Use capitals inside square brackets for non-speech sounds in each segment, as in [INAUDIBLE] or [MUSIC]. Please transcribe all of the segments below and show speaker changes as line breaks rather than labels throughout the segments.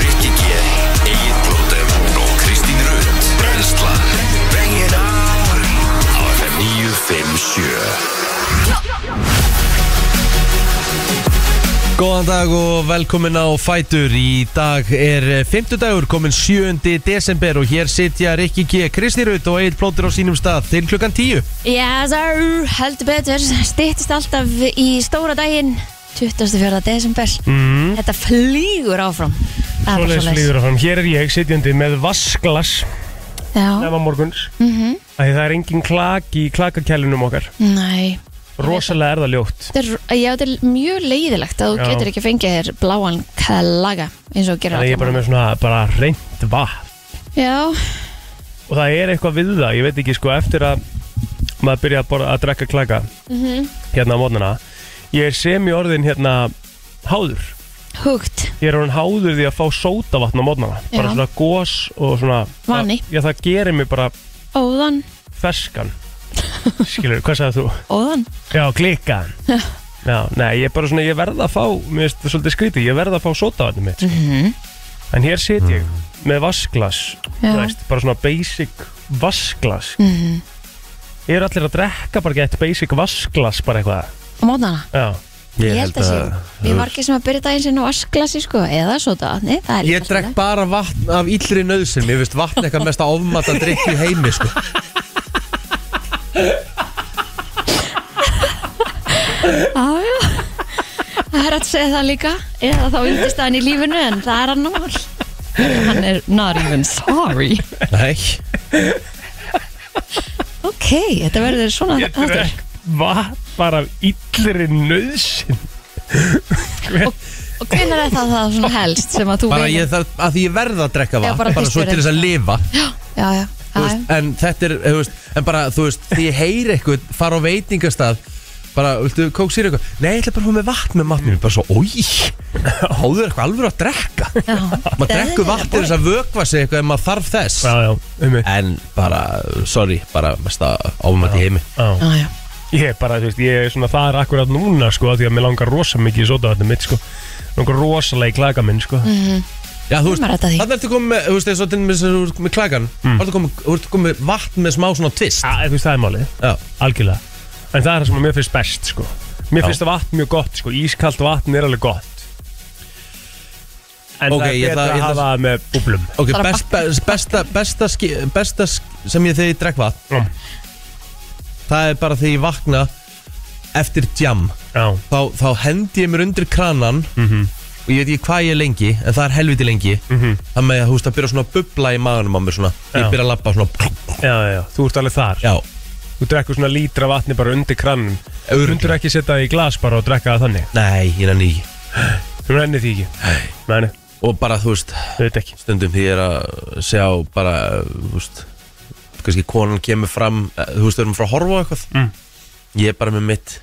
Rikki G, Egil Blóter og Kristín Rund Brenslan Bengir á Á FM 957
Góðan dag og velkomin á Fætur Í dag er eh, fymtudagur komin 7. desember og hér sitja Rikki G. Kristýrut og Egil Plóttur á sínum stað til klukkan 10
Yes, sir, heldur betur Stittist alltaf í stóra daginn 24. desember mm. Þetta flýgur áfram Það er bara
Mhm. Svoleiðis
svoleiðis.
flýður áfram. Hér er ég sitjandi með vasklas
Já,
nema morguns
mm
af því það er engin klak í klakakælinum okkar
nei
Rosalega er það ljótt
Þetta er, já, þetta er mjög leiðilegt að þú
Já.
getur ekki fengið þér bláan kallaga eins og þú gerir
Það er bara
allan
með svona bara reynd vatn
Já,
og það er eitthvað við það, ég veit ekki sko eftir að maður byrja að, borða, að drekka klaka
Mhm.
hérna á mótnana ég er semi orðin hérna háður,
hugt
ég er orðin háður því að fá sótavatn á mótnana, bara
Já.
svona gos og svona,
Vani.
það, já það gerir mig bara
Óðan, [LAUGHS]
ferskan skilur, hvað sagði þú?
óðan
Já,
[LAUGHS]
klikkaðan Já, nei, ég er bara svona, ég verð að fá Mér finnst þetta svolítið skrítið, ég verð að fá sótavatnum mitt mm En hér sit ég Með vasklas
Mhm. Mm. Já.
veist, Bara svona basic vasklas mm -hmm.
Mhm.
Eru allir að drekka bara gett basic vasklas Bara eitthvað
á mótnana
Já,
Ég held að sé Við margir sem að byrja daginn sinna á asklasi sko eða sota vatni Það er
Ég
líka
drekk
skemmtilegt.
bara vatn af illri nöðsinn Mér finnst vatn eitthvað mest að ofmata drikk í heimi sko.
Já, já Það er að segja það líka Eða þá undist hann í lífinu en það er hann nál Hann er not even sorry
Nei,
Ok, þetta verður svona
ég
þáttur.
drekk Vatn bara af illri nöðsin
Og hvenær er það það svona helst sem að þú
bara
velur?
ég þarf að því ég verð að drekka
Já, bara
vatn Bara, svo
fyrstur
til þess að lifa
Já, já,
Þú
já,
veist, En þetta er, þú veist, en bara, þú veist Því ég heyri eitthvað, fara á veitingastað Bara, viltu kók sér eitthvað Nei, ég ætla bara að fá með vatn með matnum Bara svo, oi, háður eitthvað alveg að drekka
já.
[LAUGHS] Maður drekkur vatn til þess að vökva sig eitthvað En maður þarf þess
Já, já, um mig
En bara, sorry, bara mest að ofmata í heimi
Já.
Já, já
Ég er bara, þú veist, ég er svona það er akkurat núna sko, af því að mér langar rosa mikið í sótavatnum mitt sko. langar rosalega í klaka minn sko.
Mhm.
Mhm.
Já, þú
Maður er
veist,
þetta því.
þannig ertu komið með, þú veist, eins og til með þess að þú ert með klagan Þú ert komið, þú ert komið með vatn með smá svona
Æ,
tvist
Mm. þú veist, það er málið
Já,
algjörlega en það er það sem að mér finnst best sko. mér finnst vatn mjög gott sko. ískalt vatn er alveg gott en
Ok,
það er
ég
betra
ætla- ég
að
ætla-
hafa það með búblum
ok,
Bara
best, best, besta, besta, ski- besta sk- sem ég þegar ég drekk vatn
Já.
Það er bara þegar ég vakna eftir djam
já, Mhm.
Þá, þá hendi ég mér undir kranan Og ég veit ekki hvað ég er lengi, en það er helviti lengi mm -hmm. Það með, þú veist, það byrja svona að bubla í maðanum á mér svona
Já.
Ég byrja að labba svona,
já, já, þú ert alveg þar
já,
þú drekkur svona lítra vatni bara undir krannum þú
örgla
myndur ekki setja það í glas bara og drekka það þannig
Nei, ég nenni ekki
þú rennir því ekki Nei, nei,
Og bara, þú veist,
þú veit ekki
stundum því ég er að sjá bara, þú veist kannski konan kemur fram, eh, þú veist, við erum frá að horfa á eitthvað
Mm.
ég er bara með mitt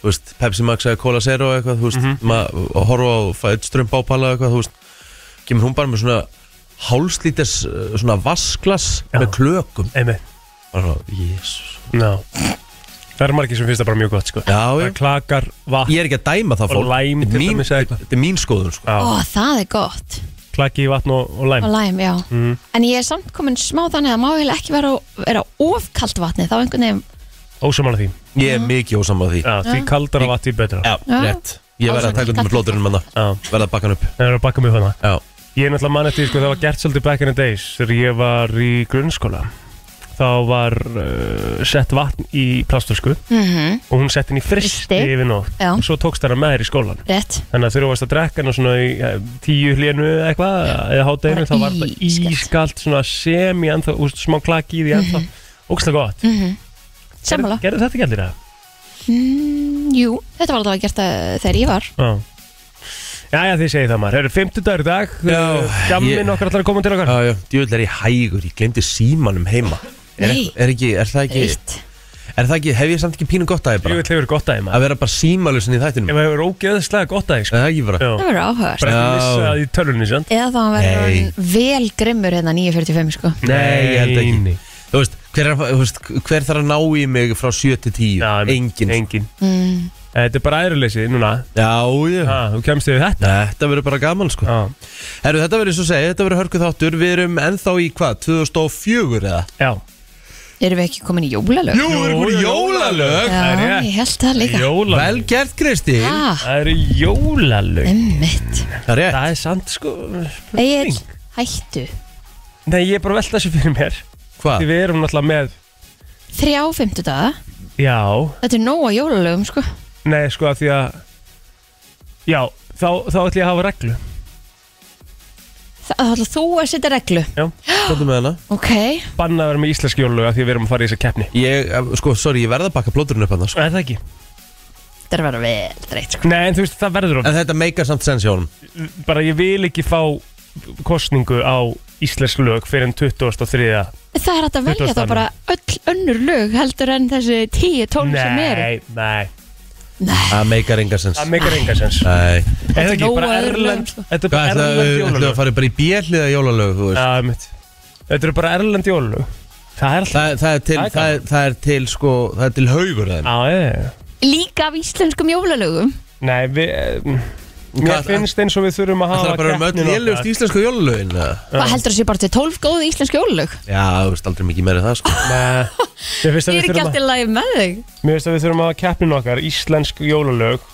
þú veist, Pepsi Max eða Cola Zero eða eitthvað, þú veist,
Mhm.
maður að horfa á fætt strömb ápala eða eitthvað, þú veist kemur hún bara með svona hálslítis eh, svona vasklas
Já.
með klökum
Einmitt.
bara svona, jésus
Já. það eru margir sem finnst það bara mjög gott sko.
Já, já.
það klakar vatn
ég er ekki að dæma það
Og
fólk
lime
Þetta
til
er mín-
dæmis eða eitthvað.
þetta er mín skoðun sko.
Ó,
já,
það er gott
klaki í vatn og, og læm Mm.
Og læm, já En ég er samt komin smá þannig að má heil ekki vera, vera ofkalt vatni Þá einhvern veginn
ósamann því
ég er mikið ósamma því
já, því kaldara vatn því betra
já,
Já.
rétt ég verði að taka þetta með blóturinn manna
Já.
verði að bakka hann upp
það eru að bakka mig hana
já,
Ég er náttúrulega mann eftir, sko, það var gert svolítið back in the days þegar ég var í grunnskóla þá var uh, sett vatn í plastösku
Mhm.
og hún sett henni í fristi
Frysti.
yfir nótt
Já.
og svo tókst það með þér í skólan
rétt
þannig að þegar þú varst að drekka hana svona í eh, tíu hlénu eða eitthvað eða hátæðinu
Bara
þá var það
ískalt. Mhm.
ískalt svona sem í ennþá, úst, smá klaki í því ennþá mm -hmm. ógst það gott
Sammála
Gerðu þetta ekki allir það?
Mm, Jú, þetta var alltaf gert að þegar ég var
Já Jæja þið segið það maður, það eru 50 dagur í dag
Já,
Gjamminn
ég-
okkar allar að koma til okkar
Já, já, djúvill er ég hægur, ég glemdi símanum heima er,
Nei.
er, ekki, er það ekki,
Eitt
er það ekki, hef ég samt ekki pínu gott að þið bara
Jú, það hefur gott að þið maður
Að vera bara símalusin í þættinum
Ef það hefur ógeðslega gott að þið
Er Það er ekki bara
Já.
Það verður áhugavert
bara ekki
Já.
missa það í tölunni sant?
Eða þá að hann
Nei.
verður orðinn vel grimmur hérna 9.45 sko
Nei, ég held ekki
Nei.
Þú veist, hver, er, að- þú veist, hver þarf að ná í mig frá 7 til 10?
Já,
Engin
Engin
mm.
Eh, Þetta er bara æruleysi núna
Já, já
ha, Þú kemst yfir þetta
Nei, Þetta verður bara gaman sko
Já,
Herru, þetta verður svo að segja, þetta verður hörkuð þáttur Við erum ennþá í hvað, 2004 eða?
já.
Erum við ekki komin í jólalög?
Jú, við
Jú,
erum úr
jú,
jólalög
það
Já,
er rétt.
ég held það líka
Jólalög
Vel gert Kristín
Ah,
Það eru jólalög
emmitt
Það er rétt
Það er sant sko
Egil, hættu
Nei, ég er bara að velta þessu fyrir mér Því
Hvað?
við erum náttúrulega með
Þrjá fimmtudaga
Já,
Þetta er nóg að jólalögum sko
nei sko að því að Já, þá, þá ætlum ég að hafa reglu
Það þá ætlar þú að setja reglu
Hvað með hana?
Ok,
Banna að vera með íslensk jólalög að því að við erum að fara í þessa keppni
Ég, eh, sko, sorry, ég verða að bakka plóturinn upp hann sko.
Er það ekki?
þetta er að vera vel dreitt sko
Nei, en þú veist, það verður hún
En þetta meikar samt sens hjá honum
Bara ég vil ekki fá kostningu á íslensk lög fyrir en 23.
Það er hægt að velja þá
20.
bara öll önnur lög heldur en þessi 10-12 sem eru
Nei, nei
Nei,
Það meikar enga sens
Það meikar enga sens
Nei
Er það ekki
nóg
bara
að öðrum lögum,
erlend
sko.
Þetta er
Hvað,
bara
ætla
erlend
ætla að
jólalög
fara bara í björliða jólalög, þú veist
Já, einmitt. Þetta eru bara erlend jólalög Það er alltaf
Það, það, er til,
Það er
það, er, það er til, sko, það er til haugur þeim
Já, ég, ég
líka af íslenskum jólalögum
Nei, við eh, Mér
Hvað-
finnst eins og við þurfum að
Það
hafa
er bara um öll
keppnina
lélegust
okkar.
íslensku jólalögin eða?
Hvað heldur þessi bara til 12 góð íslensk jólalög?
Já, þú veist aldrei mikið meira en það, sko [LAUGHS]
Nei,
Ég
Mér finnst að við
er ekki
þurfum
allt í
að
lagi með þig
Mér finnst að við þurfum að hafa keppnin okkar Íslensk jólalög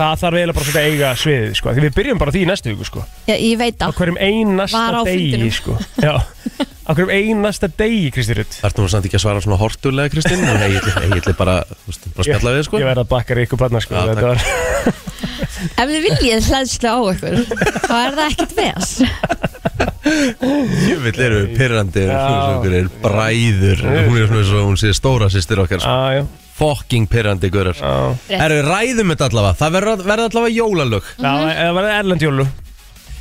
Það þarf eiginlega bara svolítið að eiga sviðið sko. Því við byrjum bara á því í næstu viku sko.
Já, ég veit
Á
að
hverjum einasta
Var á
degi
fundinum. [LAUGHS]
sko. Já, á hverjum einasta degi Kristi Rutt
Þarftum við samt ekki að svara svona hortulega, Kristinn En ég ætli- ég ætli bara, þú veist, bara að spjalla við, sko
Ég verð að bakka í ykkur platna sko.
Já,
Þetta
takk.
var [LAUGHS]
ef þið viljið hlæðslu á ykkur þá er það ekkert ves
Jöfnvill eru við pyrrandi
Já.
Hún er bræður Hún er svona svo, hún sé stóra sýstir okkar sko.
Já, já,
Fucking pyrrandi gurar
já
Erum við ræðum þetta allavega Það verður verður allavega jólalög
Já, það var erlend jólu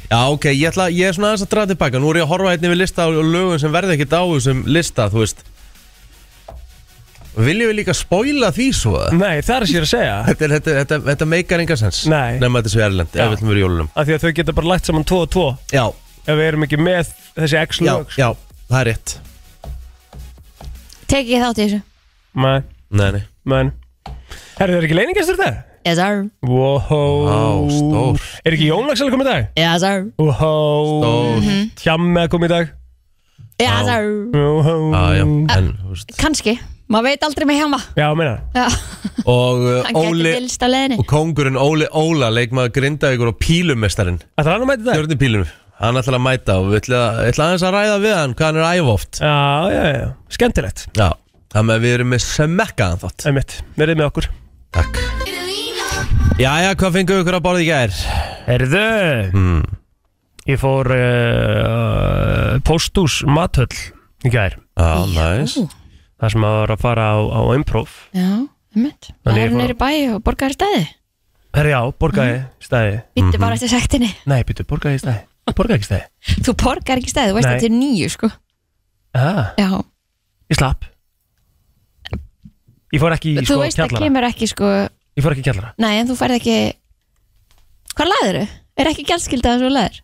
Já ok, ég, ætla, ég er svona aðeins að draða tilbaka Nú er ég að horfa einnig við lista á lögum sem verða ekkert á þessum lista Þú veist Viljum við líka spoila því svo eða?
Nei, það er sér að segja
Þetta, er- þetta, þetta, þetta meikar enga sens
Nei.
Nefna þetta svo erlend,
Já.
ef við ætlum við jólunum
Af því að þau geta bara lagt saman 2 og 2
Já,
Ef við erum ekki með þessi x
já,
lög sko.
já, það er rétt
Tek ég þátt í þessu
Nei,
Nei, nei
menn Herru, það er ekki leiningastur þetta?
Yes sir,
Wow,
Vá, stór.
Er ekki Jónlagsal komið í dag?
yes sir,
Wow
Stór.
Hjamme komið í dag
yes sir
Wow
Já, já, en, þú veist
Kanski, maður veit aldrei með hjá maður
Já, meina
Já,
Og uh,
hann gæti
Óli
vilst á leiðinni
Og kongurinn Óli Óla leikmaður grindaðugur og pílumestarinn
Það er hann að mæta í dag?
Stjórnupílum Hann ætlar að mæta og við ætla, ætla aðeins að ræða við hann hvað hann er að æfa oft
Já, já, já, skemmtilegt
Já, þannig að við erum með semekkaðan þátt
Einmitt, verið með okkur
Takk Jæja, hvað fengum við ykkur að borða í gær?
Herðu
Mm.
Ég fór uh, Póstús mathöll í gær
Já, næs
Ú,
Það sem að var að fara á, á improv
Já, einmitt Það
Þannig ég
er
fór-
nýri bæ og borgar stæði
Herri já, borgaði
Mhm.
stæði
Býttu bara eftir sektinni
Nei, býttu, borgaði stæði Borgaði ekki stæði
Þú borgar ekki stæði, þú veist
Nei.
að þetta er nýju sko
ah,
Já,
Ég slapp Ég fór ekki í
þú
sko
veist það
kjallara
kemur ekki sko
Ég fór ekki í kjallara
Nei, en þú færð ekki Hvað laður þau? Er ekki gælskildað að svo laður?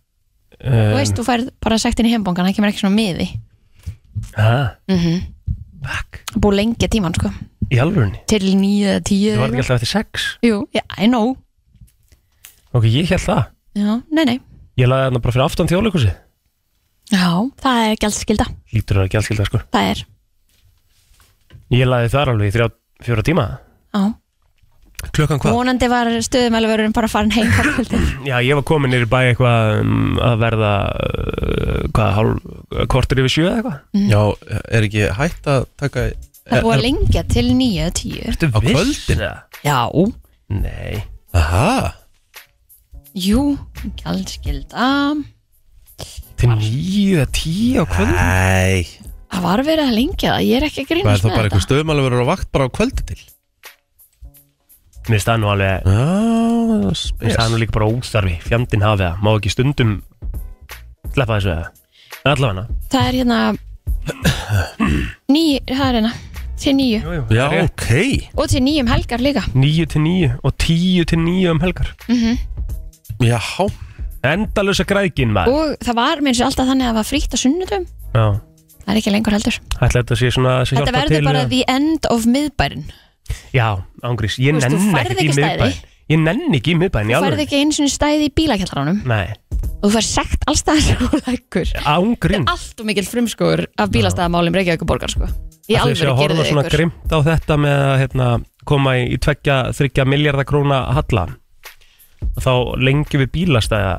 Eh.
Þú veist, þú færð bara sektinni í heimbóngan, það kemur ekki svona miði
ah,
mm
Fuck,
Búið lengi tíman sko
í alvörunni
Til nýju eða tíu
Ég var
eða
ekki
eitthvað.
alltaf eftir sex
Jú, já, I know
Ok, ég held það
Já, nei, nei
Ég laði þarna bara fyrir aftan þjóðleikusi
Já, það er gælskilda,
Lítur það ekki alls sko
það er
Ég laði þar alveg í þrjá, fjóra tíma
Já,
Um
Klukkan hvað?
vonandi var stöðumæluvörurinn bara farin heim frá kvöldin
Já, ég var komin nýri bæ eitthvað um, að verða uh, hvað, hálf, kortur yfir sjö eða eitthvað
Mhm.
Já, er ekki hægt að taka
Það er búið að lengja til nýja tíu
Eh, Ertu
Á
viss?
kvöldin?
Já,
Nei
Aha,
jú, gjaldskilda
Til nýju eða tíu á kvöld
nei
Það var verið að lengja það, ég er ekki að
Hvað er
grínast
það
með
bara
þetta
einhver stöðmála verður á vakt bara á kvöldi til?
Mér finnst það nú alveg
Já,
Mér finnst það nú
spes
líka bara óþarfi Fjandinn hafi það Má ekki stundum Sleppa þessu eða En allavega
Það er hérna Nýju, það er hérna Til nýju
Jú, jú
Já, ok
og til nýjum helgar líka Mhm.
Níu til níu Og tíu til níu um helgar
Já,
Endalösa græðgin maður
Og það var mér sér alltaf þannig að það var frítt á sunnudum
Já
það er ekki lengur heldur
Ætla þetta sé svona að
Þetta verður bara the end of miðbærin
Já, ángrís, ég
Þú veist, þú
nenn
færð
ekki í
ekki stæði.
miðbæn Ég nenn ekki í miðbæn,
Þú
já
færði ekki eins og stæði í bílakjallaranum
Nei,
og þú færði sekt allstaðar sem þú leggur
ángrín
Allt og mikil frumskóður af bílastæðamálum Reykjavíkuborgar sko Í
Ætli
alveg
sé að
gerði
horfa
þið
svona
ykkur
grimt á þetta með að hérna, koma í, í tveggja, þryggja miljardakróna halla og þá lengjum við bílastæða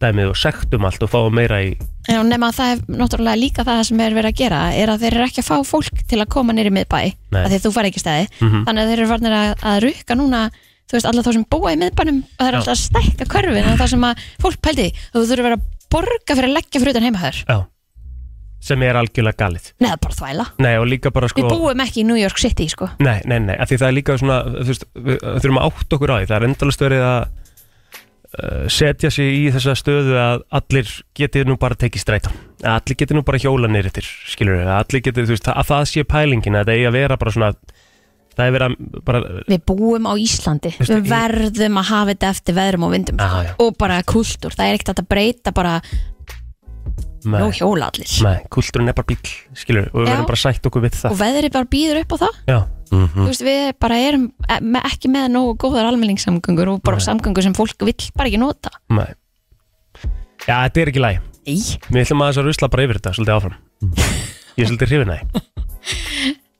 dæmið og sektum allt og fáum meira í
Já, nema að það er náttúrulega líka það sem er verið að gera er að þeir eru ekki að fá fólk til að koma nýri miðbæ
Nei.
að því að þú fari ekki stæði
Mhm.
þannig að þeir eru farnir að, að rukka núna þú veist, alla þá sem búa í miðbænum og þeir eru
Já.
alltaf að stækka körfin og það sem að fólk pældi því, þú þurfur að vera að borga fyrir að leggja fyrir utan heimahör
já, sem er algjörlega galið
neða bara þvæla,
Nei, og líka bara sko
við búum ekki í New York City sko.
Nei, nei, nei, af því það er líka svona þú veist, við við þurfum að átta okkur á því það er endalast verið að uh, setja sig í þessa stöðu að allir getið nú bara tekið strætó að allir getið nú bara hjóla neyrir til skilur við, að allir getið, þú veist, að það sé pælingin að það eigi að vera bara svona það er verið að bara
við búum á Íslandi
Veistu,
við
í-
verðum að hafa þetta eftir veðrum og vindum sko.
Já, já.
og bara kultúr, það er ekkert hægt að breyta bara, nú
með,
hjóla allir
með, kulturinn er bara bíl skilur við, og við
Já.
verðum bara að sætt okkur við
og Mhm.
það
veðri bara býður upp á það
Já, Mm.
þú veist, við bara erum eh, með- ekki með nógu góðar almenningssamgöngur og bara
Nei.
samgöngur sem fólk vill bara ekki nota
með Já, þetta er ekki læg
Nei.
Við ætlum aðeins að rusla bara yfir þetta, svolítið
[LAUGHS]
áfram Ég er svolítið hrifin að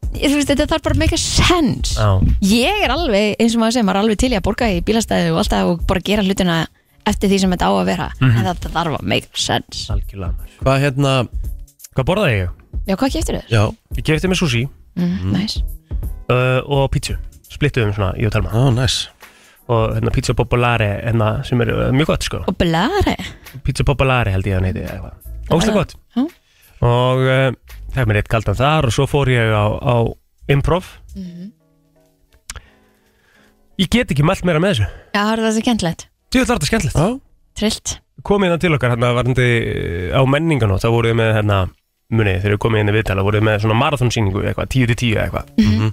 því
þú veist, þetta þarf bara meika sens
Já,
ég er alveg, eins og maður segir, maður er alveg til í að borga í bílastæði og alltaf og bara gera hlutina eftir því sem þetta á að vera
Mhm.
en þetta þarf að meika sens
algjörlega maður.
Hvað hérna,
Hvað borðaði ég?
já, hvað keftir þér?
já,
Ég kefti mér sushi
Mm, nice.
uh, og pítsu Splittuðum svona, ég og Telma
á, næs
Og hérna pizza popolare hérna, sem er uh, mjög gott sko
og blari
Pizza popolare held ég að neyti Óslega gott
Já.
Og uh, fekk mér eitt kaldan þar og svo fór ég á, á improv Ég get ekki mælt meira með þessu
já, það er það sem kentlegt,
Djöfull var þetta skemmtilegt
Já,
trillt
Komið hérna til okkar hérna varandi uh, á menninganót Þá voruð við með hérna munið þegar við komið inn í viðtala voruð við með svona marathonsýningu eitthvað 10 til 10 eitthvað
mhm,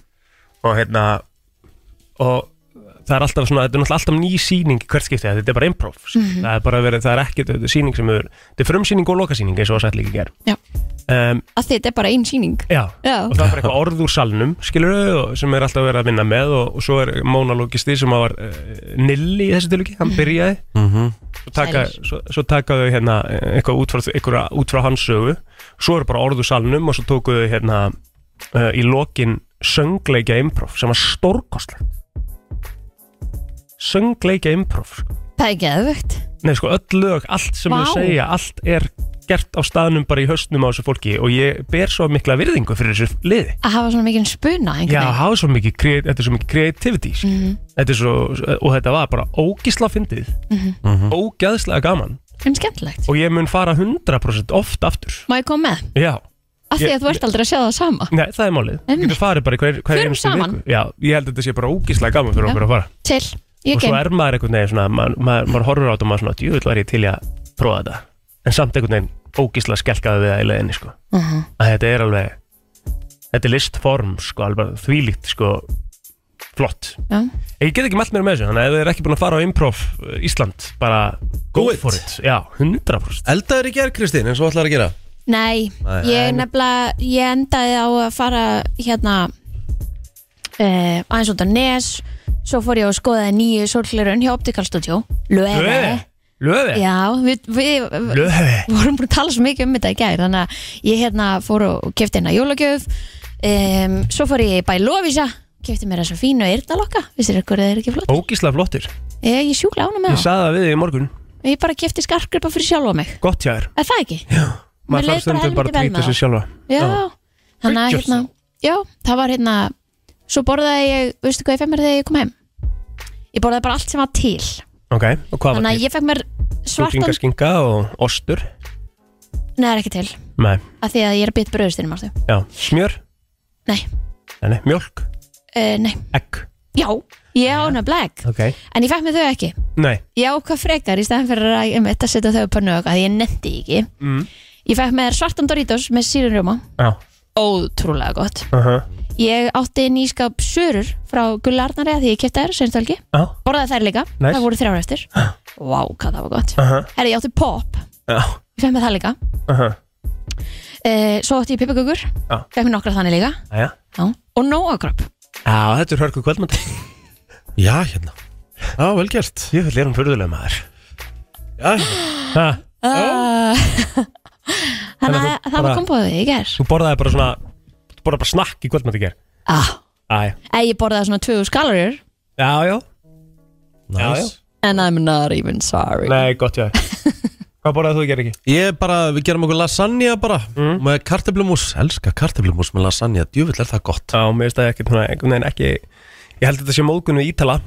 og hérna og það er alltaf svona, þetta er náttúrulega alltaf ný síning í hvert skipti, þetta er bara improv sko. það er bara verið, það er ekkert, þetta er síning sem er þetta er frumsýning og lokasýning eins og það sætt líka ger
Já.
um,
að því þetta er bara einn síning
já
já,
og það er bara eitthvað orð úr salnum, skilur þau sem er alltaf verið að vinna með og, og svo er monologisti sem að var uh, nilli í þessu tilviki, hann byrjaði
mhm
svo taka,
Sælir.
svo, svo taka þau hérna eh, eitthvað út frá, eitthvað út frá hans sögu svo eru bara orðu salnum og svo tóku þau hérna uh, í lokin söngleikja improv sem var stórkostlegt söngleikja improv sko.
það er geðvögt
nei sko öll lög, allt sem
Vá.
þau segja allt er gert á staðnum bara í höstnum á þessu fólki og ég ber svo mikla virðingu fyrir þessu liði
að hafa svona mikinn spuna einhvern
Já,
veginn.
hafa svo mikið, kre- þetta er svo mikið creativity mm
Mhm.
þetta er svo, og þetta var bara ógisla fyndið, ógeðslega gaman
en Mhm. skemmtilegt
og ég mun fara 100% oft aftur
Má ég koma með?
Já,
Af því
Ég-
að þú ert aldrei að sjá það sama
Nei, það er málið Þú
Einmitt.
getur farið bara í hver, hver
Förum
einustu
saman.
viku Já, ég held að þetta sé bara ógíslega gaman fyrir
Já.
okkur að fara
Til, ég
Og svo
kem
er maður einhvern veginn svona Maður, maður, maður horfir á þetta og maður svona Jú, var ég til í að prófa þetta En samt einhvern veginn ógíslega skelkaði við það í leiðinni sko.
uh -huh.
Að þetta er alveg Þetta er listform, sko, alveg þvílíkt sko, Flott
Já.
Ég get ekki mælt mér með þessu Þannig að ef þið er ekki búin að fara á improv eh, Ísland Bara go
Do it.
for it Já, 100%
Eldaður í gerð, Kristín, eins og ætlar að gera
Nei,
Nei.
ég nefnilega ég endaði á að fara hérna uh, aðeins út á Nes svo fór ég og skoðaði nýju sorgleirun hjá Optical Studio Löfi
Löfi
Já, við, við
Löfi
vorum búin að tala svo mikið um þetta í gær þannig að ég hérna fór og kefti hérna jólagjöf um, svo fór ég í bæ Lofísa kefti mér þessa fínu eyrnalokka finnst þér eitthvað það er ekki flott
Ógíslega flottir
ég, ég sjúkla ána
Ég
með það
saði það við þig í morgun
ég bara kefti skarkgripa fyrir sjálfa mig
Gott hjá þér
er það ekki? Mér
Maður
leið
þarf stundum
bara
bara að
helviti vel
brýta
með
sig sjálfa
Já,
Já.
þannig að
Treat
hérna,
yourself.
já, það var hérna svo borðaði ég, veistu hvað ég fekk mér þegar ég kom heim ég borðaði bara allt sem var til
Ok, og hvað
þannig
var
að
til?
ég fekk mér svartan
Sjúklingaskinga og ostur
Nei, það er ekki til,
Nei,
af því að ég er að bytt bröðustinu mástu
já, smjör
Nei,
Nei, nei, mjölk,
uh, nei,
egg
já, ég á hana black
Ok
en ég fekk mér þau ekki
Nei,
ég ákvað frekar í stæðan fyrir að um, þetta setja þau upp að nöga því ég nefndi ekki
mm.
ég fekk mér svartan Doritos með sírunrjóma
já
ótrúlega gott
uh
Uh-huh.
-huh.
ég átti nýskap sörur frá Gullarnari að því ég kefti þær senst algi
Já,
borðaði þær líka,
Nice.
það voru þrjár eftir vá, hvað það var gott
uh -huh.
herri, ég átti pop,
já,
ég fekk með það líka
uh -huh.
Eh, Svo átti ég pipakökur
Já.
Fekk mér nokkra þannig líka
Jæja.
Já. Og nóakrop
Já, þetta er hörku [LAUGHS] kvöldmönd
Já, hérna Já, vel gert
Ég vil lera um fyrðulega maður
Já,
ha,
Ah. Þannig
[LAUGHS] Þannig að
að
þú
það var
bara-
komboðið í gær
Þú borðaði bara svona Þú borðaði bara snakk í kvöldmönd í ger
ah.
Æja
Eh, Ég borðaði svona 20 skalorir
Já, já
næs
Já, já.
And I'm not even sorry
Nei, gott
[LAUGHS]
já Hvað borðaði þú í ger ekki?
Ég bara, við gerum okkur lasagna bara
Mm.
Með kartöflumús, elska kartöflumús með lasagna Djúvill er það gott
Já, mér finnst það ekki, svona, einhvern veginn ekki Ég held þetta sé móðgun við Ítala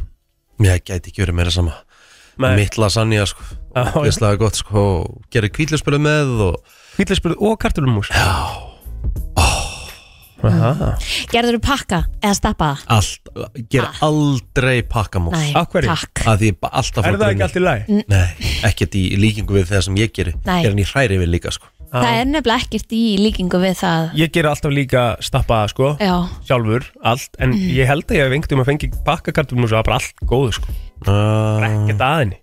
Ég gæti ekki verið meira sama Mitt lasagna, sko
Já, já.
Ógeðslega gott, sko Gerir kvítlöspölu með og
Hvítlegsbyrð og kartulumús Já
Gerður þú pakka eða stappa það?
Mm. allt Ger aldrei pakkamús
Ah. Nei,
Af hverju?
takk
Að því ég ba- alltaf
Er það ekki allt í lagi?
í Nei, ekkert í líkingu við það sem ég geri
Nei.
Gerðin í hræri við líka, sko
Ah.
Það er nefnilega ekkert í líkingu við það
Ég ger alltaf líka stappa sko
Já, Mhm.
Sjálfur, allt En ég held að ég hef engt um að fengi pakka kartulumús Það var bara allt góðu sko
uh,
Ekkert aðinni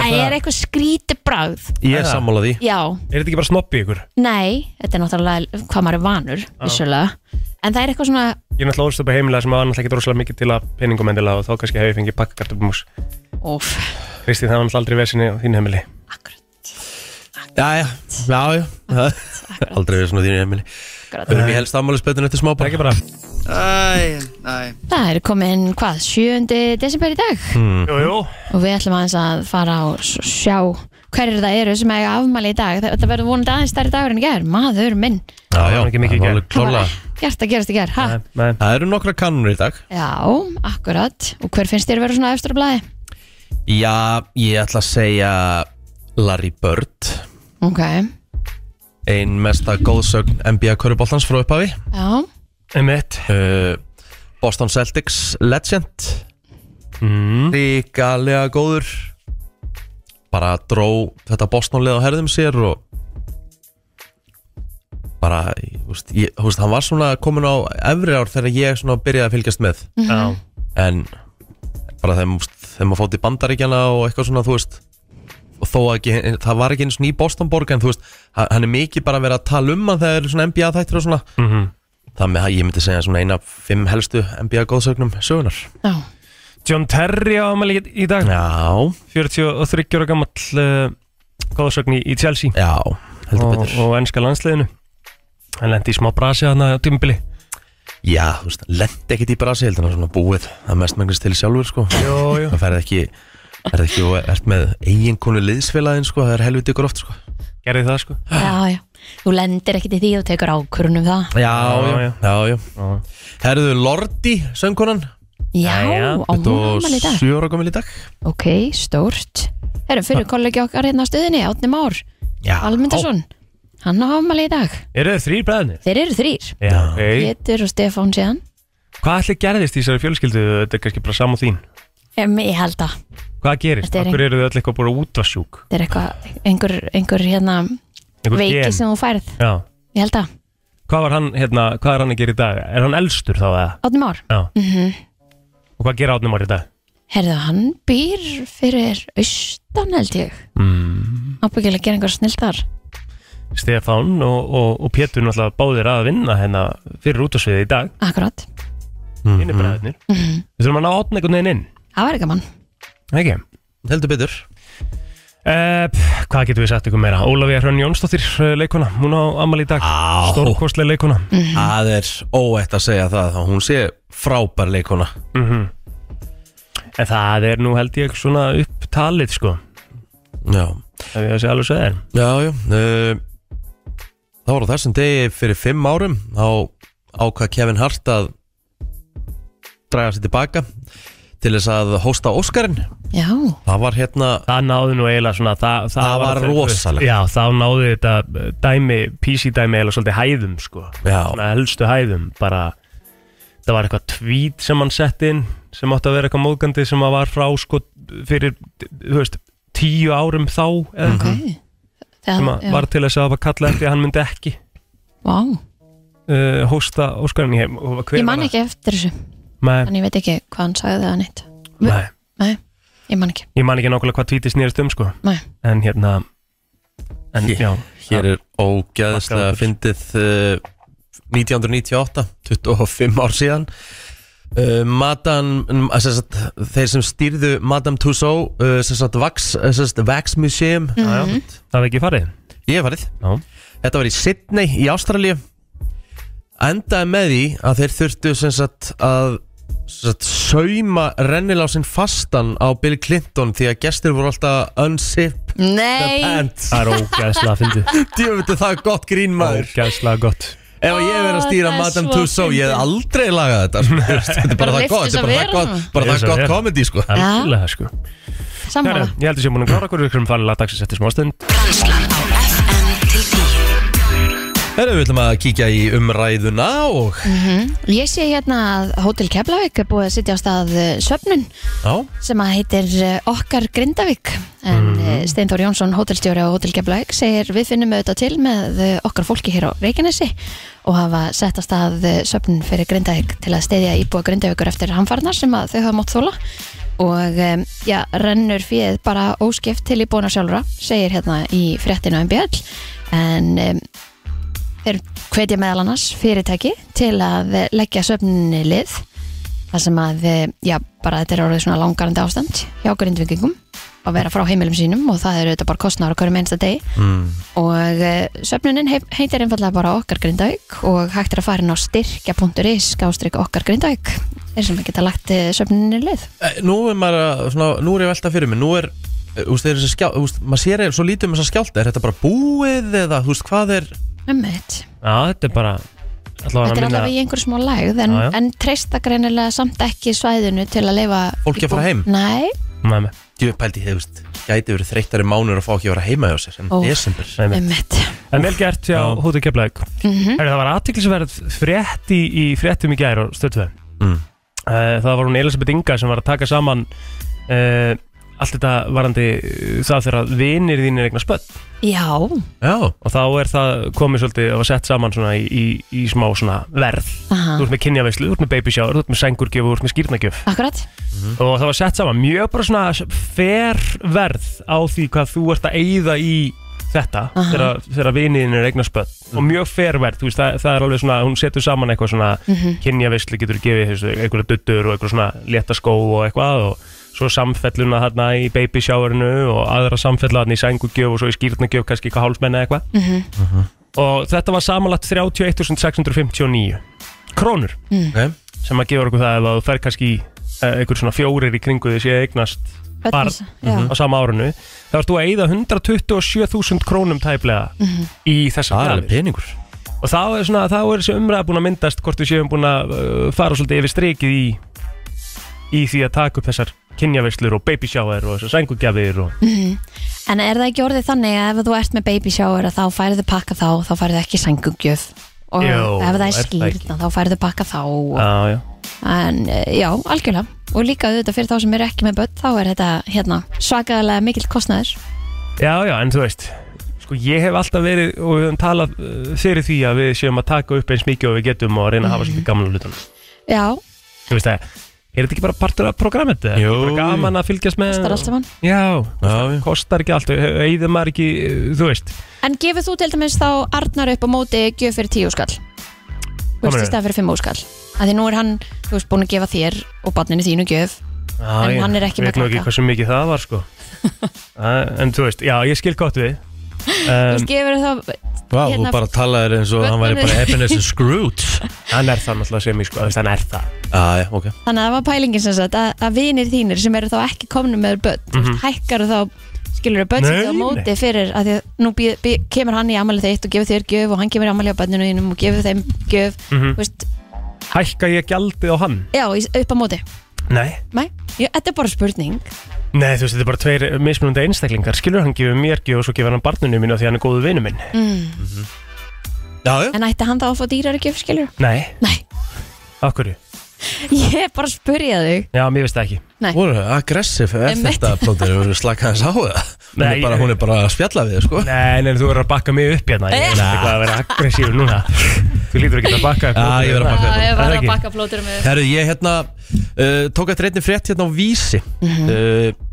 það er eitthvað skríti bráð
Ég
Er
er
það?
sammála því
Já,
Er þetta ekki bara snoppi ykkur?
nei, þetta er náttúrulega hvað maður er vanur, vissulega En það er eitthvað svona,
Ég er náttúrulega ólst upp á heimilega sem var náttúrulega ekki rosalega mikið til að peningum endilega og þá kannski hef ég fengið pakka kartulumús
óf,
Kristi, það var náttúrulega aldrei vesinni á þín heimili
akkurat,
Jæja, já, já, Aldrei verið svona þínu Emil
akkurat
Við erum í helst afmálisbötun eftir smá
Það er
bara
ekki bara
Æ, næ
Það er komin, hvað, 7. desember í dag
Jú, jú
Og við ætlum aðeins að fara og s- sjá hverjir það eru sem eiga afmæli í dag Þetta verður vonandi aðeins stærri dagur en í gær, maður minn
Já,
Það
já,
var ekki mikið í
það var
gær.
alveg klárlega.
Gert að gerast í gær, ha?
Nei, nei.
Það eru nokkra kannur í dag
Já, akkurat Og hver finnst þér að vera svona efstur á blæði?
Já, ég ætla að segja Larry Bird
Ok,
Ein mesta góðsögn NBA Köruboltans frá upphafi
já,
Einmitt.
uh, Boston Celtics Legend
Mm.
Ríkalega góður Bara dró þetta Boston-lið á herðum sér og bara, þú veist, ég- þú veist, hann var svona komin á efri ár þegar ég svona byrjaði að fylgjast með
Já.
en bara þeim, þeim að fótt í bandaríkjana og eitthvað svona þú veist og þó að ekki, það var ekki eins og ný Bostonborg en þú veist, ha- hann er mikið bara að vera að tala um hann þegar það eru svona NBA þættir og svona
Mhm.
þannig að ég myndi segja svona eina af fimm helstu NBA góðsögnum sögunar
já,
John Terry á aðmæli í dag
Já,
43 ára gammal uh, góðsögn í, í Chelsea
já, heldur
og,
betur
og ennska landsliðinu hann lendi í smá brasi hana á tímbili
Já, þú veist, lendi ekkit í brasi heldur hann er svona búið, það er mest mengist til sjálfur sko,
Jó, jó
það ferði ekki er ekki og ert með eiginkonu liðsfélagin sko, það er helviti gróft sko
Gerði það sko
já, já Þú lendir ekkit í því og tekur ákvörunum það
Já, já, já, já, já.
Já.
Herðu Lordi, söngkonan
Já,
Jæja,
á múnamal í dag
27 ára gömul í dag
Ok, stórt Herru, fyrir kollegi okkar hérna á stöðinni, Átni Már
Já,
Almundarsson, hann á ámali í dag
Eru þið þrýr bræðinir?
Þeir eru þrýr,
Já, ok
Pétur og Stefán síðan
Hvað ætli gerðist í þessari fjölskyldu? Þetta er kannski bara sam og þín
um, Ég held að
Hvað gerist?
Þetta er
Akkur eru þið öll eitthvað bara útvarsjúk?
þetta er eitthvað, einhver, einhver hérna veiki sem þú færð
Já
Ég held að,
Hvað var hann, hérna, hvað er hann að gera í dag? Er hann elstur þá eða?
Átni Már
Já -hmm.
Mhm.
Og hvað gera átnum árið í dag?
Herðu, hann býr fyrir austan held ég
Hmm.
Mm.
Ábyggilega að gera einhver snill þar
Stefán og, og, og Pétur náttúrulega báðir að vinna hérna fyrir útvarsviðið í dag
Akkurat,
Inni bræðurnir Við þurfum að ná átn einhvern veginn inn
það var gaman
Ekki
heldur betur
Uh, hvað getum við sagt ykkur meira? Ólafía Hrönn Jónsdóttir, uh, leikona, hún á ammali í dag
Á. Mhm.
Stórkostlega leikona
Það er óætt að segja það þá Hún sé frábær leikona
En Mhm. það er nú held ég svona upptalið sko
Já,
Ef ég að segja alveg svo þeir
já, já uh, Það var á þessum degi fyrir fimm árum þá ákvað Kevin Hart að draga sér tilbaka til þess að hósta Óskarinn
Já,
Það var hérna
Það náði nú eiginlega svona Það,
Það var rosalegt.
Já, þá náði þetta uh, dæmi, PC dæmi eiginlega svolítið hæðum sko
Já,
Svona helstu hæðum bara Það var eitthvað tweet sem hann sett inn sem átti að vera eitthvað móðgandi sem að var frá sko fyrir, þú veist, tíu árum þá eða
Mhm.
ok
sem að
Það
var til þess að það var kallað eftir að hann myndi ekki
Vá,
uh, hósta Óskarinn í heim og hver
ég
var
man
það?
ekki eftir þessu
Nei,
Þannig ég veit ekki hvað hann sagði það neitt
nei,
Nei, ég man ekki
ég man ekki nákvæmlega hvað tvítið snýrist um sko
Nei.
en hérna en
Hér-
já,
Hér er ógeðslega
Markaður.
fyndið uh, 1998, 25 ár síðan uh, Madame, mm, sem sagt, þeir sem stýrðu Madame Tussauds uh, sem sagt, Vax, eh, sem sagt, Vax Museum
já, já, það er ekki farið
Ég hef farið
Já.
Þetta var í Sydney í Ástralíu Endaði með því að þeir þurftu sem sagt að sem sagt, sauma rennilásinn fastan á Bill Clinton því að gestir voru alltaf að unzip the
Nei
pants
það er ógæðslega fyndið
Djöfundi það er gott grín maður
ógæðslega gott
Ef ég verið að
Ó,
stýra
það er
Madame
svo
Tussauds ég hef
fyndið.
aldrei lagað þetta sko. Þetta er bara
Bara
það
lyftu
gott Þetta
þess að
er bara
vera
það
þarna.
gott
Lyftu
bara það
þess að
gott
vera.
komedi sko
algjörlega sko Jæja,
Sammála
ég held að sé múin að klára okkur við hverjum farið að dagsins eftir smástund
Brennslan á FM til 10
Herra, við ætlum að kíkja í umræðuna og
Ég sé hérna að Hotel Keflavík er búið að sitja á stað eh, söfnun
Já,
sem að heitir eh, Okkar Grindavík en
Mhm.
mm. Steintór Jónsson, hótelstjóri á Hotel Keflavík segir við finnum auðvitað til með eh, okkar fólki hér á Reykjanesi og hafa sett að stað eh, söfnun fyrir Grindavík til að steyðja íbúa Grindavíkur eftir hamfarnar sem að þau hafa mótt þóla og eh, já, rennur fíð bara óskipt til íbúna sjálfra segir hérna í fréttinu MBL en em, þeir hvetja meðal annars fyrirtæki til að eh, leggja söfnunni lið þar sem að, eh, já, bara þetta er orðið svona langarandi ástand hjá grindvikingum að vera frá heimilum sínum og það eru þetta bara kostnára hverju mennsta degi
mm.
og eh, söfnunin hef- heitir einfallega bara okkar grindauk og hægt er að fara inn á styrkja.is skástrík okkar grindauk þeir sem geta lagt eh, söfnuninni lið
Eh, Nú er maður að, svona, nú er ég að velta fyrir mig Nú er, eh, þú veist, þeir eru þessi skjá Þú veist, maður sér eða, svo lítið um þessa skjálta Er þetta bara búið eða, þú veist, hvað er
Einmitt.
já, þetta er bara allavega
þetta er
minna-
allavega í einhverju smá lægð en,
Já, já.
en treysta greinilega samt ekki svæðinu til að leifa
Fólki að fara heim?
Nei,
Nei, nei,
Ég pældi, þú veist, gæti verið þreyttari mánur að fá ekki að vera heima hjá sér En
Ó.
desember
nei, nei.
einmitt
En vel gert hjá
Já.
Hóti Keflæk mm
Mhm.
-hmm. Það var aðtiklisverð frétt í, í fréttum í gær og stöðtöð
Mm.
Það var hún Elisabeth Inga sem var að taka saman uh, allt þetta varandi eh, það þegar að vinir þínir eignar spött
Já,
Já,
og þá er það komið svolítið og sett saman svona í, í, í smá svona verð
aha,
Þú ert með kynjaveislu, þú ert með baby shower, þú ert með sængurgjöf og þú ert með skýrnagjöf
akkurat
Mhm.
og það var sett saman mjög bara svona fer verð á því hvað þú ert að eyða í þetta
Aha.
þegar, þegar viniðin er eignar spött og mjög fer verð, þú veist, það, það er alveg svona hún setur saman eitthvað svona mm -hmm. kynjavisli getur gefið þessu, einhverja duttur og eitthvað svona létta skó og eitthvað og svo samfelluna þarna í baby showerinu og aðra samfella þarna í sængugjöf og svo í skýrnagjöf kannski eitthvað hálsmenni eða eitthvað
mm
Mhm.
-hmm.
Uh-huh.
og þetta var samanlagt 31.659 krónur
ok
sem að gefa okkur það ef að þú fer kannski í eh, einhver svona fjórir í kringu þessi að eignast Barn. á sama árunu þá ert þú að eyða 127.000 krónum tæplega í þessa
Það er
gjafir.
alveg peningur
og þá er, svona, þá er þessi umræða búin að myndast hvort við séum búin að uh, fara svolítið yfir strikið í, í því að taka upp þessar kynjaveislur og baby shower og þessar sængugjafir og
Mhm. En er það ekki orðið þannig að ef þú ert með baby shower að þá færðu pakka þá, þá færðu ekki sængugjöf og
Jó,
ef það er
er það
skýrna þá færðu pakka þá og,
á, já.
en eh, já, algjörlega og líka auðvitað fyrir þá sem eru ekki með börn þá er þetta hérna, svakalega mikill kostnæður
já, já, en þú veist sko ég hef alltaf verið og við höfum talað uh, fyrir því að við séum að taka upp eins mikið og við getum og reyna að
Mhm.
hafa svolítið gamla hlutunum
Já,
þú veist það, er þetta ekki bara partur af programmet eða?
Jú.
Er bara gaman að fylgjast með
kostar allt saman
já,
Já, já.
kostar ekki allt eigður maður ekki, eh, þú veist
En gefur þú til dæmis þá Arnar upp á móti gjöf fyrir tíu skall Þú veist,
meinarðu?
í stað fyrir fimm skall að því nú er hann, þú veist, búin að gefa þér og barninu þínu gjöf
já,
En hann er ekki með
veit nú ekki
krakka.
hversu mikið það var
[LAUGHS]
sko Æ, en þú veist, já, ég skil gott við
Þú
um,
veist, gefur þá,
Vá,
Hérna-
þú bara talaðir eins og hann væri bara Ebenezer Scrooge
hann er það náttúrulega sem ég sko, þú veist, hann er það
Já, já, ok
Þannig að það var pælingin sem sagt að, að vinir þínir sem eru þá ekki komnum með börn mm -hmm. hækkar þá skilur þau
Mhm. Nei,
budgetið á
nei.
móti fyrir að því að nú bý, bý, kemur hann í amalið þitt og gefur þér gjöf og hann kemur í amalið á börninu þínum og gefur þeim gjöf
Mhm.
þú veist,
hækka ég gjaldið á hann?
já, í- upp á móti
nei
Nei, já, þetta er bara spurning
Nei, þú veist, þetta er bara tveir eh, mismunandi einstaklingar Skilur hann gefur mér gjöf og svo gefur hann barninu mínu af Því hann er góðu vinnu minn Mhm.
Já, já
en ætti hann þá að fá dýrari gjöf skilur?
Nei,
Nei,
af hverju?
[LAUGHS] ég er bara að spurja þig
Já, mér veist það ekki
Voru aggressiv er
Einmitt.
þetta plótið Voru slakaðans á það Hún er
Nei,
bara,
ég-
hún er bara að spjalla við þig, sko
Nei, nei, þú verður að bakka mig upp hérna Ég veit ekki hvað að vera aggressív núna Þú lítur ekki að bakka upp
Já, ég verð að bakka upp.
Er það ekki?
plótur með
Herru, ég hérna uh, tók eftir einni frétt hérna á Vísi mm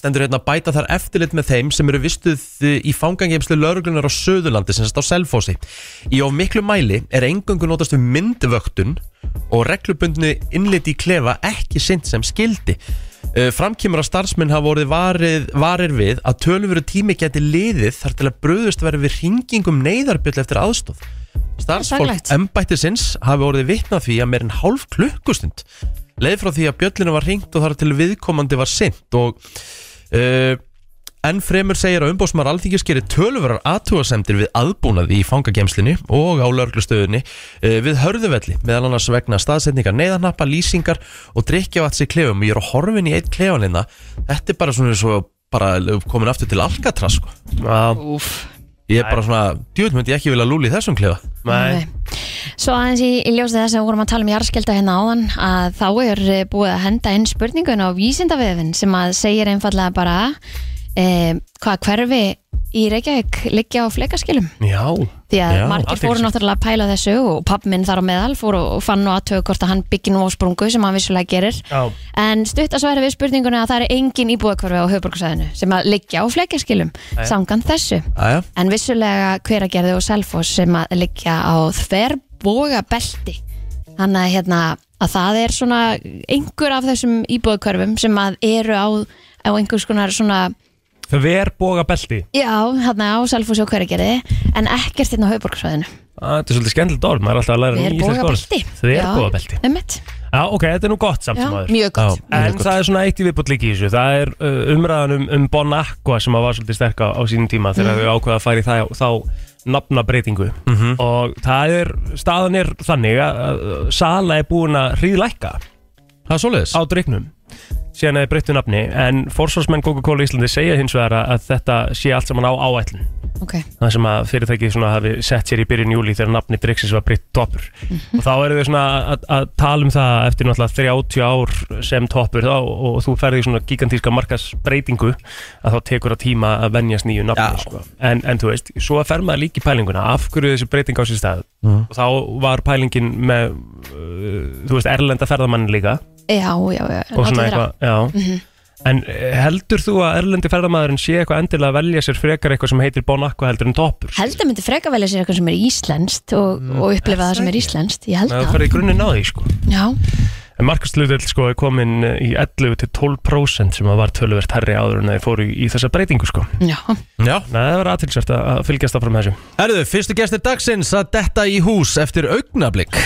stendur hérna að bæta þar eftirlit með þeim sem eru vistuð uh, í fangangeimslu lauruglunar á Söðurlandi sem sérst á Selfossi. Í of miklu mæli er engöngu notast við myndvöktun og reglubundni innliti í klefa ekki sint sem skildi. Eh, Fram kemur að starfsmenn hafa orðið varið, varir við að tölvöru tími geti liðið þar til að bröðust verið við hringingum neyðarbyll eftir aðstóð. Starfsfólk
Daglegt.
embættisins hafi orðið vitnað því að meir en hálf klukkustund leið frá því að bjöllinu var hringt og þar til viðkomandi var sint og uh, enn fremur segir að umbósmar alþingis gerir tölvörar aðtúasemdir við aðbúnaði í fangagemslinu og á laurglustöðunni uh, við hörðuvelli meðal annars vegna staðsetningar neyðarnappa, lýsingar og drikkjavatsi klefum ég er að horfin í eitt klefanina þetta er bara svona svo bara komin aftur til Alcatraz sko.
Já,
Úf
ég er bara svona, djúvill myndi ég ekki vilja lúli í þessum klefa
nei,
Svo aðeins í, í ljósið þess að við vorum að tala um jarðskjálta hérna áðan að þá er eh, búið að henda inn spurningun á vísindavefin sem að segir einfallega bara e, hvað hverfi í Reykjavík liggja á flekaskilum
já
því að
Já,
margir fóru
athyglisvert.
náttúrulega að pæla þessu og papp minn þar á meðal fór og, og fann og aðtöku hvort að hann byggi nú á sprungu sem hann vissulega gerir
Já,
En stutt að svara við spurninguna að það er engin íbúðakvarfi á höfuborgarsæðinu sem að liggja á flekjaskilum samkant þessu.
Aja.
En vissulega hveragerði og selfos sem að liggja á þverboga belti. Þannig að, hérna, að það er svona einhver af þessum íbúðakvarfum sem að eru á, á einhvers konar svona,
Þver boga belti
já, hérna á selfos og hveragerði, en ekkert hérna á höfuborgarsæðinu.
Ah, Þetta er svolítið skemmtilegt orð, maður er alltaf að læra ný íslensk orð
Þverboga belti.
Þverboga belti
Einmitt.
Já, ok, þetta er nú gott samt
Já,
sem aður
mjög gott.
Já, mjög
En
gott.
það er svona eitt í viðbútt líki í þessu Það er uh, umræðan um, um Bon Aqua sem að var svolítið sterk á, á sínum tíma þegar
Mhm.
við ákveða að fara í það, þá nafnabreitingu og það er, staðan er þannig að, að Sala er búin að hríðlækka
það er svoleiðis
á dryknum síðan að þið breyttu nafni en forsvarsmenn Coca-Cola Íslandi segja hins vegar að, að þetta sé allt saman á áætlun
Ok,
það sem að fyrirtækið svona hafi sett sér í byrjun júli þegar nafni Drixis var breytt toppur og þá eru við svona að, að tala um það eftir náttúrulega 30 ár sem toppur þá og, og þú ferði í svona gigantíska markasbreytingu að þá tekur það tíma að venjast nýju
Já.
nafni sko. en, en þú veist, svo fer maður líka í pælinguna af hverju þessi breyting á sér stað og þá var pælingin með uh, þú veist, erlenda ferðamann líka
já, já, já. Láttu
og svona
þeirra.
eitthvað, já
Mhm.
En eh, heldur þú að erlendi ferðamaðurinn sé eitthvað endilega að velja sér frekar eitthvað sem heitir Bon Aqua heldur en toppur?
held að myndi freka velja sér eitthvað sem er íslenskt og, og upplifa það sem er íslenskt ég held
Mm. Nei,
það
það fyrir í grunninn á því sko
já,
En markastlutell sko er komin eh, í 11 til 12% sem að var töluvert herri áður en að þið fóru í, í þessa breytingu sko
já,
Já.
Nei, það var aðtilsvært að að fylgjast áfram með þessu
Herðu, fyrstu gestir dagsins að detta í hús eftir augnablik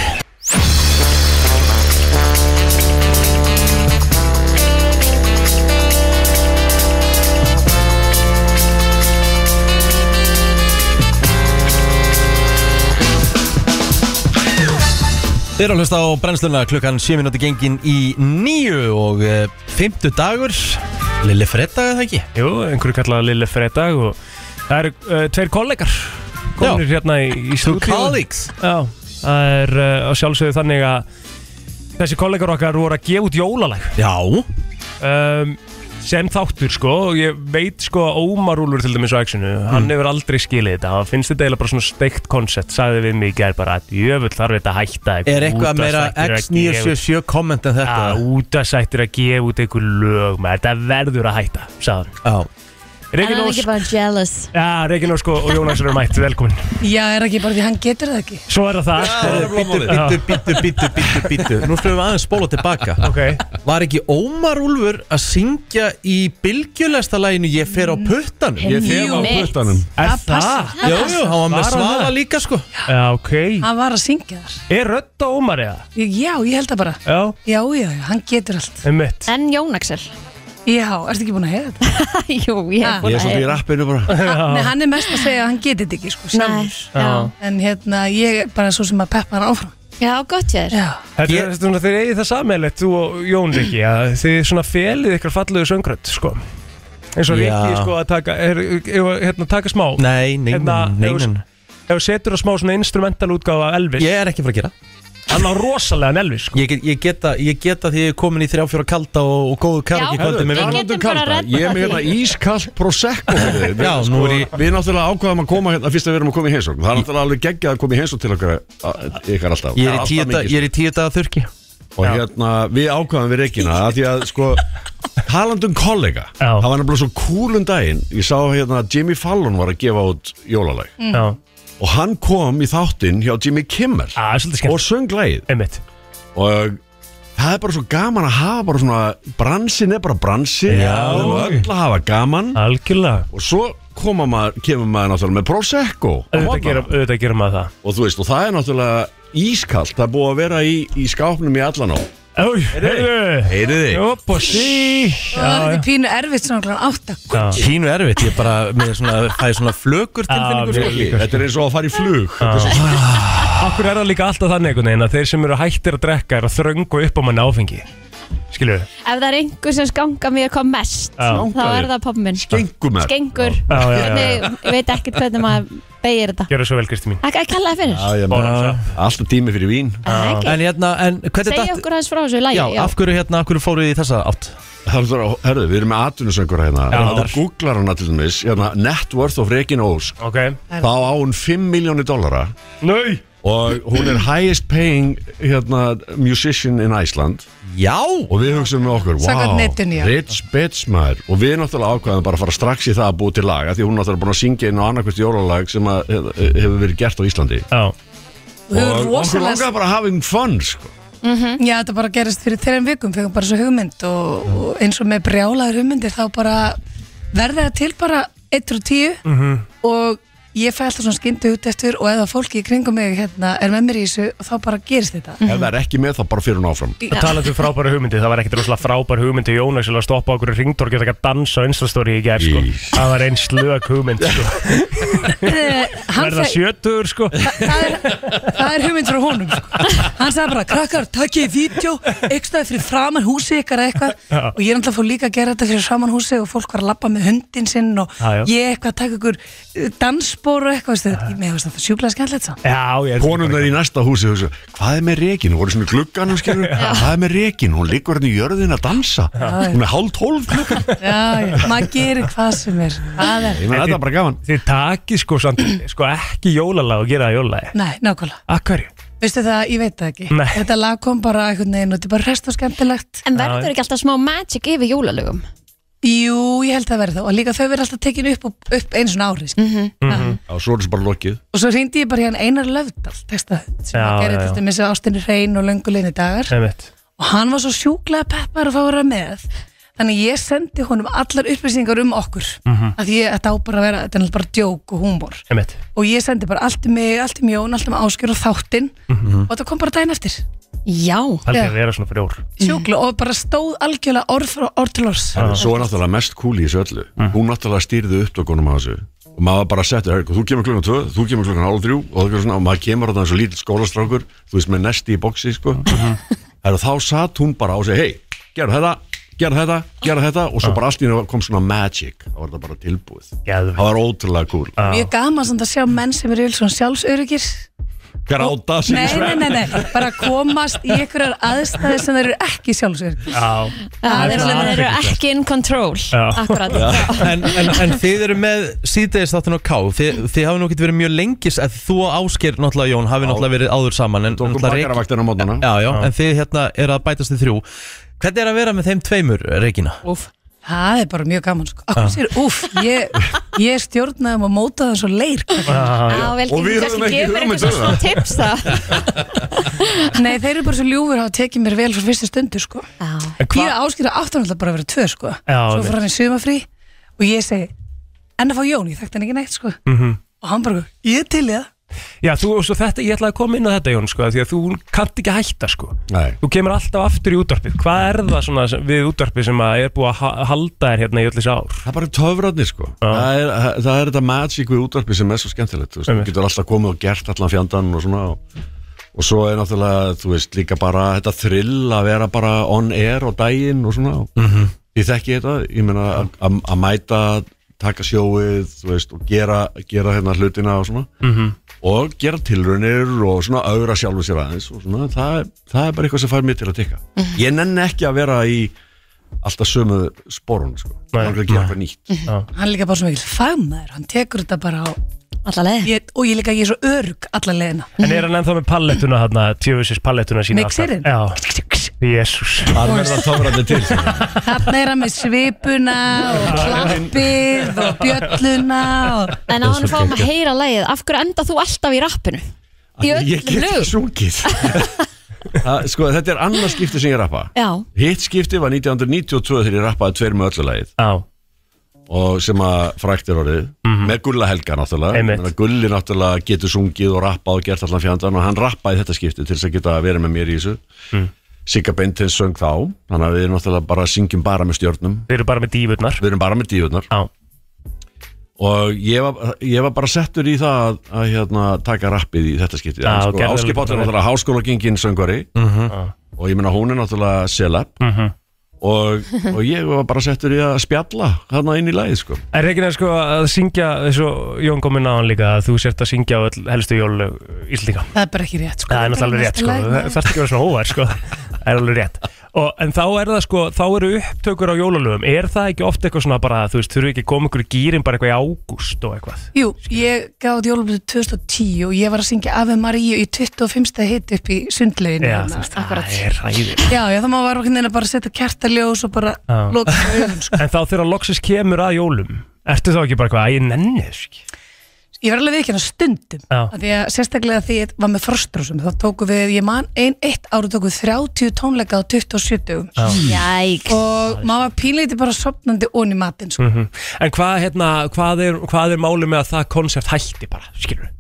Þið eru að hlusta á brennsluna klukkan 7 minúti gengin í 9 og eh, 5. dagur Lilli fredag er það ekki?
Jú, einhverju kallaði Lille Fredag og það eru uh, tveir kollegar kominir hérna í, í stúdíu
Colleagues
Já, það er uh, á sjálfsögðu þannig að þessi kollegar okkar voru að gefa út jólalag
Já
um, sem þáttur sko og ég veit sko að Ómar Úlfur til dæmis á Exinu,
Mm.
hann hefur aldrei skilið þetta hann finnst þetta eiginlega bara svona steikt koncept sagði við mig í gær bara að jöfull þarf þetta að hætta
Er eitthvað meira X977 komment en þetta?
að útasættir að gefa út einhver lög maður, þetta verður að hætta sagði
Já
en hann
hann
er ekki bara jealous
Já, Regin Ósk og og Jónas eru mætt, velkomin
Já, er ekki bara því hann getur það ekki
Svo er það það
Býtu, býtu, býtu, býtu, býtu, býtu Nú slumum við aðeins spóla tilbaka
Ok,
Var ekki Ómar Úlfur að syngja í bylgjulesta læginu Ég fer á puttanum?
Mm. Ég þef á
mitt.
puttanum
er
Það passar.
það?
Jú, jú, hann var
Var
með
hann
svala
það?
líka sko
Já, ok
Hann var að syngja þar
Er rödd á Ómar eða?
Ég- Já, ég held það bara
Já,
Já, já, já, hann getur allt
um mitt
en Jón Axel
Já, ertu ekki búin að heyra þetta?
[LAUGHS] jú, ég er
Ha.
Ég
búin
er
að
svolítið í rappinu [LAUGHS] bara
Nei, hann er mest að segja að hann getur þetta ekki sko,
Nei,
sjálfur.
já.
En hérna, ég er bara svo sem að peppa hann áfram
já, gott ég er
Já,
Þetta
Ég-
er svona þeir eigið það sammeilegt þú og Jón Riki að þið svona felið ykkur fallegu söngrönd sko eins og
Já.
Riki sko að taka er, er, hérna, taka smá
Nei, nei, nei,
Hérna,
nei,
ef þú-
nei.
ef þú setur að smá svona instrumental útgáfa af Elvis
Ég er ekki að fara að gera
hann á rosalega Elvis sko
Ég, get, ég, geta, ég geta því ég er komin í þrjá fjóra kalda og, og góðu karaki
Já.
kvöldi með
Við
vinnum
getum bara
kalda.
reddað
Ég er með
því.
hérna ískalt prosecco fyrir þig. Við- sko-
Já, nú er ég-
Við náttúrulega ákvaðum að koma hérna Fyrst að við erum að koma í heimsókn Það er náttúrulega alveg geggjað að koma í heimsókn til okkar að- Ykkar alltaf
Ég er í
Alltaf
tíu daga-
mikið.
ég er í tíu daga þurki
Og hérna, við ákvaðum við Regina að Því að sko Taland um kollega
Já.
Það var nefnilega svo cool um daginn Ég sá hérna að Jimmy Fallon var að gefa út jólalag
Mm. Já,
Og hann kom í þáttinn hjá Jimmy Kimmel
Á, það er svolítið
Og
skemmt
söng lagið
Einmitt
Og það er bara svo gaman að hafa bara svona Bransin er bara bransi
Já.
Við erum öll að hafa gaman
Algjörlega
Og svo koma maður, kemur maður náttúrulega með Prosecco á
Auðvitað
morgnana.
gera, auðvitað gera maður það
Og þú veist, og það er náttúrulega ískalt Það er búið að vera í, í skápnum í allan á
Æj, heyrðu
Heyriði
Jóp og sí
Það
já.
er pínu erfitt svona kláðan átta
Já.
Pínu erfitt, ég bara með svona, fæ svona flökur tilfinningu
mér
sko.
líka.
Þetta er eins og að fara í flug Þetta er svo
Akkur er það líka alltaf þannig einhvern veginn að þeir sem eru hættir að drekka er að þröngu upp á manni áfengi Skilju
Ef það er einhver sem skanga mér kom mest
Já.
þá er það pappi minn
gengumert
Skengur
Já, já, já, já.
Hvernig, Ég veit ekkert hvernig maður beigir þetta
Gjör það svo vel Kristi mín
Það er kallað fyrir
Já, ég meina,
Bara-
Alltaf tími fyrir vín
Ah, Það er ekki.
En hérna, en hvernig
Segja okkur aðeins frá þessu lægi
Já, af hverju hérna, af hverju fóruð þið í þessa átt?
Það er að, herðu, við erum með atvinnusöngur hérna
Já.
Og þú googlar hana til dæmis hérna, Net worth of Regin Ósk
Ok
Þá á hún 5 miljónir dollara
Nei
Og hún er highest paying hérna, musician in Iceland
Já
Og við hugsaum með okkur,
Samkvæmt
wow,
netinu, já.
rich bitch maður Og við náttúrulega ákvæðum bara að fara strax í það að búa til lag af Því að hún er náttúrulega búin að syngja inn á annarkvist jólalag Sem að, hef- hefur verið gert á Íslandi
Já
Þú hefur
Og okkur
rosalega
langaði bara að hafa um fun sko.
Mhm.
Já, þetta bara gerist fyrir þeirra vikum, fegum bara svo hugmynd og, og eins og með brjálaður hugmyndir þá bara verði það til bara 1 og 10
Mm. Mhm.
og ég fæ alltaf svona skyndu út eftir og eða fólki í kringum mig hérna er með mér í þessu og þá bara gerist þetta.
Ef það er ekki með þá bara fyrir hún áfram
Það talaði um frábæra hugmyndi, það var ekkert rosalega frábæra hugmyndi Jónas sem var að stoppa okkur í ringdorgi og taka dansa á Instastory í gerð sko.
Ís.
Það var einn slög hugmynd
[LAUGHS]
sko.
Eh, hann
Verða
sagði-
sjötur sko.
það, er, það er hugmynd frá honum sko. Hann sagði bara, krakkar, takkið í vídeo eitthvað fyrir framan húsi ykkar eða eitthvað
Já.
og ég er alltaf fór líka að gera þetta fyrir framan húsi og fólk var að labba með hundin sinn og
Já, já.
ég eitthvað að taka ykkur eh, dansspor og eitthvað, veistu, ég með það sjúklega skemmtilegt samt.
Já, ég
Konundar í næsta húsi hugsa, Hvað er með rekin? Hún voru svona í glugganum skilur Hvað er með rekin? Hún liggur hérna í jörðin að dansa Hún er hálf tólf klukkan
Já, já, maður gerir hvað sem er Það er,
Ég meina þetta er bara gaman
Þið takið sko, samt, sko ekki jólalag og gera það jólalagi
nei, nákvæmlega
Að hverju?
Veistu það, ég veit það ekki
Nei.
Þetta lag kom bara einhvern veginn og þetta er bara rest og skemmtilegt
En verður ekki alltaf smá magic yfir jólalögum?
Jú, ég held að verða það og líka þau verða alltaf tekin upp, og, upp einu svona ári mm
Mhm.
Mhm.
Já, Svo er þessu bara lokið
Og svo reyndi ég bara hérna Einar Löfdal texta sem að
Já, já,
gera
já.
þetta með þessu ástinni hrein og lönguleginni dagar
Einmitt.
og hann var svo sjúklega peppar að fá að vera með þannig ég sendi honum allar upplýsingar um okkur mm
Mhm.
-hmm. að ég, þetta á bara að vera, þetta er náttúrulega bara djók og húmor
Einmitt.
og ég sendi bara allt um mig, allt um Jón, allt um Áskjör og þáttinn
Mhm.
og þetta kom bara daginn eftir
Já
Aldrei
Já.
að vera svona fyrir ár
sjúkla og bara stóð algjörlega orð frá orð til orðs
En Svo er náttúrulega mest cool í þessu öllu
Mm.
Hún náttúrulega stýrði upptökunum á þessu Og maður bara setti, "Herri, þú kemur klukkan tvö, þú kemur klukkan hálf þrjú Og, það er svona, og maður kemur á þessu lítill skólastrákur Þú veist með nesti í boksi sko.
Mm-hmm.
[LAUGHS] Herra, Þá satt hún bara á sig Hei, gerð þetta, gerð þetta, gerð þetta Og svo
Ah.
bara allt í henni kom svona magic Það var þetta bara tilbúið
Geðveikt.
Það var ótrúlega cool
mjög gaman samt að sjá menn sem eru yfir svona sjálfsöryggir
Gráta sig í
Nei, nei, nei, nei,
[LAUGHS]
bara komast í einhverjar aðstæði sem þeir eru ekki sjálfsögur
Já,
Það
er
er
svona
alveg þeir eru ekki in control
Já.
Akkurat
En, en, en þið eru með síðdegis þáttin á K Þið, þið hafi nú getið verið mjög lengis að þú og Ásker, náttúrulega Jón, hafi náttúrulega verið áður saman en,
Tókum
náttúrulega Rek-
bakaravaktina á mótnana
já, já, en þið hérna eru að bætast í þrjú Hvernig er að vera með þeim tveimur, Regina?
Úf.
Það er bara mjög gaman sko Akkur sér, úf, ég, ég stjórnaði um að móta það svo leir
Já, vel,
Og við höfum ekki
gefur
hugmynd
eitthvað
um
svona
það.
tips það
[LAUGHS] Nei, þeir eru bara svo ljúfur að hafa tekið mér vel frá fyrstu stundu sko
En
Ég
hvað?
áskýra áttan alltaf bara að vera tvö sko
Já,
Svo
einmitt.
fór hann í sumafrí og ég segi En að fá Jón, ég þekkti hann ekki neitt sko
Mhm.
-hmm. Og hann bara, ég er til í það
Já, þú, og svo þetta, ég ætlaði að koma inn á þetta Jón sko, því að þú kannt ekki að hætta sko.
Nei.
Þú kemur alltaf aftur í útvarpið Hvað er það svona sem, við útvarpið sem að er búið að ha- halda þér hérna í öllis ár?
Það er bara töfrarnir sko það er, það er þetta magic við útvarpi sem er svo skemmtilegt Þú veist, þú
Einmitt.
getur alltaf komið og gert allan fjandann og svona og, og svo er náttúrulega, þú veist, líka bara þetta thrill að vera bara on air og daginn og svona mm -hmm. Ég þekki þetta, ég meina að- að að mæta taka sjóið, þú veist, og gera, gera hérna hlutina og svona -hmm.
Mhm.
og gera tilraunir og svona augra sjálfu sér aðeins og svona, það, er- það er bara eitthvað sem fær mér til að tikka Ég nenni ekki að vera í alltaf sömu sporun sko.
Nei.
hann er að gera eitthvað nýtt
Hann er líka bara svo mikil fagmaður, hann tekur þetta bara á
alla leið
ég, og ég líka ég er svo örug alla leiðina
En er hann ennþá með pallettuna hérna, tjöfusis pallettuna sína
Mixerinn?
alltaf? Já, jésús
það er verið að tóra þetta til sko.
Þarna er hann með svipuna
[LAUGHS]
og klappið og bjölluna og
En á hann fáum að heyra lægið, af hverju enda þú alltaf í rappinu? Í
Af því ég
öllum
get ekki
lögum?
sungið
[LAUGHS]
Það- sko, þetta er annað skipti sem ég rappa
Já,
hitt skipti var 1992 þegar ég rappaði tveir með öllu lagið
Já, Mhm.
og sem að frækt er orðið með Gulla Helga náttúrulega
Einmitt.
Þannig að Gulli náttúrulega getur sungið og rappað og gert allan fjandann og hann rappaði þetta skipti til þess að geta verið með mér í þessu
Mm.
Sigga Bentins söng þá þannig að við náttúrulega bara syngjum bara með stjórnum
þeir eru bara með dífurnar
við erum bara með dífurnar
Já,
og ég var, ég var bara settur í það að, að hérna, taka rappið í þetta skipti
Já,
En
og gerði
sko, Ásgeir Páll er
alveg bara vel. Mm.
náttúrulega háskólagengin söngvari
Mm-hmm.
og ég meina hún er náttúrulega selab
Mhm.
og, og ég var bara settur í að spjalla þarna inn í lagið sko
Er ekki neður sko að syngja eins og Jón kominn á hann líka að þú sért að syngja á öll helstu jól íslendinga
það er bara ekki rétt sko.
Það er náttúrulega rétt sko, það þarf ekki að vera svona óvær sko Það er alveg rétt og, En þá er það sko, þá eru upptökur á jólalöfum Er það ekki oft eitthvað svona bara, þú veist, þurfi ekki að koma ykkur í gýrin bara eitthvað í ágúst og eitthvað
Jú, ég gaf út jólublötu 2010 og ég var að syngja Ave Maríu í 25. hit upp í sundleginu
Já, þú
hérna.
veist, það er ræðir
Já, já, þá maður var okkur neina bara að setja kertaljós og bara
Já. [LAUGHS]
loka augun sko.
En þá þegar loksins kemur að jólum Ertu þá ekki bara eitthvað, að ég nenni þess ekki
Ég var alveg viðkjörna stundum
Já.
af því að sérstaklega því ég var með frostrósum þá tóku við, ég man ein eitt ára tóku við 30 tónleika á 27 dögum
jæk
og maður var pínleiti bara sopnandi onni matinn sko.
Mhm. En hvað, hérna, hvað er, hvað er máli með að það konsept hætti bara, skilur við?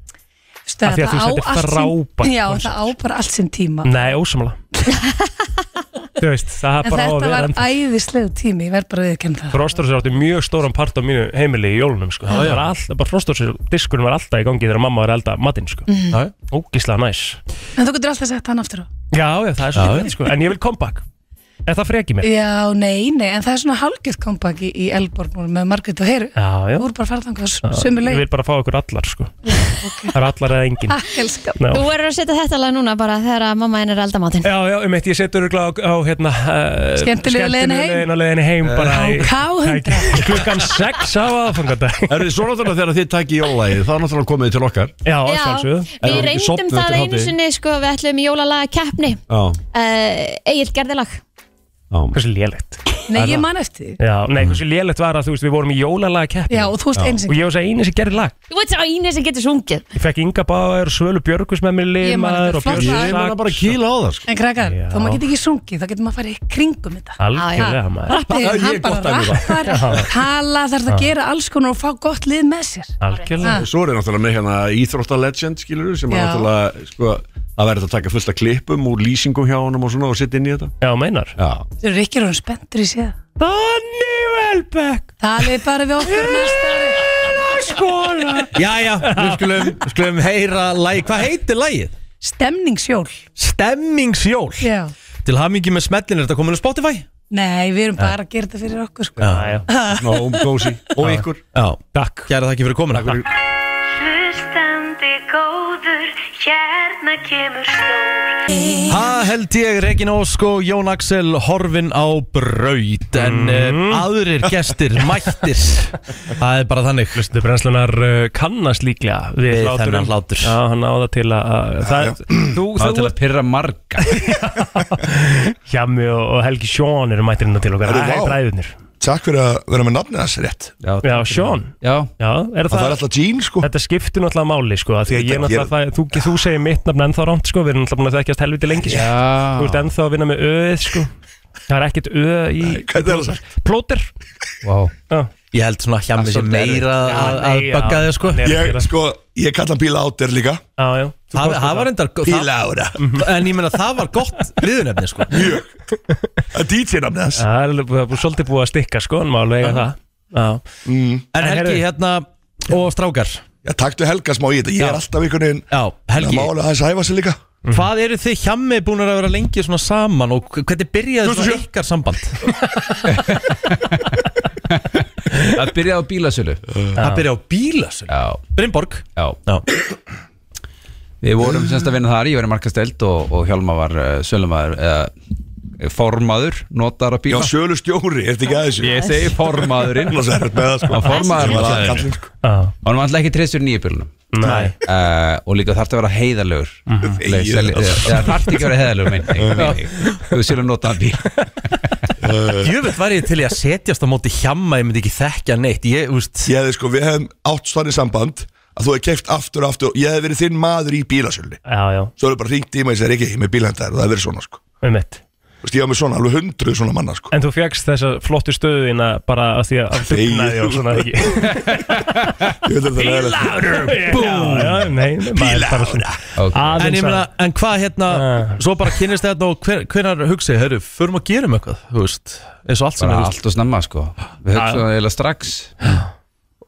Vistu,
Af því að þú veist, þetta er frábært
Já,
koncept.
það á bara allt sinn tíma
Nei,
[LAUGHS]
ósamlega Þú veist, það er
En
bara á að
þetta
vera
var
ennþá
æðislegu tími, ég verð bara að viðkjörna það
Frostórsir átti mjög stóran part á mínu heimili í jólunum sko. Það var alltaf, bara Frostórsir diskurinn var alltaf í gangi þegar mamma var að elda matinn sko.
Já, já.
Ógíslega næs
En þú getur alltaf sett hann aftur á
Já, já, það er svo skilvægt sko. En ég vil comeback Er það freki mér?
Já, nei, nei, en það er svona halgjöð comeback í, í Elborg núna með Margrét og Heru
Já, já
Þú voru bara að fara þangað sömu
Ég
leið
vil bara fá ykkur allar
[LAUGHS]
sko. Það er allar eða engin
Takk, elskan
Já.
Þú verður að setja þetta lag núna bara þegar að mamma henn er eldamátinn
Já, já, um eitt, ég setur örugglega á, á hérna, uh,
Skemmtilegu leiðinni heim.
leiðin á leiðinni heim bara í-
K100.
Tæki- Klukkan 6 á aðfangandag
[LAUGHS] Er þið svo náttúrulega þegar þið tæki jólagið þá náttúrulega komið þið til okkar
Já, að
Já,
sjálfsögðu
við
Ef þú ekki
reyndum
sofnuð
það
eftir
einu
hádegi.
sinni sko, við ætlum í jólalaga keppni
Já,
uh, Egil gerði lag
já
Hversu lélegt
Nei, ég man eftir því
Já, nei, hversu lélegt var að þú veist, við vorum í jólalaga keppni
Já, og þú veist eins
Og
og
ég var þess að eini sem gerir lag
Þú veit sá einu sem getur sungið
Ég fekk Inga Báður, Svölu Björgus með mér
Ég man þetta,
limaður og Björn
flott lag.
Ég
Saks
verða bara að kýla á það sko
En krakkar,
Já.
þá maður getur ekki sungið, þá getur maður að fara í kringum þetta
Algjörlega maður
Já, ég
Rappið,
er
hann
gott
bara
dæmi
rappar, tala, þarf það að gera alls konar og fá gott lið með sér
Algjörlega
Svo er þið náttúrulega með hérna íþróttalegend skilur sem er
Já.
náttúrulega sko að verða að taka fullt af klippum úr lýsingum hjá honum og svona og setja inn í þetta
Já, meinar
Já,
Þau eru ekki ráðum spenntur í séð
Danni Velbek
Talið bara við okkur næsta ári
Skora
Jæja, við skulum, skulum heyra lægi Hvað heitir lægið?
Stemningsjól
Stemmingsjól
Já
Til hamingi með smellin, er þetta komin á Spotify?
Nei, við erum bara að gera þetta fyrir okkur sko
Já, já
no, gósi og ykkur
Já,
Takk
gæra þakki fyrir komin
fyrir-
Hlustandi góður, hérna kemur stór
Það held ég Regin Ósk og Jón Axel horfin á braut En uh, aðrir gestir mættir Það er bara þannig
Hlustu brennslunar uh, kannast líklega við,
Við
hláturinn.
þennan hlátur.
Já, hann áða til að, að það, Þú,
Það er
þú,
til að pyrra
[LAUGHS]
marga
Hjami og, og Helgi Sjón eru mættir innan til okkar
Herru,
Það er
vá.
bræðunir
Takk fyrir að vera með nafnið hans rétt
Já, Sjón
Já,
Já, er
Það, það er
það
alltaf Jean sko
Þetta skiptir náttúrulega máli sko af Því að ég
Ég-
náttúrulega það, þú, þú segir mitt nafn ennþá rámt sko Við erum náttúrulega búin að þekkjast helviti lengi sko. Þú ert
já
ennþá að vinna með öð sko Það er ekkert öð í
Hvað er það sagt?
plóter
wow.
Ég held svona hjá mig
Það er
sem
svolítið
meira
erfitt.
að,
Já,
að
nei, já.
bugga þig sko
Hann er-
Það
Ég, sko, ég kalla hann Bíla Áter líka
Já, já Þú
það
komst með
var endar það, Mm.
Bíla Ára
En ég meina það var gott viðunefni sko
Mjög Það er DJ nafnið hans
Það er alveg- það er búið- svolítið búið að stikka sko En maður lega það Já,
Mm.
En Helgi hérna og strákar
Já, taktu Helga smá í þetta Ég
Já.
er alltaf einhvern veginn
Já,
Það
Helgi, Mhm.
má alveg aðeins æfa sig líka
hvað eru þið hjammi búin að vera lengi svona saman og hvernig byrjaði svona
2007?
ykkar samband?
Það byrjaði á bílasölu
Það byrjaði á bílasölu
Já,
Brynborg
já
Já,
Við vorum semst að vinna þar, ég var í markasteld og, og Hjálma var uh, sölumæður eh, eða formaður notar að bíla
Já, sölustjóri, er þetta ekki aðeins?
Ég segi formaðurinn
Hún var svo erfitt með það, sko.
Að
Sem
formaðurinn var
var það
það
kallinn, sko.
Hann var alltaf ekki treystur í nýju bílunum
Nei.
uh, Og líka þarf það að vera heiðalögur
Þegið það.
Það þarf ekki að vera heiðalögur minn Þú sérlega nota að bíl
Jöfnveld var ég til í að setjast á móti hjamma Ég myndi ekki þekkja neitt Ég, úst
Ég hefði sko, við hefðum átt stannir samband að þú hefði keift aftur og aftur og ég hefði verið þinn maður í bílasölni
Já, já,
Svo hefði bara ringt í mig og segir ekki, ég er með bílhendar og það hefði verið svona sko
um mitt
Þú veist, ég var með svona, alveg hundruð svona manna sko
En þú fegst þessa flottu stöðina bara af því að af
Þegið
dugnaði og svona ekki [LAUGHS]
Ég veit að það er leiðilegt.
Já, já, nei, nei, maður er bara svona aðeins
En
að-
ég meina, en hvað hérna Svo bara kynist þetta og hver, hvernar hugsi Hörru, förum að gerum eitthvað, þú veist Eins og allt sem
bara
er
allt og snemma sko við höfum eiginlega strax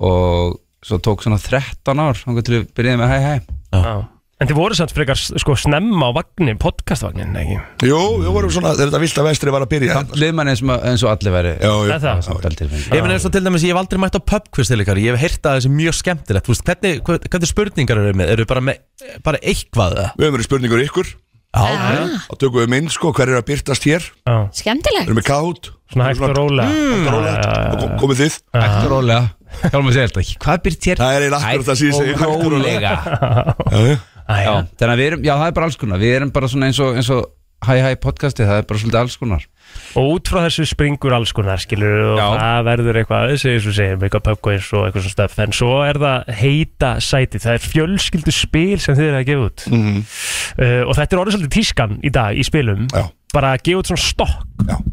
og svo tók svona 13 ár hann til við byrjaði með hæ hæ
Já. En þið voru samt frekar sko snemma á vagnin, podcastvagnin, ekki?
Jú, við vorum svona, þegar þetta vilt að vestri var að byrja
samt lið mann eins, og- eins og allir væri
Já, jú,
Er það?
samt alveg tilfinning.
Ég meina eins og til dæmis, ég hef aldrei mætt á pubquiz til ykkar Ég hef heyrt að þessi mjög skemmtilegt Þú veist, hvernig, hvernig, hvernig spurningar eru með? Eru bara með, bara eitthvað eða?
Við höfum verið spurningur ykkur
Já,
og tökum við mynd sko, hver er að byrtast hér Við
Já,
Skemmtilegt
erum með kátt
svona hægt og rólega Mm.
og kom- komið þið
hægt og rólega Hjálmar segir alltaf ekki hvað byrjt hér
Það er eiginlega akkurat það sem ég segi, hægt
og
og
rólega
Já,
[LAUGHS]
já.
já, þannig að við erum já það er bara alls konar við erum bara svona eins og eins og hæ hæ podcasti það er bara svolítið alls konar
Og út frá þessu springur alls konar, skilur og
Já.
það verður eitthvað aðeins eins og segir eitthvað pubquiz og eitthvað svona stöf en svo er það heita sæti, það er fjölskyldu spil sem þið eru að gefa út
Mhm.
uh, og þetta er orðið svolítið tískan í dag í spilum
Já.
bara að gefa út svona stokk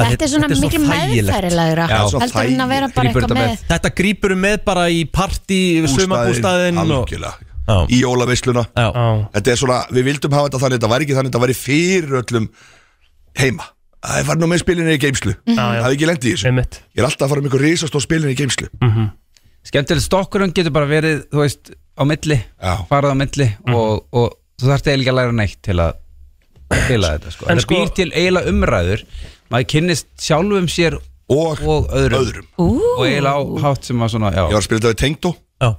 Þetta er svona miklu
þægilegt.
meðfærilegra
Já, svo
heldur en að vera
þægilegt.
bara
Grípur
eitthvað
þetta
með
með.
Þetta grýpur með bara í partí Sumabústaðin og
algjörlega í jólaveisluna
Já,
Já,
þetta er svona, við vildum hafa þetta þannig þetta væri ekki þannig, þetta væri fyrir öllum heima, það var nú með spilinni í geimslu það
Mm. já.
er ekki lendi í þessu
einmitt
ég er alltaf að fara með ykkur risastór spilinni í geimslu
Mhm.
skemmtilegt stokkurinn getur bara verið þú veist á milli
Já.
farað á milli
Mhm.
og, og þú þarft eiginlega ekki að læra neitt til að spila þetta sko.
En
þetta
sko-
býr til eiginlega umræður maður kynnist sjálfum sér
og
og öðrum,
öðrum,
Ú,
og eiginlega á hátt sem að svona já,
ég var að spila þetta við Tengdó
já Mhm.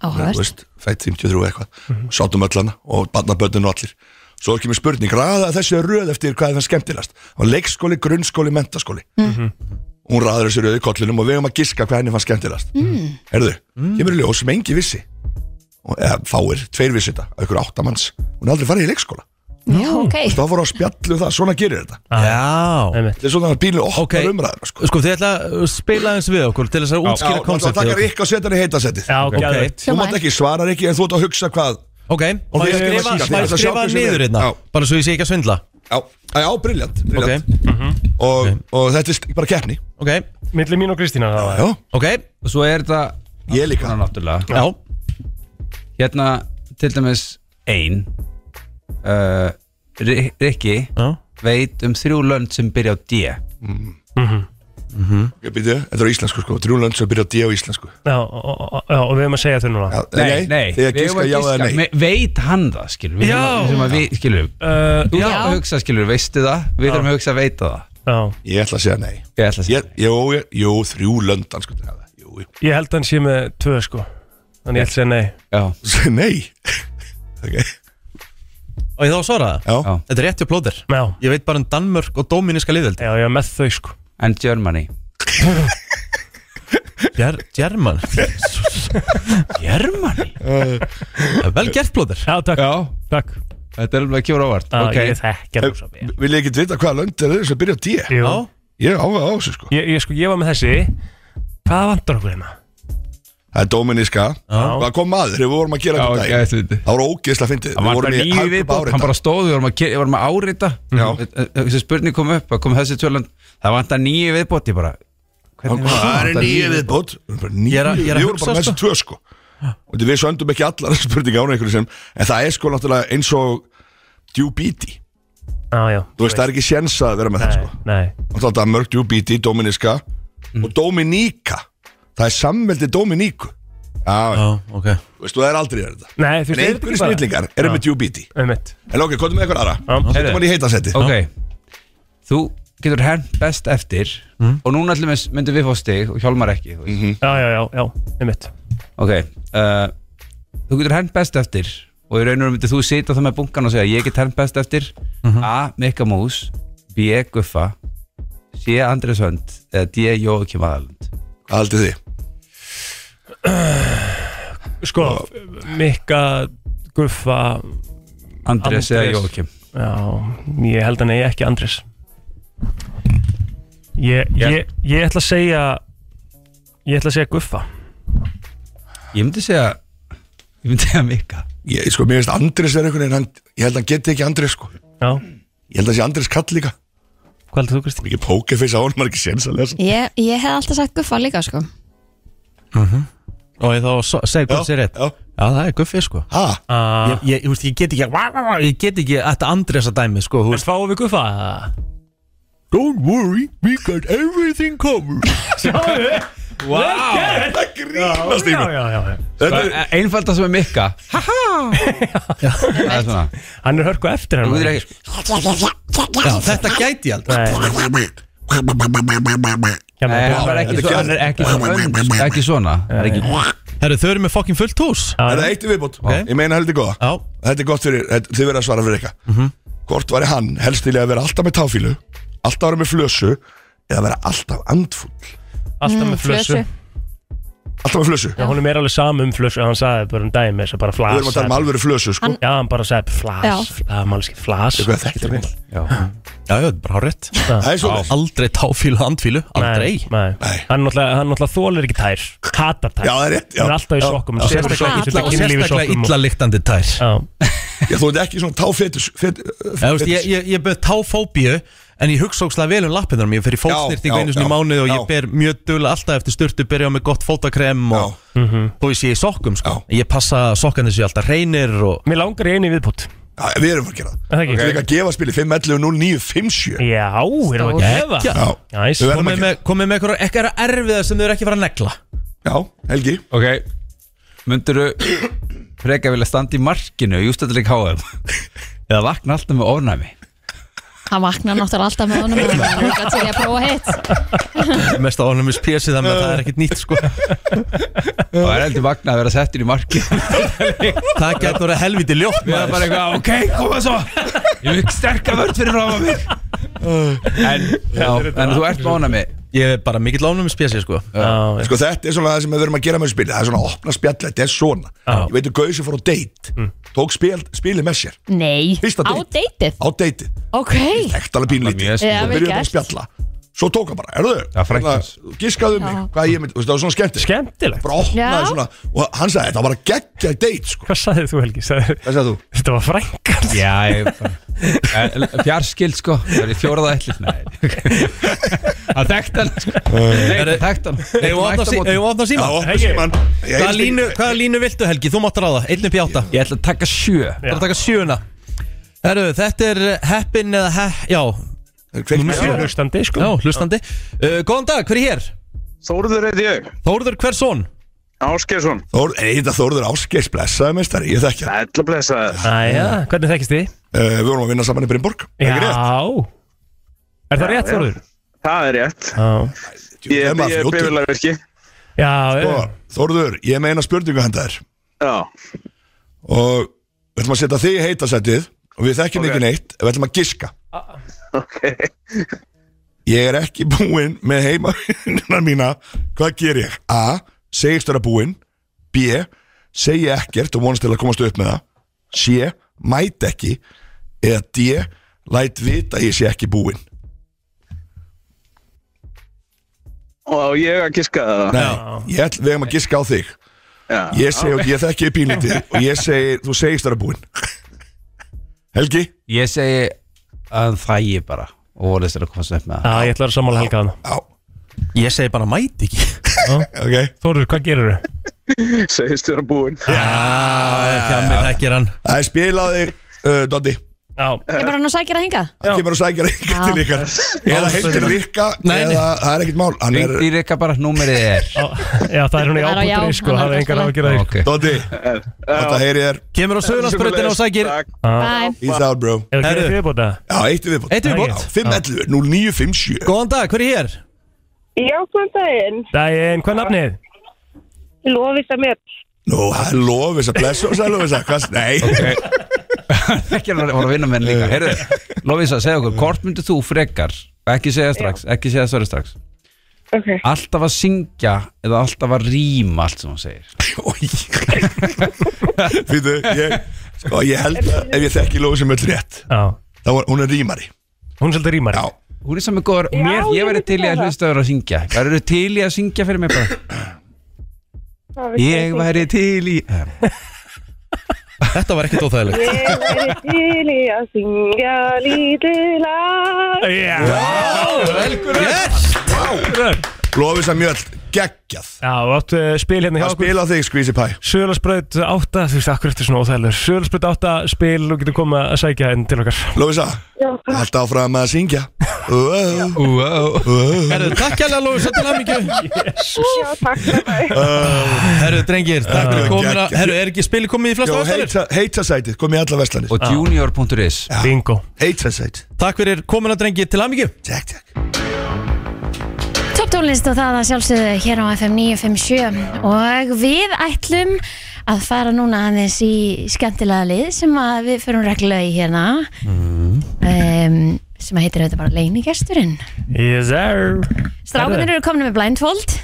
þú
áhört
veist, fætt 53 eitthvað sátum öll hana og barnaböndin og allir svo er ekki með spurning, ræða þessu röð eftir hvað er það skemmtilegast, og leikskóli, grunnskóli mentaskóli hún ræður þessu röð í kollinum og við erum að giska hvað henni fann skemmtilegast mm.
Mm-hmm.
herðu, kemur í ljós sem engi vissi og, eða fáir, tveir vissi þetta aukur áttamanns, hún er aldrei farið í leikskóla
Já, ok
þá voru að spjallu það, svona gerir þetta
Já
einmitt.
þetta er svona að bílu okkar
Ok.
okay. umræður sko.
Sko þið ætla að spila aðeins við okkur til þess að
Já, og það
útskýra
takkar
konceptið
ykk á setan í heitasettið
Já, ok,
Ok.
þú mátt ekki svara ekki en þú ert að hugsa hvað
Ok,
Og
má
við
ég
skrifa- Ég
skrifa, má
ætla
ég
að sjá
skrifa
hversu við-
niður hérna
Já.
Bara svo ég sé ekki að svindla
Já, já, já briljant,
Ok, Mhm.
briljant. Og, og þetta er st- bara keppni
ok,
Millir mín og Kristína þá
Já,
ok,
og svo er þetta
ég líka
svona náttúrulega
já
hérna til dæmis ein uh, Ri- Rikki
Já,
veit um þrjú lönd sem byrja á D Mhm.
Mhm. Ég byrja, Þetta er á íslensku sko, trúlönd sem byrja á D á íslensku já,
Já, og, og, og, og við erum að segja þau núna
Nei, nei, þegar
við eigum
gíska
að
já eða nei
Me- veit hann það skilur við
Já.
þurfum að- þurfum að við- skilur við
uh,
Þú þarf að hugsa, skilur, veistu það? Við þurfum að hugsa að veita það
Já,
Ég ætla að segja nei
Ég ætla að segja
ég, Jú, ég- jú, þrjúlönd dansku til hafa Jú, jú.
ég held að hann sé með tvö sko Þannig ég held að segja nei
Já,
Segja [LAUGHS] Nei Ok,
og ég þá að svara það
já,
Já.
Þetta er rétti plóðir
Já,
Ég veit bara um Danmörk og Dóminíska liðveldi
já, ég er með þau sko
and Germany
Ger German
Germany?
Vel gert plóðir
Já, takk,
Já,
takk
þetta er alveg kjóra ávart
Já,
Ok,
ég þekki hann svo vel
Vil ég ekki vita hvaða lönd er þau sem byrja á D
Jú,
Já,
Ég áhuga á þessu sko
ég, ég, sko, ég var með þessi Hvað vantar okkur hérna?
Það er Dominíska
Já,
Það kom maður, þegar við vorum að gera
já,
þetta
ok,
í dag
þetta er
Það voru ógeðslega fyndið Við
Það var
vorum
bara
í
nýju
Hagkaup
viðbót,
árita.
hann bara stóð, við vorum að, ke- við vorum að árita
Já.
Þessi spurning kom upp, það kom þessi tvöland Það vantar nýju viðbót, ég bara hvernig
Það
vantar
er nýju viðbót
Ég er
Nýju
að- ég er
viðbót, við
að
vorum
hugsa,
bara með þessi tvö sko Og við söndum ekki allar [LAUGHS] spurninga án einhverju sem En það er sko náttúrulega eins og Djúbíti,
já, já
þú veist það er ekki séns að vera með það sko
Nei,
Og þá er þetta mörg djúbíti, dominiska Og dominíka, það er samveldi dominíku Já,
já, ok
þú veist, þú er aldrei verið þetta
nei, þú
En einhverju snillingar eru með djúbíti
Einmitt
En ok, komum með eitthvað aðra
Já,
Þetta var í heitasetti
Ok, þú getur hernt best eftir
Mhm.
Og núna allir myndum við fá stig og hjálmar ekki þú veist.
já, já, já, já, einmitt
Ok, uh, þú getur hernt best eftir
Mhm.
Og í raunum myndir þú sita það með bunkan og segja Ég get hernt best eftir A. Mikka Mús B. Guffa C. Andrés Hönd eða D. Jóakim Aðalund
Hvað haldið þið?
Sko, Mikka, Guffa
Andrés eða Jóakim.
Já, ég held hann eigi ekki Andrés Ég, ég, ég ætla að segja Ég ætla að segja Guffa
Ég myndi segja Ég myndi segja Mikka
Ég, sko, mér finnst Andrés vera einhvern veginn hann, Ég held að hann geti ekki Andrés sko
Já
Ég held að hann sé Andrés kall líka
Hvað heldur þú, Kristi?
Mikið pókerfeis á honum, maður er ekki séns að lesa
Ég, ég hef alltaf sagt guffa líka sko
Og ég þá so- segi hvað sér rétt Já, það er guffi sko
Ha?
Ah.
Ég, ég, þú veist, ég get ekki vá, vá, vá, Ég get ekki þetta Andresa dæmi sko þú veist.
En fáum við guffa
Don't worry, we got everything covered
Sjáðu
Vá
Það grínast í mig
já, já, já.
Einfaldan sem er Mikka Það er svona
Hann er hörku eftir hann
Þú veitir ekki
Já, þetta gæti ég aldrei
Nei, já,
Nei, það var ekki
Þetta
svo-
gerðist.
hann er ekki svona Ekki svona Það er ekki
Herru, þau eru með fucking fullt hús
Það er eitt í viðbót
Ok.
Ég meina heldur góða
Já, Mhm.
Þetta er gott fyrir, þetta- þið verða að svara fyrir eitthvað Hvort væri hann helst til að vera alltaf með táfílu Alltaf vera með flösu Eða vera alltaf andfull
alltaf með flössu
Alltaf með flösu
Já, hún er meira alveg saman um flössu Hann sagði bara um dæmi þess að bara
Við erum að tala um
flasa
alvöru flösu sko
Hann-
Já, hann bara sagði
Já.
flas Það er málski flas
Eitthvað þekktir vel.
já, já, þetta er bara hárétt
Það er svo
Aldrei táfílu, handfílu, aldrei
Nei,
Nei.
nei. Hann náttúrulega- hann náttúrulega þólir ekki tær Hatar tær
Já, það er rétt, já.
Hann er alltaf í sokkum
Og sérstaklega
ekki
illa- og sérstaklega illaliktandi tær
Já,
[LAUGHS] Já, Þú ert ekki svona táfetus fet,
Já, þú veist, ég, ég, ég beð táfóbíu En ég hugsa ógslag vel um lappinnarum Ég fer í fótstyrtingu
já,
einu sinni í
já,
mánuð Og ég
já.
ber mjög duglega alltaf eftir sturtu Byrja með gott fótakrem
Já.
og
Mhm.
Þú veist, ég í sokkum, sko Ég passa að sokkarnir séu alltaf hreinir og
mér langar í einu viðbútt
Já, Við erum að gera það
Er það ekki?
Við erum að gefa spili 511 0957
Já, erum við að gefa
Gekkja.
Já,
Næs.
við verðum að
Komið
gera
með, komið með eitthvað, eitthvað erfiða sem þau eru ekki fara að negla
Já, Helgi
Ok Munduru Freka vilja standa í markinu Í ústættileik HM Eða vakna alltaf með ofnæmi
Hann vaknar náttúrulega alltaf með honum og hann er líka til í að prófa hitt
Mest á honum er spjesið þannig að það er ekkit nýtt, sko
Og er heldur vakna að vera settur í markinu
Það getur að helviti ljótt
Við erum
maður.
bara eitthvað Ok, koma svo Ég vil sterka vörð fyrir ráma mig En, já, en þú ert með ofnæmi
Ég er bara mikill ánum með spjesið, sko
Já, já.
Sko þetta er svona það sem við verum að gera með spili Það er svona að opna spjall, þetta er svona Ég veit að Gauði sem fór á date
Mm.
Tók spil, spilið með sér
Nei,
Fyrsta
á
date.
deitið
á date
Ok,
Þekkt alveg pínlítið
mjög
Svo
skemmtilegt. Já,
byrjuðu bara
vel
að spjalla Svo tók hann bara, erðu
Já, frænt hans.
Gískaðu um mig, hvað ég myndi, þú veist, það var svona skemmtilegt
Skemmtilegt
Bara
Já.
opnaði svona Og hann sagði, það var að geggja date sko
Hvað sagðið þú Helgi? Sagði,
Hvað sagði þú?
þetta var frænkan
Já, ég bara Fjarskild sko, það er í fjóraða ætlið Nei Það þekkt hann sko. Nei, það þekkt hann
Eigum við að opna sí- eigum við að opna
Eh. Já,
síma?
opna
Helgi.
síman
Hvaða línu, hvaða línu viltu, Helgi? Þú mátt ráða, einn upp í átta
Ég ætla að taka sjö
Það er að taka sjöuna Herru, þetta er eh, heppin eða he... Já,
Kveikna
Það er hlustandi
já,
sko
hlustandi uh, Góðan dag, hver er hér?
Þórður er ég,
Þórður Hversson
Áskersson
Þór, Eita Þórður Áskeirs blessaði meistari, ég þekki það
Ætla blessaður
Æja, hvernig þekkist þið?
uh, Við vorum að vinna saman í Brynborg
Já Er það rétt
já.
Þorður?
Það er rétt
Já
Mm-hmm. Ég er bifurlega virki
Já, já.
Sko, Þórður, ég meina spurningu henda þér
Já,
Og við ætlum að setja þig í heitasætið Og við þekkjum
Ok.
ekki neitt, við ætlum að giska
ok
Ég er ekki búinn með heimavinnina mína Hvað ger ég? A. Segist vera búinn B. Segi ekkert og vonast til að komast upp með það C. Mæt ekki Eða D. Læt vita að ég sé ekki búinn
Og á ég að giska það
Nei, ég ætl, við hefum að giska á þig
Já.
Ég segi, og ég þekki upp
[LAUGHS]
pínlítið Og ég segi, þú segist vera búinn Helgi?
Ég segi að það ég bara Og voru þessir að koma svo upp með
Já, ég ætla að vera sammála helga þannig
Já,
Ég segi bara mæti ekki
[LAUGHS] ok
Þorður, hvað gerir þau?
Segist þér að búin
Já, Hjami þekkir hann
Það er spilaði, uh, Doddi
Já,
ég bara hann og sækir að hinga
Það kemur að sækja Rikka til ykkar Eða heimtir Rikka
Nei, nei.
Eða það er ekkert mál Hann er,
Ringdi Rikka bara, númerið er
á, já það er hún í
Það er á já,
ábúttur í
hann
sko
er
Það er engar
rosaleg.
ágjörðir
Ok.
Doddi, þetta heyri þér
Kemur á Söðlandsbrautin og sækir
Ah.
Bye
He's out bro
Er það
Herru.
gerðið viðbóta?
Já, eitt er viðbútt
Eitt við bótt
511, 0957
Góðan dag, hver er hér?
Já, hvað daginn?
Dæin, hvað er nafnið?
Lofisa mér.
Nú, það er lofis að blessa og sælu þess að hvað Nei,
Ok. [LAUGHS] ekki að voru að vinna menn líka Heyrðu, Lovisa, segja okkur, hvort myndir þú frekar ekki segja strax, ekki segja störu strax
Ok.
alltaf að syngja eða alltaf að rýma allt sem
[LAUGHS]
hún segir
Fyndu, ég, sko, ég held að ef ég þekki Lóa sem öll rétt
Já.
þá er hún er rýmari
Hún er svolítið rýmari
Já,
hún er saman góður mér, ég verði til í að hlusta þér að syngja verður þú til í að syngja fyrir mig bara ég væri til í
þetta var ekkert óþægilegt
Ég væri til í að syngja lítið lag
Lófisa Mjöll, geggjað
Já, og áttu eh, spil hérna hjá
Að spila þig, Squeezy Pie
Sölarsbraut 8, þú veist, akkur eftir svona óþægilegur Sölarsbraut 8 spil og getur komið að sækja henn til okkar
Lófisa, allt áfram að syngja wow, wow, wow.
Herru, takk hérlega Lófisa til
[LAUGHS]
hamingju
Já, takk fyrir það
Uh,
Herru, drengir, takk
Uh,
fyrir komina Herru, er ekki spili komið í flesta ástæður?
Heita sætið, kom í alla vestlanir
Ah.
og junior.is
bingo
Heita sætið
Takk fyrir komina, drengir, til hamingju
Takk, takk
Top tónlist og það að sjálfsögðu hér á FM 957 og við ætlum að fara núna aðeins í skemmtilega lið sem að við förum reglulega í hérna
Mm-hmm.
um, sem að heitir auðvitað bara leinigesturinn
Yes, sir
Strákunir eru komin með blindfold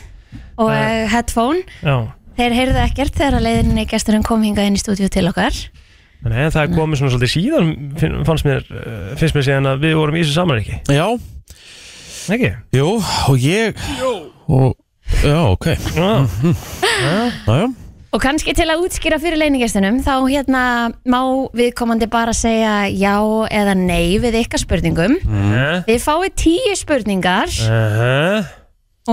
og uh, headphone
Já,
Þeir heyrðu ekkert þegar að leiðinni gesturinn kom hingað inn í stúdíu til okkar
þannig að það er komið svona svolítið síðan finn- fannst mér, eh, finnst mér síðan að við vorum í þessu saman ekki
Já
Ekki?
Jú, og ég Jú og, Já, ok
Já,
já
Og kannski til að útskýra fyrir leiningestunum þá hérna má viðkomandi bara segja já eða nei við ykkar spurningum
Mhm.
Þið fáið tíu spurningar
Aha.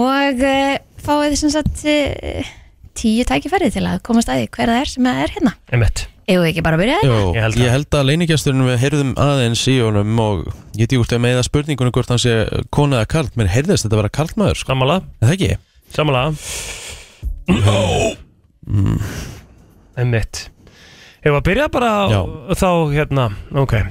og uh, fáið sem sagt uh, tíu tækifæri til að komast að því hver það er sem er hérna
Einmitt
Eigum við ekki bara að byrja
Jú,
þetta?
ég held, að leinigesturinn við heyrðum aðeins í honum og ég veit ekki hvort að meða spurningunum hvort hann sé kona eða karl, mér heyrðist þetta að vera karlmaður sko.
Sammála
Er það ekki?
Sammála Mm. Einmitt Ef að byrja bara á- þá hérna, ok uh,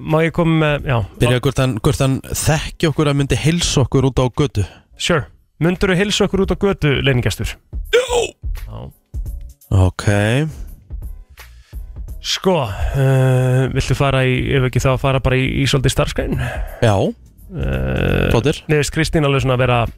Má ég koma með, já
Byrja hvort hann, hvort hann þekki okkur að myndi heilsa okkur út á götu
Sure, myndur þú hilsa okkur út á götu leiningastur? Já
Ok
Sko, uh, viltu fara í, ef ekki þá að fara bara í, í svolítið starfskræn?
Já,
uh,
Flottir.
Mér finnst Kristín alveg svona að vera uh,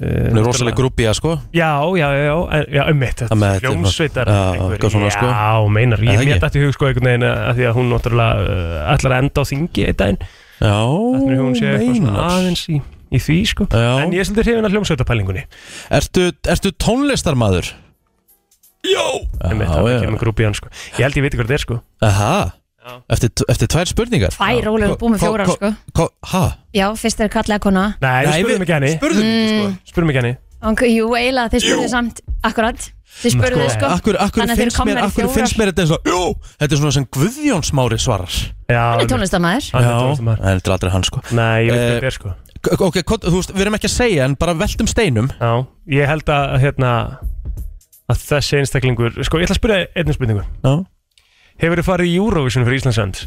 hann er rosalega grúpið að sko
Já, já, já, já, en- já um ummitt
Það með þetta er
Ljómsveitar
svona- já, eitthvað svona, sko.
Já, meinar,
Er
ég
það
mér
ekki?
dætti hug sko einhvern veginn að því að hún náttúrulega uh, ætlar að enda á þingi einn daginn
Já,
Þannig að hún sé eitthvað svona
meinar.
aðeins í, í því sko já. En ég er svolítið hrifin að hljómsveitarpælingunni
Ertu, ertu tónlistarmaður? Já,
Einmitt, Um það kemur grúpið hann sko Ég held ég veit hvað þetta er sko
Aha, eftir, eftir tvær spurningar
Tvær, Óli, við erum búin með
Hva-
fjórar,
hva-
sko.
hva- Ha?
Já, fyrst er kallega kona
Nei, við
Nei,
spurðum
við-
ekki henni
spurðum
ekki, sko. Mm.
Spurðum ekki henni
Ok, Jú, eiginlega, þið spurðu samt akkurat Þið spurðu sko, sko.
Akkur, akkur,
Þannig að þið eru
finnst mér,
komnar í
akkur
fjórar.
finnst mér þetta eins og Jú, þetta er svona sem Guðjón Smári svarar
Hann er tónlistamæður
Já, en þetta er aldrei hann sko
Nei, ég veit hvað þetta er sko
K- Ok, hvað- þú veist, við erum ekki að segja en bara veltum steinum
Já, ég held að hérna að þessi einstaklingur Sko, ég ætla að spyrja einu spurningu
Já
Hefur þið farið í Eurovision fyrir Íslandsönd?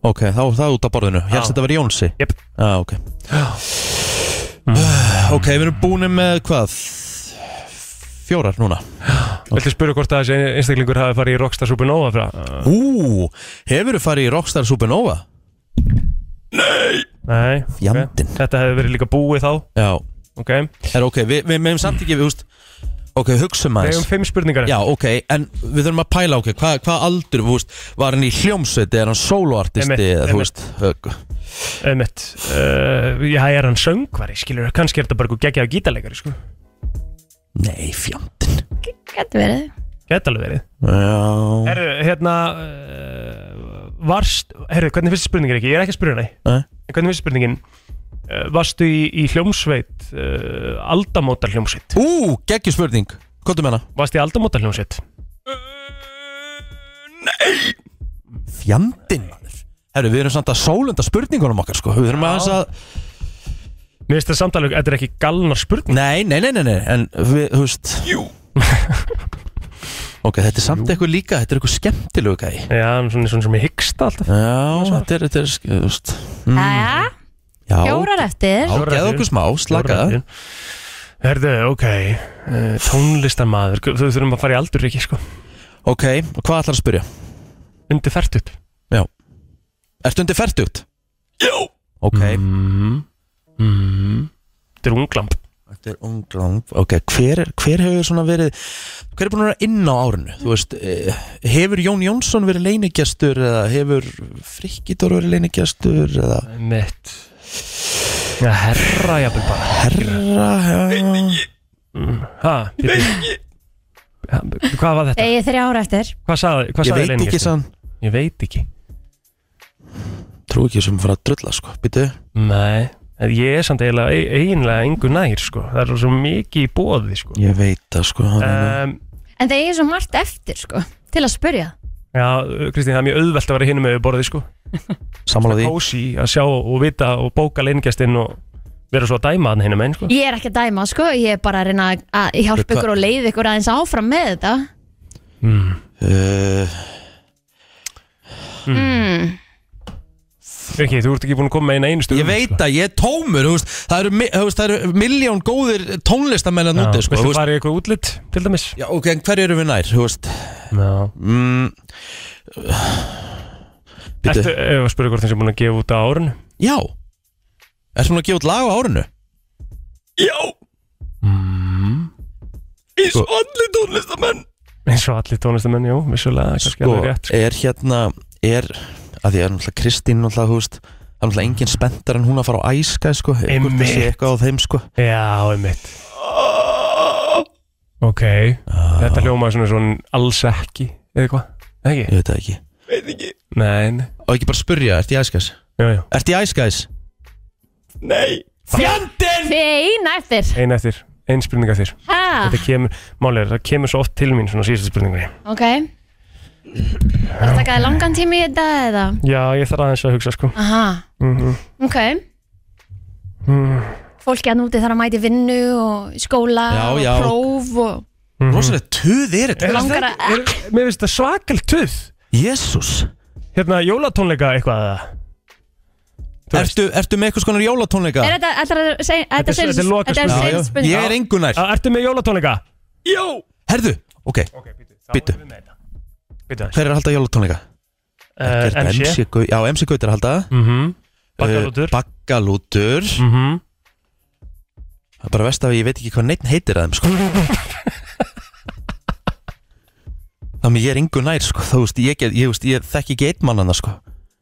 Ok, þá er það út af borðinu Hérst þetta verið Jónsi
Jep
Já, ok
Mm.
Ok, við erum búin með hvað? Fjórar núna
Viltu spyrja hvort að þessi einstaklingur hafi farið í Rockstar Supernova
Ah.
frá?
Ú, hefur þú farið í Rockstar Supernova?
Nei
Jandinn
Þetta hefur verið líka búið þá
Já
Ok
Er ok, við, við meðum samt ekki, við húst Ok, hugsa
Við
maður
hefum fimm spurningar eftir.
Já, ok, en við þurfum að pæla, ok, hvað hva aldur, þú veist, var hann í hljómsveiti, er hann
Einmitt,
soloartisti, eða, þú veist, högg.
Einmitt uh, Já, er hann söngvari, skilur Kannski er þetta bara eitthvað geggjaða gítarleikari, sko
Nei, fjandinn
Gæti verið
Gæti alveg verið
Já
Herru, hérna uh, Varst, herru, hvernig finnst spurningin ekki? Ég er ekki að spyrja nei
Nei.
En Hvernig finnst spurningin? Uh, varstu í, í hljómsveit uh, Aldamótar hljómsveit
Ú, geggjur spurning, hvað þú menna?
Varstu í aldamótar hljómsveit?
Fjandinn, maður Herru, við erum samt að sólunda spurningunum okkar, sko, við þurfum aðeins að
Mér finnst það samtalið, þetta er ekki galnar spurning
Nei, nei, nei, nei, nei, en við, þú veist Jú [LAUGHS] Ok, þetta er samt eitthvað líka, þetta er eitthvað skemmtilegu gæði
Já, svona, svona sem ég hyggst alltaf
Já, þetta er, þetta er, sk- þú veist mm,
Jæja,
Já,
fjórar eftir
Já, geða okkur smá, slaka
Fjórar eftir. eh, Herðu, ok uh, Tónlistarmadur, þú þurfum að fara í aldur ekki, sko
ok Ok, og hvað ætlar að spyrja?
Undir færtugt
Já Ertu undir færtugt?
Jó
Ok
Mhm. Þetta er unglamp
Þetta er unglamp Ok, hver, er- hver hefur svona verið Hver er búin að vera inn á árinu? Þú veist, eh, hefur Jón Jónsson verið leinigestur eða hefur Frikidor verið leinigestur eða
Mitt Já, herra jafnvel bara
Herra,
já Ha, bíddu. Ha, Hvað var þetta?
Egið þrjá ára eftir
Hvað sagði, hvað
Ég
sagði
veit
Lenin
ekki,
Gestur?
sagði hann.
Ég veit ekki
Trú ekki sem fara að drulla sko, býtu
Nei En Ég er samt eiginlega, e- eiginlega engu nær sko. Það er svo mikið í bóði sko.
Ég veit það sko
um,
En það er svo margt eftir sko Til að spurja
Já, Kristín, það er mjög auðvelt að vera hinum með borði sko.
[LAUGHS] Sammála
því Kósi að sjá og vita og bóka leiningestinn og vera svo að dæma hann hinum einn sko.
Ég er ekki að dæma sko Ég er bara að reyna að hjálpa
Hvað-
ykkur og leiða ykkur aðeins áfram með þetta
mm.
uh,
Eh,
mm.
Ekki, þú ert ekki búin að koma með eina einustu sko.
Ég veit það, ég er tómur þú veist, Það eru, mi- þú veist, það eru miljón góðir tónlistamenn að núti sko,
viltu
þú veist.
fara í eitthvað útlitt til dæmis?
Já, ok, en hverju eru við nær, þú veist
Já
mm, Bíddu.
Ertu, ef að spyrja hvort þeim sem búin að gefa út á árinu
Já Ertu búin að gefa út lag á árinu?
Já
mm.
Í svo allir tónlistamenn
Eins og allir tónlistamenn, jú, vissulega kannski
sko,
alveg rétt.
er hérna er, að því er náttúrulega Kristín náttúrulega, þú veist, það er náttúrulega engin spenntar en hún að fara á æska, sko hvort það sé
Einmitt.
eitthvað á þeim, sko
Já, einmitt Ok,
Ah.
þetta hljómaði svona svona alls ekki Eða hvað? Ekki? Ég
veit það ekki
Veit ekki
Nein
Og ekki bara spurja, ertu í æskæs?
Já, já
Ertu í æskæs?
Nei
Fjandinn Fein eftir
Ein eftir, ein spurning eftir
Ha,
Þetta kemur, málið er, það kemur svo oft til mín svona síðustu spurningunni
ok Það takaði langan tími í þetta eða
Já, ég þarf aðeins að hugsa sko
Aha,
mm
ok
mhm,
Fólki að núti þarf að mæti vinnu og í skóla
Já,
og
já.
próf og
mhm.
Rosalega tuð er þetta
Langar að-
er, Mér finnst það svakal tuð
Jésús
Hérna, jólatónleika eitthvað eða?
Ertu, ertu með eitthvað skonar jólatónleika?
Er þetta, ætlar að segja, þetta
er- þetta er loka
þetta er
Já, já.
seinspurning.
Ég er engunær
Ertu með jólatónleika? Jó
Herðu, ok, býttu Hver er að halda jólatónleika?
Eh,
Er þetta
MC?
MC Gau- Já, MC Gautir halda Eh,
Mhm.
Baggalútur Baggalútur
Mhm.
Það er bara vest að ég veit ekki hvað neitt heitir að þeim
[LAUGHS]
sko Þannig ég er yngur nær sko Þú veist, ég, get, ég, veist, ég þekki ekki einn mann annað sko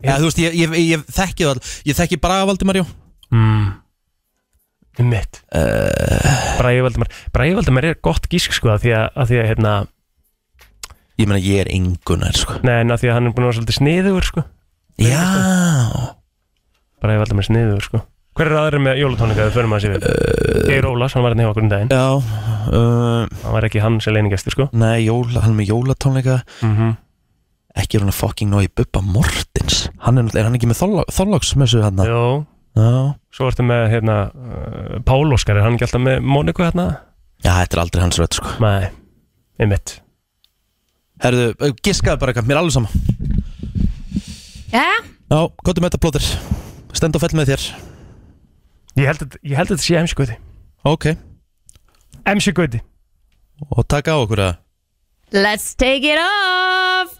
ja, Þú veist, ég, ég, ég þekki það all- Ég þekki Braga Valdimarjó
mm. Um Mitt
Eh.
uh, Bræði Valdimar Bræði Valdimar er gott gísk sko að því að, að, því að hérna,
Ég meina ég er engunar sko
Nei en að því að hann er búin að vera svolítið sniðugur sko
Já
Bræði Valdimar er sniðugur sko Hver er aðri með jólatónleika við förum að sér við uh, Geir Ólafs, hann var hérna hjá okkur um daginn
Eh. Já uh,
Hann var ekki hann sem leiningestur sko
Nei, jóla, hann er með jólatónleika
Mhm.
Ekki er hann að fucking nógi Bubba Mortins Hann er, náttúrulega- er hann ekki með þorlá- Þorláksmessu hann
Jó
Já
Svo ertu með hérna uh, Pál Óskar, er hann ekki alltaf með Móniku hérna?
Já, þetta er aldrei hans rödd sko
Nei, einmitt
Herðu, eh, giskaðu bara eitthvað, mér er alveg sama
Já,
Já, gott um þetta plóðir Stend og fell með þér
Ég held að, ég held að þetta sé MC Gauti
Ok
MC Gauti
Og taka á okkur að
let's take it off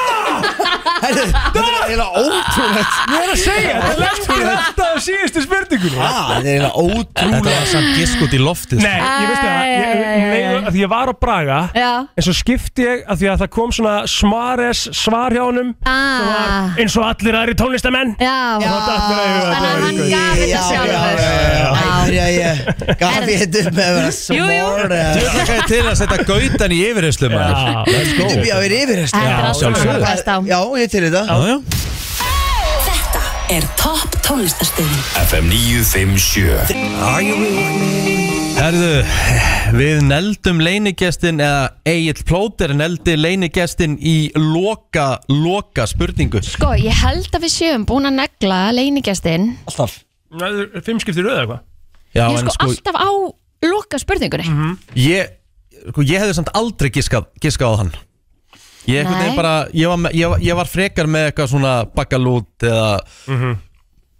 Skor
Þetta er eiginlega ótrúlegt
Ég er að segja, þetta er langt fyrir þetta á síðustu spurningunum
Ah,
eiginlega ótrúlegt Þetta var samt gisk út í loftið sko.
Nei, ég veist það, ég, nei, að því ég var á Braga
Já.
En svo skipti ég að því að það kom svona smares svar hjá honum sem
Ah.
var Eins og allir aðri tónlistamenn
Já
Þannig
að hann gaf þetta sjálfur
Æ, já, Gaf ég þetta upp með að vera
Jú, jú.
smór
Þú þakkaði til að setja gautan í yfirheyslu maður Let's go.
Já, ég er yfirherslu
Þetta er allt saman að takast
Já, ég til þetta
Já, já
Þetta er topp tónlistarstöðin
FM 957
Are you with me? Herðu, við neldum leinigestin eða Egil Plóter neldi leinigestin í loka, loka spurningu
Sko, ég held að við séum búin að negla leinigjastinn
Alltaf
Nei, Fimm skipti röð eða eitthvað
Já,
Ég er
en
sko alltaf á loka spurningunni
ég, sko, ég hefði samt aldrei giskað, giskað á hann Ég, einhvern
Nei.
veginn bara, ég, var, með- ég, var- ég var frekar með eitthvað svona bakkalút eða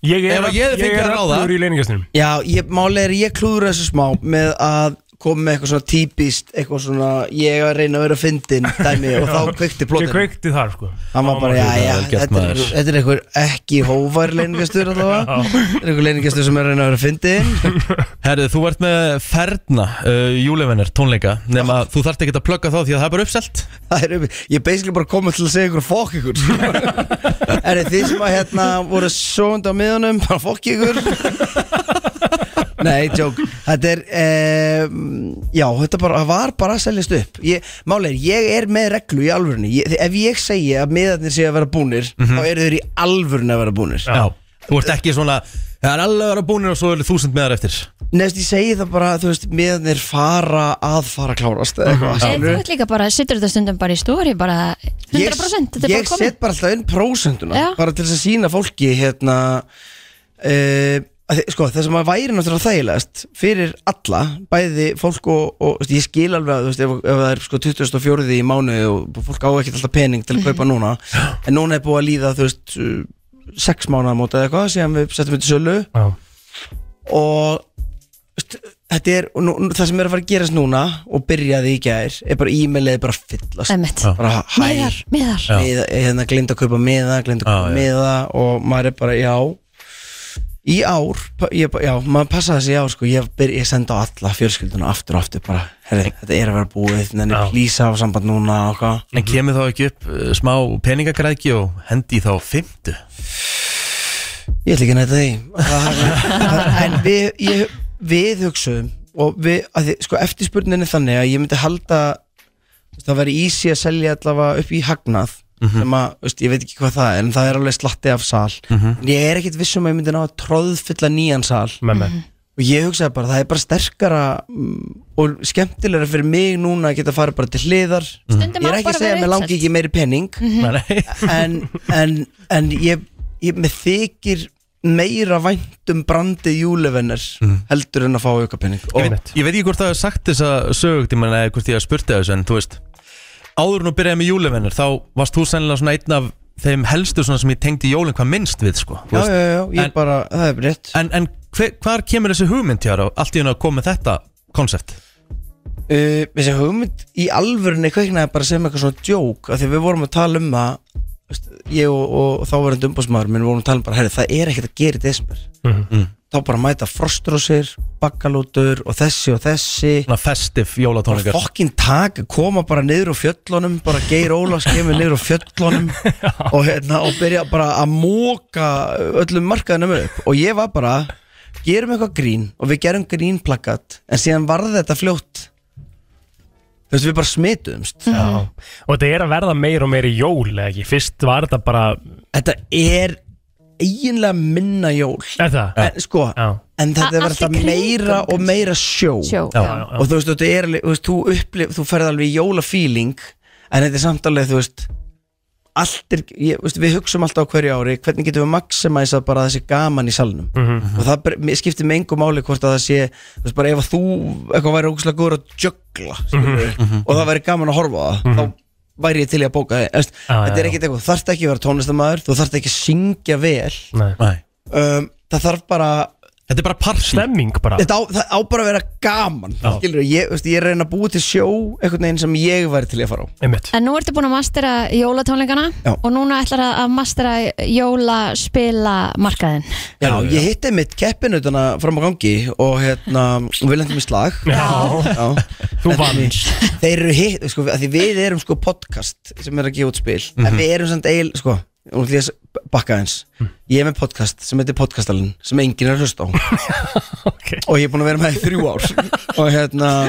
Ég
Ef að Mhm. ég hefði fengið að ráða [LAUGHS]
í leiningastinum
Já, ég, máli er ég klúður þessu smá með að kom með eitthvað svona típist eitthvað svona, ég er að reyna að vera fyndin dæmi og þá kveikti
Ég
plótin
kveikti þar sko
hann var bara, já, já, þetta er, þetta er einhver ekki hóvar leiningastur allavega þetta er einhver leiningastur sem er að reyna að vera fyndin
[LAUGHS] Herðu, þú ert með ferna uh, júlevenner tónleika nema þú þarft ekki að plugga þá því að það er bara uppselt
[LAUGHS] Það er uppselt, ég er basically bara komið til að segja ykkur fokk ykkur
[LAUGHS]
Er þið sem að hérna voru sjónd á miðunum, bara fokk ykkur Nei, tjók Þetta er, um, já, þetta bara, það var bara að seljast upp ég, Máli er, ég er með reglu í alvörunni ég, Ef ég segi að miðarnir sé að vera búnir
Mhm.
Þá eru þeir í alvörunni að vera búnir
Já, þú ert ekki svona Það er alveg að vera búnir og svo eru þúsund meðar eftir
Nefnst, ég segi það bara, þú veist, miðarnir fara að fara að klárast eða eitthvað,
En Mhm. þú
skilurðu?
ert líka bara, sittur þetta stundum bara í stóri bara 100% þetta er bara
ég
komið
set bara alltaf inn prósenduna
Já.
bara til þess að sína fólki hérna uh, sko, það sem að væri náttúrulega þægilegast fyrir alla, bæði fólk og, og þú veist, ég skil alveg að þú veist, ef, ef það er sko 24. í mánuði og fólk á ekkert alltaf pening til að kaupa
Mhm.
núna en núna er búið að líða þú veist uh, sex mánuða móta eða eitthvað síðan við settum þetta í sölu
Já.
og veist, þetta er, og nú, nú- það sem er að fara að gerast núna og byrjaði í gær er bara e-mailið er bara að
Einmitt.
fyllast
Já.
bara hæ
Miðar, miðar. Já.
miða, hérna glind að kaupa miða glind að
Já,
kaupa
já.
miða og maður er bara já í ár, pa- ég, bara- já, maður passa þessi í ár sko, ég, byr, ég senda á alla fjölskylduna aftur og aftur bara, herri, þetta er að vera búið þannig að lýsa á samband núna og hvað
En kemur þá ekki upp uh, smá peningagræðki og hendi í þá fymtu
Ég ætla ekki að næta því Það- En við, ég, við hugsaðum og við, að því, sko eftirspurninni þannig að ég myndi halda þú veist, það væri easy að selja allavega upp í hagnað
Mhm.
sem að, þú veist, ég veit ekki hvað það er en það er alveg slatti af sal
Mhm.
en ég er ekkit vissum að ég myndi ná að tróðfylla nýjan sal
Með, með. Mhm.
og ég hugsaði bara, það er bara sterkara mm, og skemmtilegra fyrir mig núna að geta farið bara til hliðar
Stundum
ég er
á
ekki
bara
að segja
að vera
að mér langi
uppselt. Mhm.
ekki meiri penning en, en, en ég, ég með þykir meira væntum brandi júlevenner
Mm.
heldur en að fá auka penning
ég veit, ég veit ekki hvort það er sagt þess að sögugt ég menna eða hvort ég að spurta þessu en þú veist áður nú byrjaði með júlevennir þá varst þú sennilega svona einn af þeim helstu svona sem ég tengdi jólinn hvað minnst við sko þú
Já,
veist.
já, já, ég
En-
bara, það er rétt
En, en hver, hvar kemur þessi hugmynd hjá þér á allt í hún að koma með þetta konsept?
uh, þessi hugmynd í alvörunni kveiknaði bara sem eitthvað svona djók af því við vorum að tala um það þú veist, ég og, og þáverandi umbúsmaður minn vorum að tala um bara, herri, það er ekkert að gera í desember
Mhm.
þá bara mæta frostrósir bakkalótur og þessi og þessi
Svona festif jólatónleikar
bara fokkin taka, koma bara niður á fjöllunum bara Geir Ólafs kemur niður á fjöllunum og hérna og byrja bara að móka öllum markaðinum upp og ég var bara gerum eitthvað grín og við gerum grín plakat en síðan varði þetta fljótt þú veist við bara smituðumst
Já. Og þetta er að verða meir og meir í jól eða ekki Fyrst var þetta bara
Þetta er eiginlega minna jól
Þetta?
En sko En
A-
þetta er
allt í
alltaf
kringum,
meira og meira sjó,
Sjó, Já, já. já.
Og þú veist, þetta er, alveg- þú, veist, þú, upplif, þú ferð alveg í jólafíling En þetta er samtalið, þú veist Allt er, ég, veist, við hugsum alltaf á hverju ári Hvernig getum við maximæsað bara þessi gaman í salnum og það bre- mér skiptir með engu máli hvort að það sé þú veist bara ef að þú eitthvað væri ógustlega góður að juggla skilurðu,
Mhm.
og það væri gaman að horfa á það
Mhm.
þá væri ég til í að bóka þig Efst,
Já,
þetta
já,
er ekkert eitthvað, þú þarft ekki að vera tónlistamæður þú þarft ekki að syngja vel
Nei.
um, það þarf bara
þetta er bara partí
Stemming bara
þetta á, það á bara að vera gaman
Já.
skilur, ég, veist, ég er að reyna að búa til sjó einhvern veginn sem ég væri til í að fara á
Einmitt.
En nú ertu búin að mastera jólatónleikana
Já.
og núna ætlar að- að mastera jólaspila markaðin
Já, ég hitti mitt keppinutana fram á gangi og hérna, og við lendum í slag
Já.
Þú vannst Þeir eru hitt, sko, að því við erum sko podcast sem er að gefa út spil en
Mhm.
við erum samt eil, sko, nú ætlum ég að bakka eins Ég er með podcast sem heitir Podcastalinn sem enginn er að hlusta á [LAUGHS] og ég er búin að vera með í þrjú ár og hérna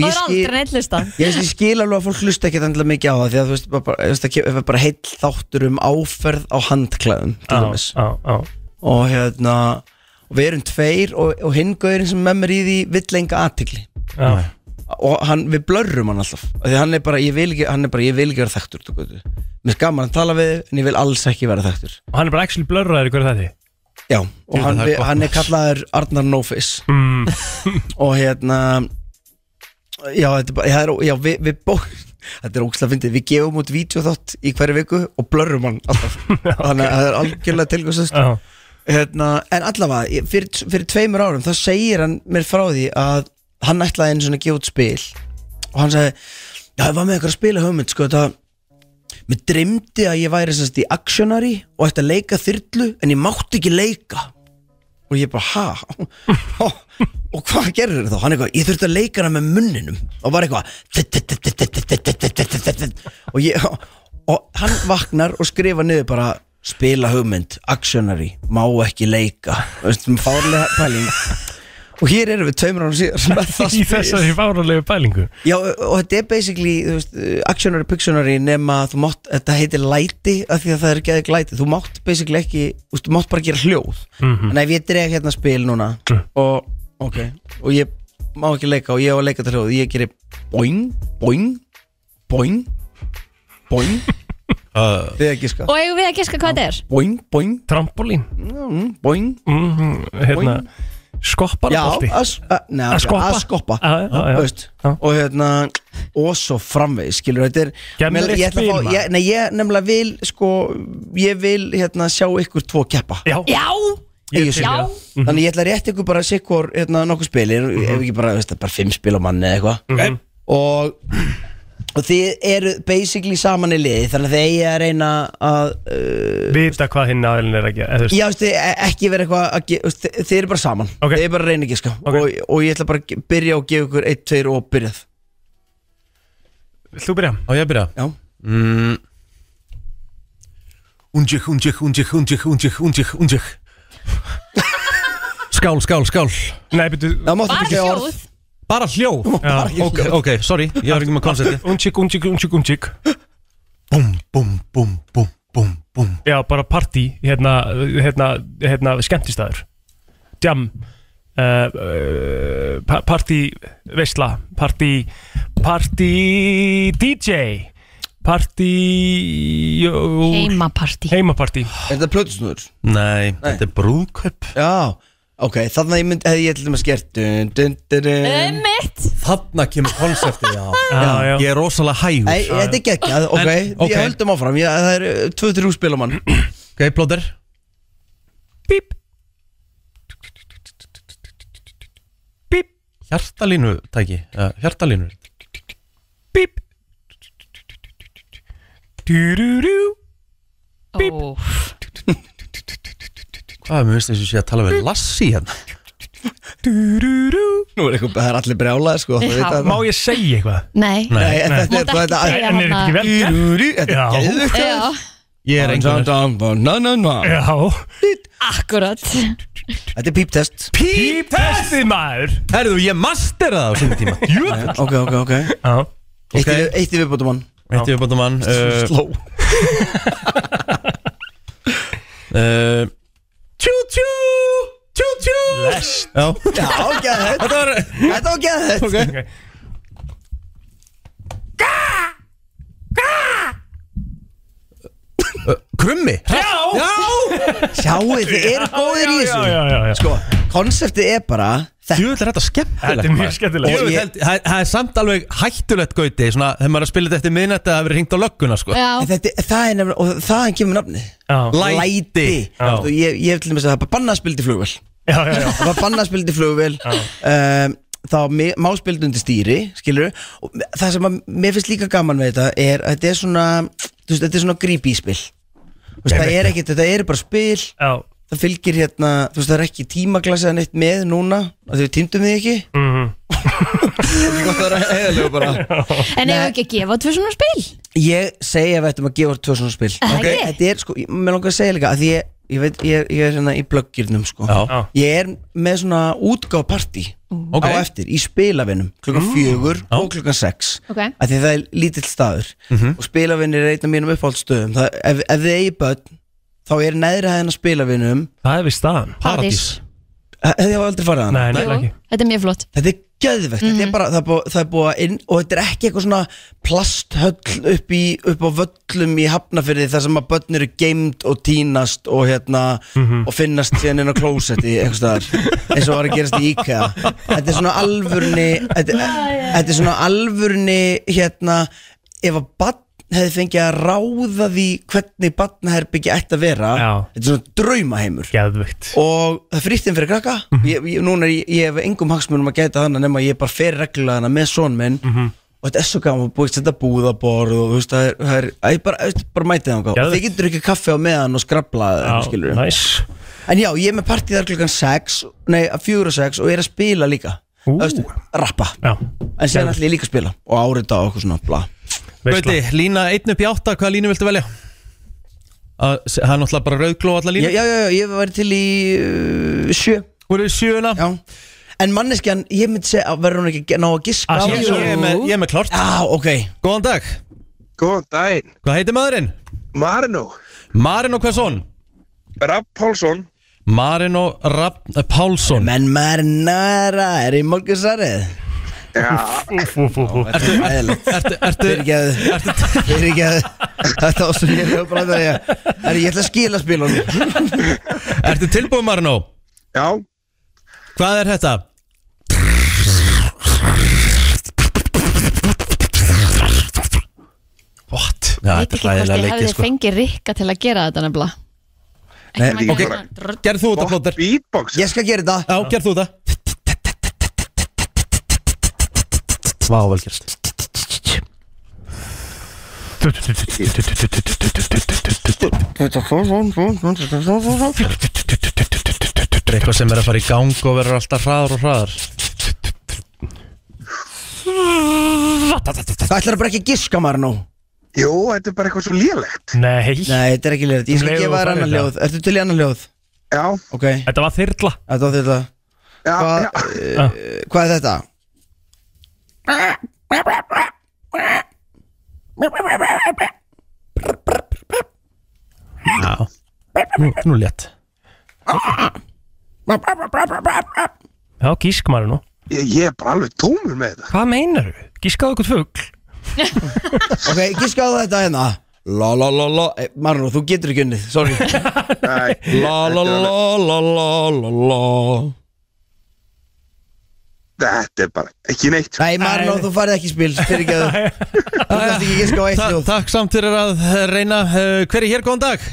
Það
ég
er aldrei neitt listan
Ég veist, ég skil alveg að fólk hlusta ekkert endilega mikið á það því að þú veist, bara, bara, þú veist, það kemur- það er bara heill þáttur um áferð á handklæðum til
Á,
dæmis og hérna og við erum tveir og, og hinn gaurinn sem með mér í því vill enga aðtikli
Já.
og hann, við blörrum hann alltaf Af því hann er bara, ég vil ekki, hann er bara, ég vil ekki vera þekktur þú veitur. mér er gaman að tala við þig, en ég vil alls ekki vera þekktur
Og hann er bara actually blörraður í hverju
[LAUGHS]
þetta
Já, og
Jú,
hann,
það er
við,
gott
hann
mál.
er kallaður Arnar Nófis
mm.
[LAUGHS] og hérna já, þetta er bara, það er, já, við, við bó, þetta er ógslag fyndið, við gefum út vídeoþátt í hverju viku og blörrum hann
[LAUGHS]
alltaf, þannig að það er algjörlega tilgjóðsast
Já.
hérna, en allavega ég- fyrir, fyrir tveimur árum þá segir hann mér frá því að hann ætlaði einu svona að gefa út spil og hann sagði, já, ég var með eitthvað að spila hugmynd, sko, þetta mér dreymdi að ég væri sérst í Actionary og ætti að leika þyrlu, en ég mátti ekki leika og ég bara, ha? [LAUGHS] og hvað gerir þá? Hann eitthvað, ég þurfti að leika hana með munninum og var eitthvað og ég og hann vaknar og skrifa niður bara spila hugmynd, actionary má ekki leika veistum, fárlega pæling og hér erum við tveimur ára síðar
[LAUGHS]
með það
Í
spil.
þessari fáralegu pælingu
Já, og þetta er basically þú veist, uh, actionary, pictionary nema þú mátt, þetta heitir læti af því að það er ekki aðeins læti, þú mátt basically ekki þú veist, þú mátt bara gera hljóð
Mhm.
en ef ég dreg hérna spil núna og, ok, og ég má ekki leika og ég á að leika þetta hljóð, ég gerir boing, boing, boing
[LAUGHS]
boing
Ah.
uh,
þið ekki sko
Og eigum við að giska hvað þetta er?
boing, boing
trampolín
mm, boing
mm, hérna, skoppar
já, að s- að- nei,
Að skoppa. Ah,
að skoppa
Já, já, já.
Þú veist, og hérna og svo framvegis skilur þetta er
Gemlegt
Mér- ég, ætla að
spil,
fá-
maður.
ég, nei, ég nefnilega vil sko, ég vil hérna, sjá ykkur tvo keppa
já,
Ég
til í það.
Mhm. Þannig ég ætla að rétt ykkur bara sikkur hérna, nokkuð spili, ef ekki bara, veist, það, bara fimm spil á manni eða eitthvað
Mhm.
og, og þið eru basically saman í liði þannig að þið eigi að reyna að uh,
vita hvað hinn aðeins er ekki eða, þú veist.
Já, veist, e- ekki vera eitthvað að ge- veist, þið, þið eru bara saman, þið eru bara að reyna ekki sko. og, og ég ætla bara að ge- byrja og gefa ykkur 1, 2 og byrjað
Vilt þú byrja?
Á ég að byrja?
Já
mm. Unjek, unjek, unjek, unjek, unjek, unjek, unjek Skál, skál, skál
Nei, byrju
Það mátti
Bara
ekki segja orð.
hljóð. Bara hljóð?
Bara ekki
ok,
hljóð.
ok, sorry, ég var ekki með
[LAUGHS]
[LAUGHS]
koncepti
Unchik, unchik, unchik, unchik Bum, bum, bum, bum, bum, bum Já, bara partí, hérna, hérna, hérna, skemmtistæður Jam uh, uh, pa- Partí, veistla, partí, partí DJ Partí jú-
Heimapartí
Heimapartí
Er þetta plötusnúður?
Nei, þetta er brúðkaup
Já, ok, þannig að ég myndi, hefði ég ætla að skert dun, dun,
Um.
dun, dun.
Mitt
Þarna kemur konseptið, já.
Já, Ah, já.
Ég er rosalega hægur
Nei, þetta er geggjað, ok,
En, ok.
ég höldum áfram, ég, það eru 2-3 spil á mann
Ok, plóter
Bíp Bíp
Hjartalínu tæki, uh, hjartalínu
Bíp Dú-dú-dú Bíp
Hvað, mér finnst þessu sé að tala við Lassi hérna
Dú-dú-dú
Nú er eitthvað, það er allir brjálaðir sko
Já. Má ég segja eitthvað?
Nei
Nei, en
Nei.
þetta er
Máttu ekki segja En er þetta ekki vel gert?
Þetta
Já.
er geðvögt
Já,
Ég er einhvern
veginn
akkurat
Þetta er píptest
Píptestið maður
Herðu, ég master það á sinni tíma
Jöfull. Ok, ok, ok Eitt í við- Eitt í viðbótum hann
Eitt í viðbótum
[LAUGHS]
hann uh,
Sló
[LAUGHS] uh, Tjú tjú Tjú tjú
Lest
Já,
Já, ok, þetta
var
Þetta var geðvögt
Ok. Krummi
Já
Sjáu, þið eru góðir í
Já,
þessu
já, já, já, já.
Sko, konseptið er bara
Jú, þetta er þetta skemmtilegt
Þetta er mjög
maður.
skemmtilegt.
Og ég- Það það er samt alveg hættulegt gauti Svona, þegar maður er að spila þetta eftir miðnætti að Það hefur hringt á lögguna, sko
En þetta, er- það er nefnilega, og þaðan kemur nafnið
Læti. Já.
Þú veist, Ég, ég til dæmis að það er bara bannað að spila til flugvél
Já, já, já.
Það er bara bannað að spila til flugvél um, Þá mi- má spila undir stýri, skilur og Það sem að mér finnst líka gaman við þetta er að þetta er svona, þú veist, þetta er svona grípi spil Þú veist, það er ekkert, þetta er bara spil
Já
Það fylgir hérna, þú veist, það er ekki tímaglasa neitt með núna að Þau týndum þið ekki
Mhm.
Það er eðalegu bara
En eigum við ekki að gefa tvö svona spil
Ég segi að við ættum að gefa þér tvö svona spil
Það
Ok,
ekki?
Þetta er sko, ég- mér langar að segja líka að ég, ég veit, ég, er- ég er hérna í blöggirnum sko
Já.
Ég er með svona útgáðpartí
Ok. Mm.
á eftir í spilavinnum klukkan fjögur og klukkan sex
Ok.
að því það er lítill staður
Mhm.
og spilavinnir er einn af mínum uppáhaldstöðum það, ef, ef þið eigi börn þá er neðri hæðin að spilavinnum
Það er við staðan
Paradís.
Hefði ég aldrei farið að
Nei, nei,
Jú,
ekki
þetta er mjög flott Mhm.
Þetta er gæðvegt, þetta er bara, það er búið, það er búið að inn og þetta er ekki eitthvað svona plasthöll upp, í, upp á völlum í hafnafyrði þar sem að börn eru geimd og tínast og hérna
Mhm.
og finnast síðan inn á klósetti einhvers staðar
[LAUGHS]
eins og var að [LAUGHS] gerast í IKEA Þetta er svona alvurni þetta, þetta er svona alvurni hérna ef að barn hefði fengið að ráða því hvernig barnaherbyggja ætti að vera Já. þetta er svona draumaheimur
Geðvikt.
og það er frýttin fyrir krakka
Mhm.
ég, ég, núna er ég, ég hef engum hagsmunum að gæta þannig nema ég bara fer reglulega hana með son minn
Mhm.
og þetta er svo gaman búið þetta búðaborð og þú veist það er, það er að ég bara, veist, bara mætið þangað og þið getur ekki kaffe á meðan og skrabla
Já,
skilurðu.
nice.
en já, ég er með partíð þar klukkan 6 nei, 4 og 6 og ég er að spila líka Þú veist, rappa
já.
en sér ætlum ég líka að spila og árita og okkur svona bla
Gauti, lína 1 upp í 8, hvaða línu viltu velja? Að- Það er náttúrulega bara rauðgló allar línu
já, já, já, já, ég væri til í uh, sjö
Hvor er sjöuna?
Já En manneskjan, ég myndi segja, verður hún ekki að ná að giska
Ah,
á
ég,
þessu?
ég, er með, ég er með klart
Já, ok
Góðan dag
Góðan daginn
Hvað heitir maðurinn?
Marino
Marino hvað svon?
Rapp Pálsson
Marino Rapp Pálsson
Menn marinara, er í morgunsarið?
Já
Ertu, ertu,
ertu, ertu
Fyrirgeðu, fyrirgeðu Þetta var svo ég hefur bara að segja Herri, Ég ætla að skila spilunum
[LAUGHS] Ertu tilbúið Marino?
Já
Hvað er þetta? What? Já,
Veit ekki hvort ég hefði
sko.
fengið rikka til að gera þetta nefnilega
Nei,
Ekki maður
ok.
gerir svona drr-
Gerð þú þetta plóter
Beatbox
Ég skal gera þetta
Já, gerð þú þetta Vá, velgerst Þetta er eitthvað sem er að fara í gang og verður alltaf hraðar og hraðar
Það ætlar bara ekki að giska maður nú
Jú, þetta er bara eitthvað svo lélegt
Nei
Nei, þetta er ekki ljóð Ég skal
Leifðu
gefa þér
að fara
annan
í það.
ljóð Ertu til í annan ljóð?
Já
Ok
Þetta var þyrla
Þetta var þetta
Já,
Hvað,
já.
uh, hvað er þetta?
Já Nú, nú létt
Já, gísk maður nú
Ég, ég er bara alveg tómur með þetta
Hvað meinar þú? Gískaðu eitthvað fugg
Ok, giska á þetta hérna La la la la eh, Marlon, þú getur ekki unnið,
[LAUGHS]
sorry La la la la la la la
Þetta er bara ekki neitt sko.
Nei, Marlon, þú farið ekki í spil Fyrir ekki að
[LAUGHS]
Þú kannst ekki giska á eitt
Ta
ljóð
Takk samt fyrir að eh, reyna Eh, Hver er hér, góðan dag?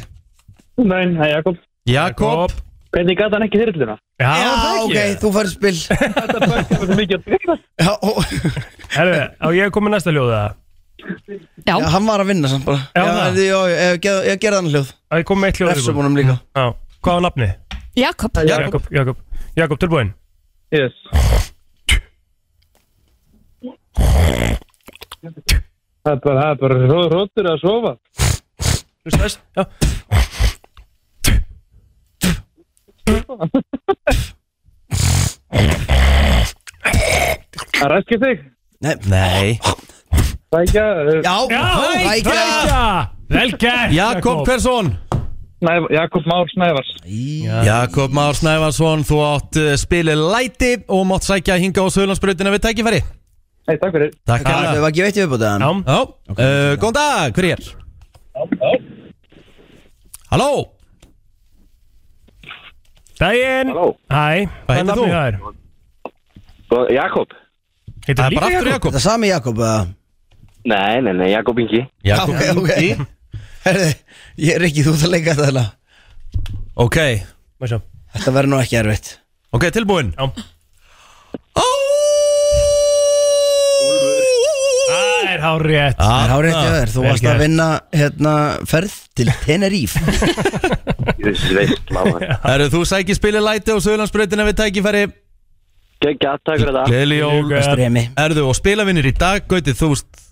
Nein, það er Jakob
Jakob
Hvernig gata hann ekki þyrluna?
Já,
Já, ok, þú farið í spil Já, ó-
Herðu, á ég komið næsta ljóða
Já, hann var að vinna samt bara
Já,
Já,
það.
já, já, ég gerði hann hljóð
Á ég komið eitt ljóða
Refsumunum líka
Já, hvað var nafni?
Jakob
Jakob, Jakob, Jakob tilbúin
Yes Það er bara, það er bara ró- róttur að sofa
Þú veist þess? Já
Það ræskir þig
Nei
Sækja uh,
Já,
hækka! Vel gert
Jakob, hversson?
Snæf, Jakob Már Snævars
Jakob Már Snævarsson, þú átt eh, spilið læti og mátt sækja hinga á Söðlandsbrautina við tækifæri
Hei, takk fyrir
Takk
Það
að
var ekki veitt í viðbútið hann
Já, uh, góðan dag, hver er? Halló
Dæin
Halló.
Hæ,
Hvað heitir þú?
það er?
Góð- Jakob
Heitir
Það er
líka
bara aftur
Þetta
Jakob
er sami Jakob eða?
Nei, nei, nei, Jakob Ingi
Jakob
Já, ok.
Ingi.
Herði, ég er ekki þú ert að leika þetta hérna.
Ok,
Má sjá.
Þetta verður nú ekki erfitt
ok, tilbúin
Já. Það er hár rétt Ah,
Það er hárið eftir þér, þú
Vel
varst að
gert.
vinna hérna, ferð til
[LAUGHS]
Teneríf
Þessi veist,
[LAUGHS]
láma
Erðu þú sækir spilið læti á Söðlandsbrautina við tækifæri?
Gæt, takk fyrir það
Gleðli jól
Gleðileg jól.
Stremi
Erðu og spilavinnir í dag, Gauti, þú,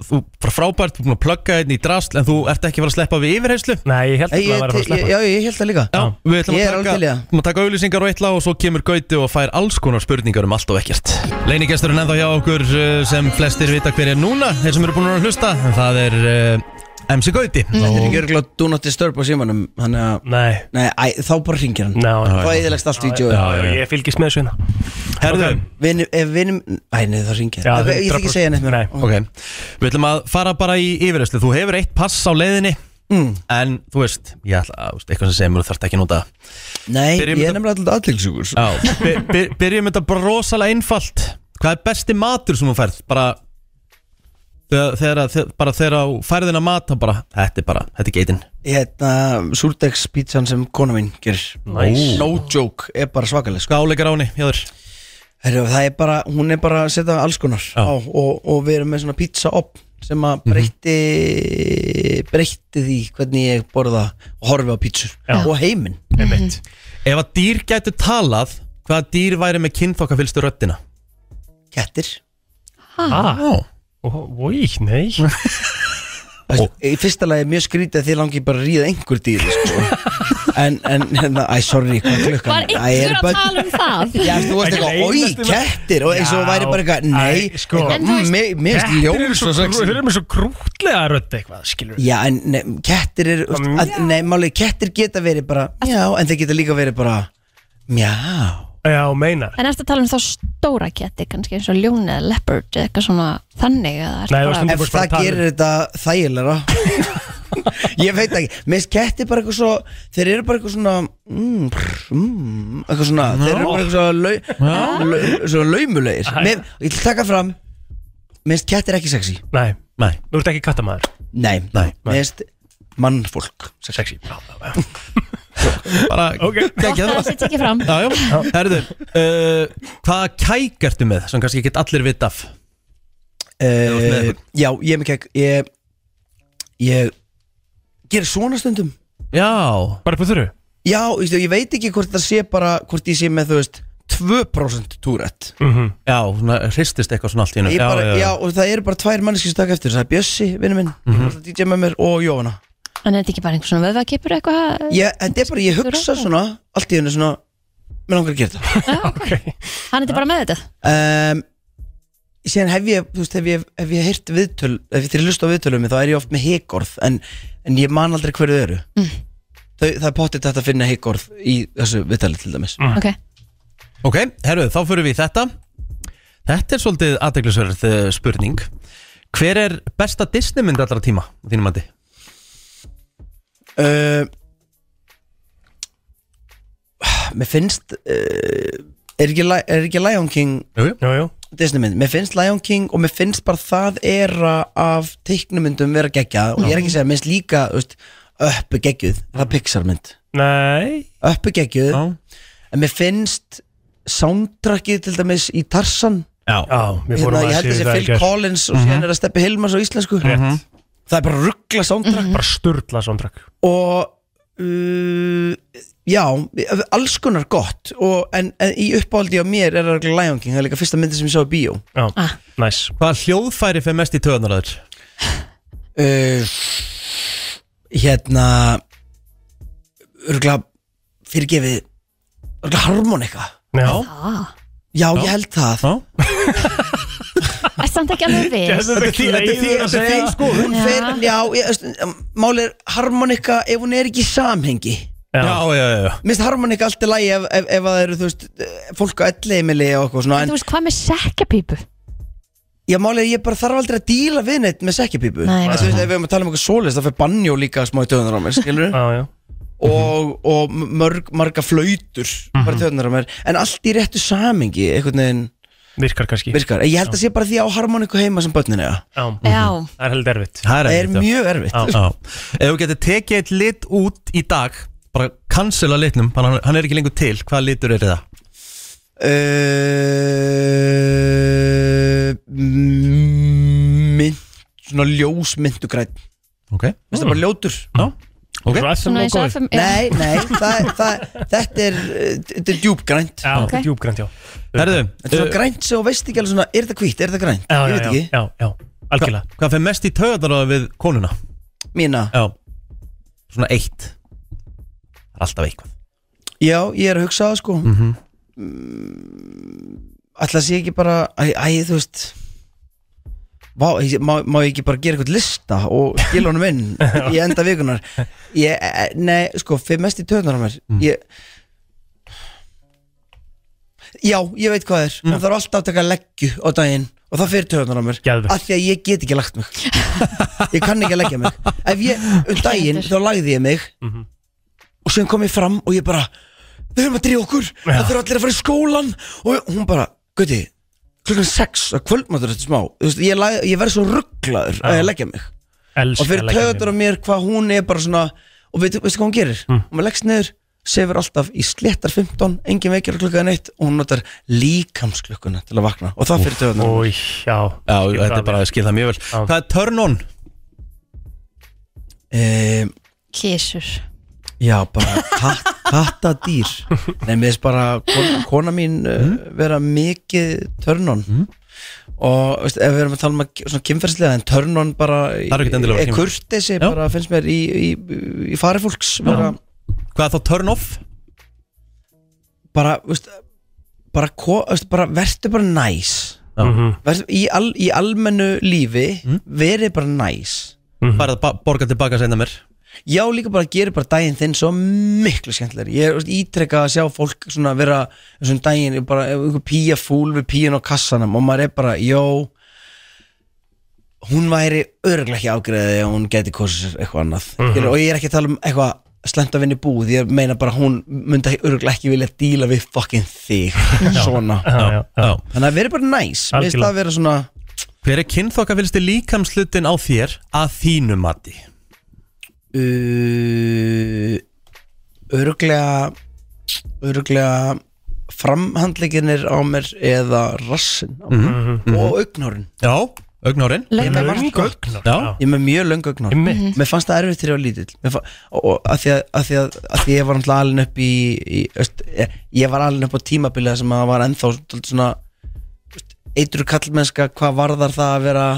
þú var frábært, þú búin að plugga einn í drasl en þú ert ekki að fara að sleppa við yfirheyslu
Nei, ég
Ég,
held að það var
ég,
að fara að
ég,
sleppa
já, ég held það líka
Já, við ætlum
Ég er
að
alveg
taka,
til í það.
ætlum að taka auðlýsingar og eitthvað og svo kemur Gauti og fær alls konar spurningar um allt og ekkert. Leinigesturinn ennþá hjá okkur eh, sem flestir vita hver er núna, þeir sem eru búin að hlusta, en það er eh, MC Gauti.
Mm. Þetta er
Og-
ekki örgulega do not disturb á símanum Þannig að,
Nei,
nei, æ, þá bara ringir hann
ná
Þá eðilegst allt vídeo
Já, já, ég fylgist með þessu hérna
Herðu,
Ok.
Vinum, ef vinum, æ, nei, þá ringir
Já,
hann Ég ætla ekki að
100%.
segja neitt mér
Nei.
ok, við ætlum að fara bara í yfirherslu. Þú hefur eitt pass á leiðinni,
Mm.
en þú veist, ég ætla að, þú veist, eitthvað sem segir mér þú þarft ekki að nota það.
Nei,
Byrjum
ég
þetta-
er nefnilega alltaf aðtilsjúkur
Já, by- by- byrjum þetta bara rosalega einfalt Hvað er besti matur sem þú færð? Bara Þegar, þegar, að- þegar, bara þegar á færðina mat þá bara, þetta er bara, þetta er geitin
Hérna, súrdegspítsan sem kona mín gerir
Nice.
No joke, er bara svakaleg sko.
Skáleikar áni, jáður
Herru, það er bara, hún er bara að setja alls konar á, og, og við erum með svona pizza op sem að breytti breytti því hvernig ég borða og horfi á pítsur og heiminn
Einmitt. Ef að dýr gætu talað hvaða dýr væri með kynþokkafylstu röddina?
Kettir
ah.
Í,
[LAUGHS]
nei
Veist, Í fyrsta lagi er mjög skrítið að þið langi bara að ríða einhver dýr sko.
[LAUGHS]
En, en, hérna, æ, sorry, hvað er klukkan?
Var
Æ,
einhver
eru
að
börn-
tala um það?
Já, þú varst eitthvað,
Ekki
oi,
einasti maður."
kettir Og eins og
Já.
væri bara eitthvað, nei
Æ, sko.
eitthvað,
En þú
mm,
veist,
mér- Mér finnst
kettir
ljón
eru svo
svo
grú-
sexy
þeir eru með svo krútlega rödd eitthvað, skilur
Já, en ne, kettir eru úst, að, Nei, máli, kettir geta verið bara Já, en þeir geta líka verið bara Mjá
Já, meinar
En ertu að tala um þá stóra ketti kannski eins og ljón eða leopard eða eitthvað svona þannig eða ertu bara-
Ef það
um-
gerir þetta þægilega
[LAUGHS]
Ég veit ekki, mér finnst kettir bara eitthvað svo Þeir eru bara eitthvað svona mm, prr, mm, Eitthvað svona Þeir eru bara eitthvað svo, lau, lau, svo laumulegir Mér- Ég ætla að taka fram Mér finnst kettir ekki sexy
Nei,
Nei.
þú ert ekki kattamæður
Nei, Nei. mér finnst mannfólk
Sexy Já, já,
Bara,
Ok.
geggjað.
Gott að þessi tekið fram.
Já, já, herðu uh, Hvaða kæk ertu með sem kannski get allir vita af?
Uh, já, ég er með kekk Ég, ég ger svona stundum
Já
Bara upp á þurru?
Já, ég, ég veit ekki hvort það sé bara hvort ég sé með, þú veist, 2% túrætt
-hmm.
Já, svona hristist eitthvað svona allt í
Ég
hennu
bara, já, og það eru bara tvær manneskir sem taka eftir þessu. Það er Bjössi, vinnu minn,
Mhm.
mm -hmm. DJ með mér og Jóhanna
En er þetta ekki bara einhver svona vöðvakipur eitthvað?
ég, En þetta er bara, ég hugsa svona allt í hennu svona, mér langar að gera þetta
Hann er bara með þetta?
um, Síðan hef ég, þú veist, hef ég, hef ég heyrt viðtöl Ef ég þeirri lust á viðtölum, þá er ég oft með heikorð En, en ég man aldrei hverju þau eru
Mm.
Þau, það er pottið þetta að finna heikorð í þessu viðtalið til dæmis
Mhm.
Ok
Ok, herruðu, þá fyrir við í þetta Þetta er svolítið aðdeglisverð spurning Hver er besta Disneymynd allra tíma? á Þínum andi
uh, Mér finnst uh, er, ekki, Li- er ekki Lion King
jú, jú.
Jú, jú.
Disney mynd, mér finnst Lion King og mér finnst bara það era af teiknumyndum vera geggjað og ég er ekki að segja, mér finnst líka þú veist, uppu geggjuð, það er Pixar mynd
Nei
uppu geggjuð en mér finnst soundtrackið til dæmis í Tarzan
Já,
já við fórum
hérna,
að
ég held
sé
þessi
það í
Phil
gær.
Collins og
Mhm.
síðan er að steppi Hilmars á íslensku
Rétt. Mhm.
það er bara ruggla soundtrack
Bara sturla soundtrack
og uh, já, alls konar gott og, en, en í uppáldi á mér er það Lion King, það er líka fyrsta myndi sem ég sá í bíó
Já, ah. næs
Hvaða hljóðfæri fyrir mest í töðunar aður?
uh, hérna örgla fyrirgefið örgla harmonika
Já
Ah,
já, ég held það
er samt ekki alveg viss
Þetta er því- þetta er því- þetta er því, sko, hún
Já.
fer, já, já máli er harmonika ef hún er ekki í samhengi
Já, já, já, já.
Mér finnst harmonika allt í lagi ef, ef, ef að það eru, þú veist, eh, fólk á elleimili og eitthvað svona
En þú veist hvað með sekkjapípu?
Já, málega ég bara þarf aldrei að díla við neitt með sekkjapípu
Nei.
Þú veist, ef við erum að tala um eitthvað svoleiðis þá fyrir banjó líka smá í töðunar á mér, skilur
[LAUGHS] já, já.
Og, og mörg, marga flautur
Mhm.
bara í töðunar á mér En allt í réttu samingi, einhvern veginn
Virkar kannski
Virkar, ég held að sé bara því á harmoniku heima sem börnin er
Já,
Já.
Mhm. það er held erfitt
Það
Það er
erfitt, já.
mjög erfitt.
Já. Já. Ef þú getur tekið eitt lit út í dag bara cancela litnum, hann, hann er ekki lengur til hvaða litur er það?
uh, Mynd, svona ljós myndugræn
Ok
Vist það
Mm.
bara ljótur
Já Ok.
Svona eins og FM
Nei, nei, það, það, þetta er, uh, þetta er djúbgrænt
Já, þetta er djúbgrænt, já
Herðu,
Þetta er svona grænt sem þú veist ekki alveg svona, er þetta hvítt, er þetta grænt? ég
Já, já,
veit
já,
ekki,
já, já, algjörlega
Hva- Hvað fyrir mest í töðunar aður við konuna?
mína
Já Svona eitt Alltaf eitthvað
Já, ég er að hugsa það sko mm -hmm. Ætla að sé ekki bara, æ, æ þú veist Vá, ég- má, má ég ekki bara gera eitthvað lista og skila honum inn í enda vikunar ég, eh, Nei, sko, fyrir mest í töðunar á mér ég, Já, ég veit hvað það er mm. Það er alltaf að taka leggju á daginn og það fyrir töðunar á mér
Geðveikt.
Af því að ég get ekki lagt mig Ég kann ekki að leggja mig Ef ég, um daginn, þá lagði ég mig
Mhm.
og síðan kom ég fram og ég bara við höfum að drífa okkur, það þurfa allir að fara í skólan og hún bara, gutti klukkan 6 að kvöldmatur þetta er smá, þú veist, ég, lag- ég verð svo rugglaður rugglaður að ég leggja mig
Elska
og fyrir
að leggja mig. Hm.
töður á mér hvað hún er bara svona og veitu, veistu hvað hún gerir hún leggst niður, sefur alltaf í sléttar 15, engin veikir klukkaðan eitt og hún notar líkamsklukkuna til að vakna og það fyrir töðunar
Új, já,
já þetta er bara að skilja það mjög vel Hvað er turn on?
Um,
Kísur
já, bara kat, kattadýr Nei, mér finnst bara kona, kona mín uh,
Hmm?
vera mikið törnun mm. og veist, ef við erum að tala um að- svona kynferðslega en törnun bara
Það er ekkert endilega
er
kynferðis-
kurtesi bara finnst mér í, í, í fari fólks vera,
Hvað er þá turn off?
bara, veist, bara, ko, veist, bara verður bara næs
Mhm.
verður, í, al, í almennu lífi
Mm.
verið bara næs
Farið að ba- borga tilbaka senda mér
Já, líka bara gerir bara daginn þinn svo miklu skemmtilegri Ég er veist, ítrekkað að sjá fólk svona vera þessum daginn, ég bara einhver píja fúl við píjan á kassanum og maður er bara, jó hún væri örgulega ekki ágreðið ef hún geti kosið sér eitthvað annað
Mhm.
mm og ég er ekki að tala um eitthvað slemt að vinna í búð, ég meina bara hún myndi örgulega ekki vilja díla við fucking þig, svona
Já, já.
Þannig að verið bara næs, mér finnst það að vera svona
Hver er kynþokka fylgst líkamslutin á þér að þínu mati?
uh, öruglega öruglega framhandleikinir á mér eða rassin á mér
Mhm, mhm.
og augnárin
Já, augnárin
Ég er með margt gott.
Já.
Ég er með mjög löng augnárin
Einmitt.
Mér fannst það erfitt þegar ég var lítill Mér fa- og, og að, því að, að, því að, að því að ég var alltaf alin upp í, í öst, ég, ég var alin upp á tímabilið sem að var ennþá svolítið svona öst, eitru kallmennska hvað varðar það að vera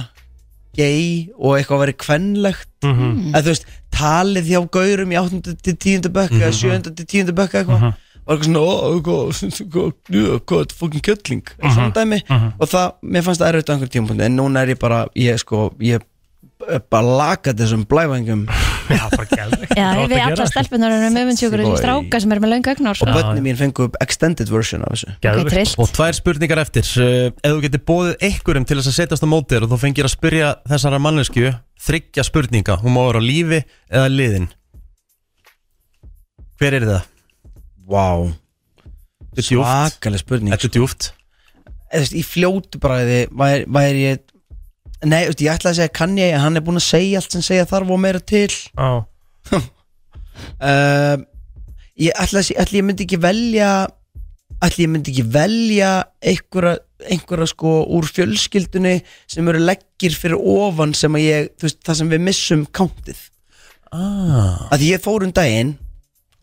gay og eitthvað að vera kvenlegt
Mhm.
að þú veist, talið hjá gaurum í 8. til 10. bekk eða
Mhm.
7. til 10. bekk eða eitthvað var eitthvað svona, "Ó, hvað, hvað, hvað, hvað, þetta er fókin kjöldling
Mhm.
svona dæmi og það, mér fannst það erfitt á einhverjum tímapunkti en núna er ég bara, ég sko ég er bara lagat þessum blæfængum
[LAUGHS] Já, bara gæðvegt
Já, við alla
sko.
stelpunar erum öfundsjúkur
Boy.
og stráka sem er með löngu ögnar
og börnin mín fengu upp extended version af þessu
Ok, trillt.
Og tvær spurningar eftir Eh, Ef þú getur bóðið einhverjum til þess að setjast á mótir og þú fengir að spyrja þessara mannesku þryggja spurninga, hún má vera á lífi eða liðin Hver er það?
Vá Svakaleg spurning sko.
Þetta er djúft
Eða, þú veist, í fljótu bræði væri, væri ég nei, þú veist, ég ætlaði að segja kann ég en hann er búinn að segja allt sem segja þarf og meira til Ehm,
oh.
[LAUGHS] ég ætlaði að segja ætli ég myndi ekki velja ætli ég myndi ekki velja einhverja, einhverja sko úr fjölskyldunni sem eru leggir fyrir ofan sem að ég, þú veist, það sem við missum kántið
ah.
að því ég fór um daginn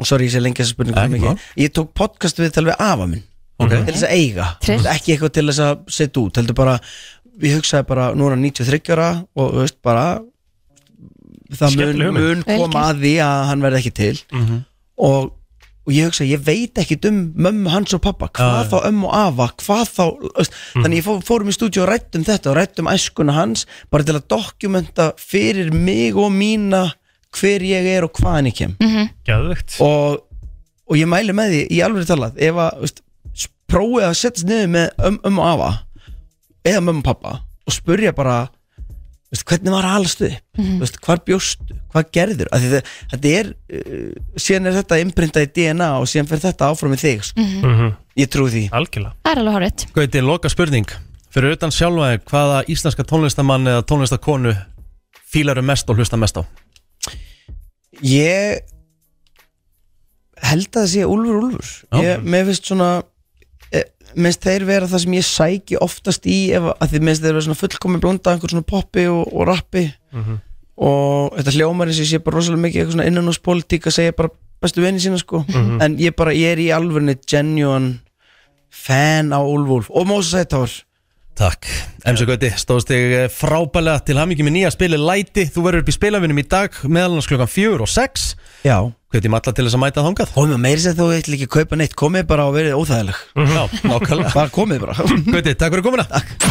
og sorry ég sé lengi þessa spurningu
Ekki
kom ekki, ég tók podcast við talveg afa minn
Ok.
til þess að eiga,
Trillt.
ekki eitthvað til þess að setja út, heldur bara ég hugsaði bara, nú er hann 93 ára og þú veist bara það mun,
Skemmtileg hugmynd.
mun
Vel
koma að því að hann verði ekki til
Mhm.
og, og ég hugsaði, ég veit ekki um mömmu hans og pappa, hvað
Já, Mhm. já.
þá ömmu og afa hvað þá, þú veist, þannig ég fó, fórum í stúdíu og rættum þetta og rættum æskuna hans bara til að dokumenta fyrir mig og mína hver ég er og hvaðan ég kem
Mhm.
Gæðvegt
og, og ég mæli með því í alveg talað ef að þú veist, s- prófið að setjast niður með um, um og afa eða mömmu og pappa og spurja bara þú veist, hvernig var að alast þið
Mhm.
veist, hvar bjóstu, hvað gerður að þetta, þetta er, uh, síðan er þetta innprintað í DNA og síðan fer þetta áfram í þig sko.
Mhm.
Mm.
ég trú því
algjörlega
Það er alveg horrið
Gauti, loka spurning Fyrir utan sjálfaði, hvaða íslenska tónlistamann eða tónlistakonu fílaru mest og hlusta mest á?
Ég held að það sé Úlfur Úlfur ég, Mér finnst svona eh, Mér finnst þeir vera það sem ég sæki oftast í ef, að því mér finnst þeir vera svona fullkomi blanda einhver svona poppi og, og rappi
Mhm.
og þetta hljómar eins og ég sé bara rosalega mikið eitthvað svona innanúspolítík að segja bara bestu vinni sína sko
Mhm.
en ég bara, ég er í alvörni genuine fan á Úlfur Úlf og Mósa Sætár
Takk, MC Gauti, stóðst þig frábælega til hamingi með nýja spili Læti, þú verður upp í spilavinum í dag meðal hans klukkan fjögur og sex
Já
Gauti, maður til þess að mæta þangað
Komið meiri sér þú eitthvað ekki kaupa neitt komið bara og verið óþægileg
Mhm. Já, nákvæmlega
Bara komið bara
Gauti, takk fyrir komuna
Takk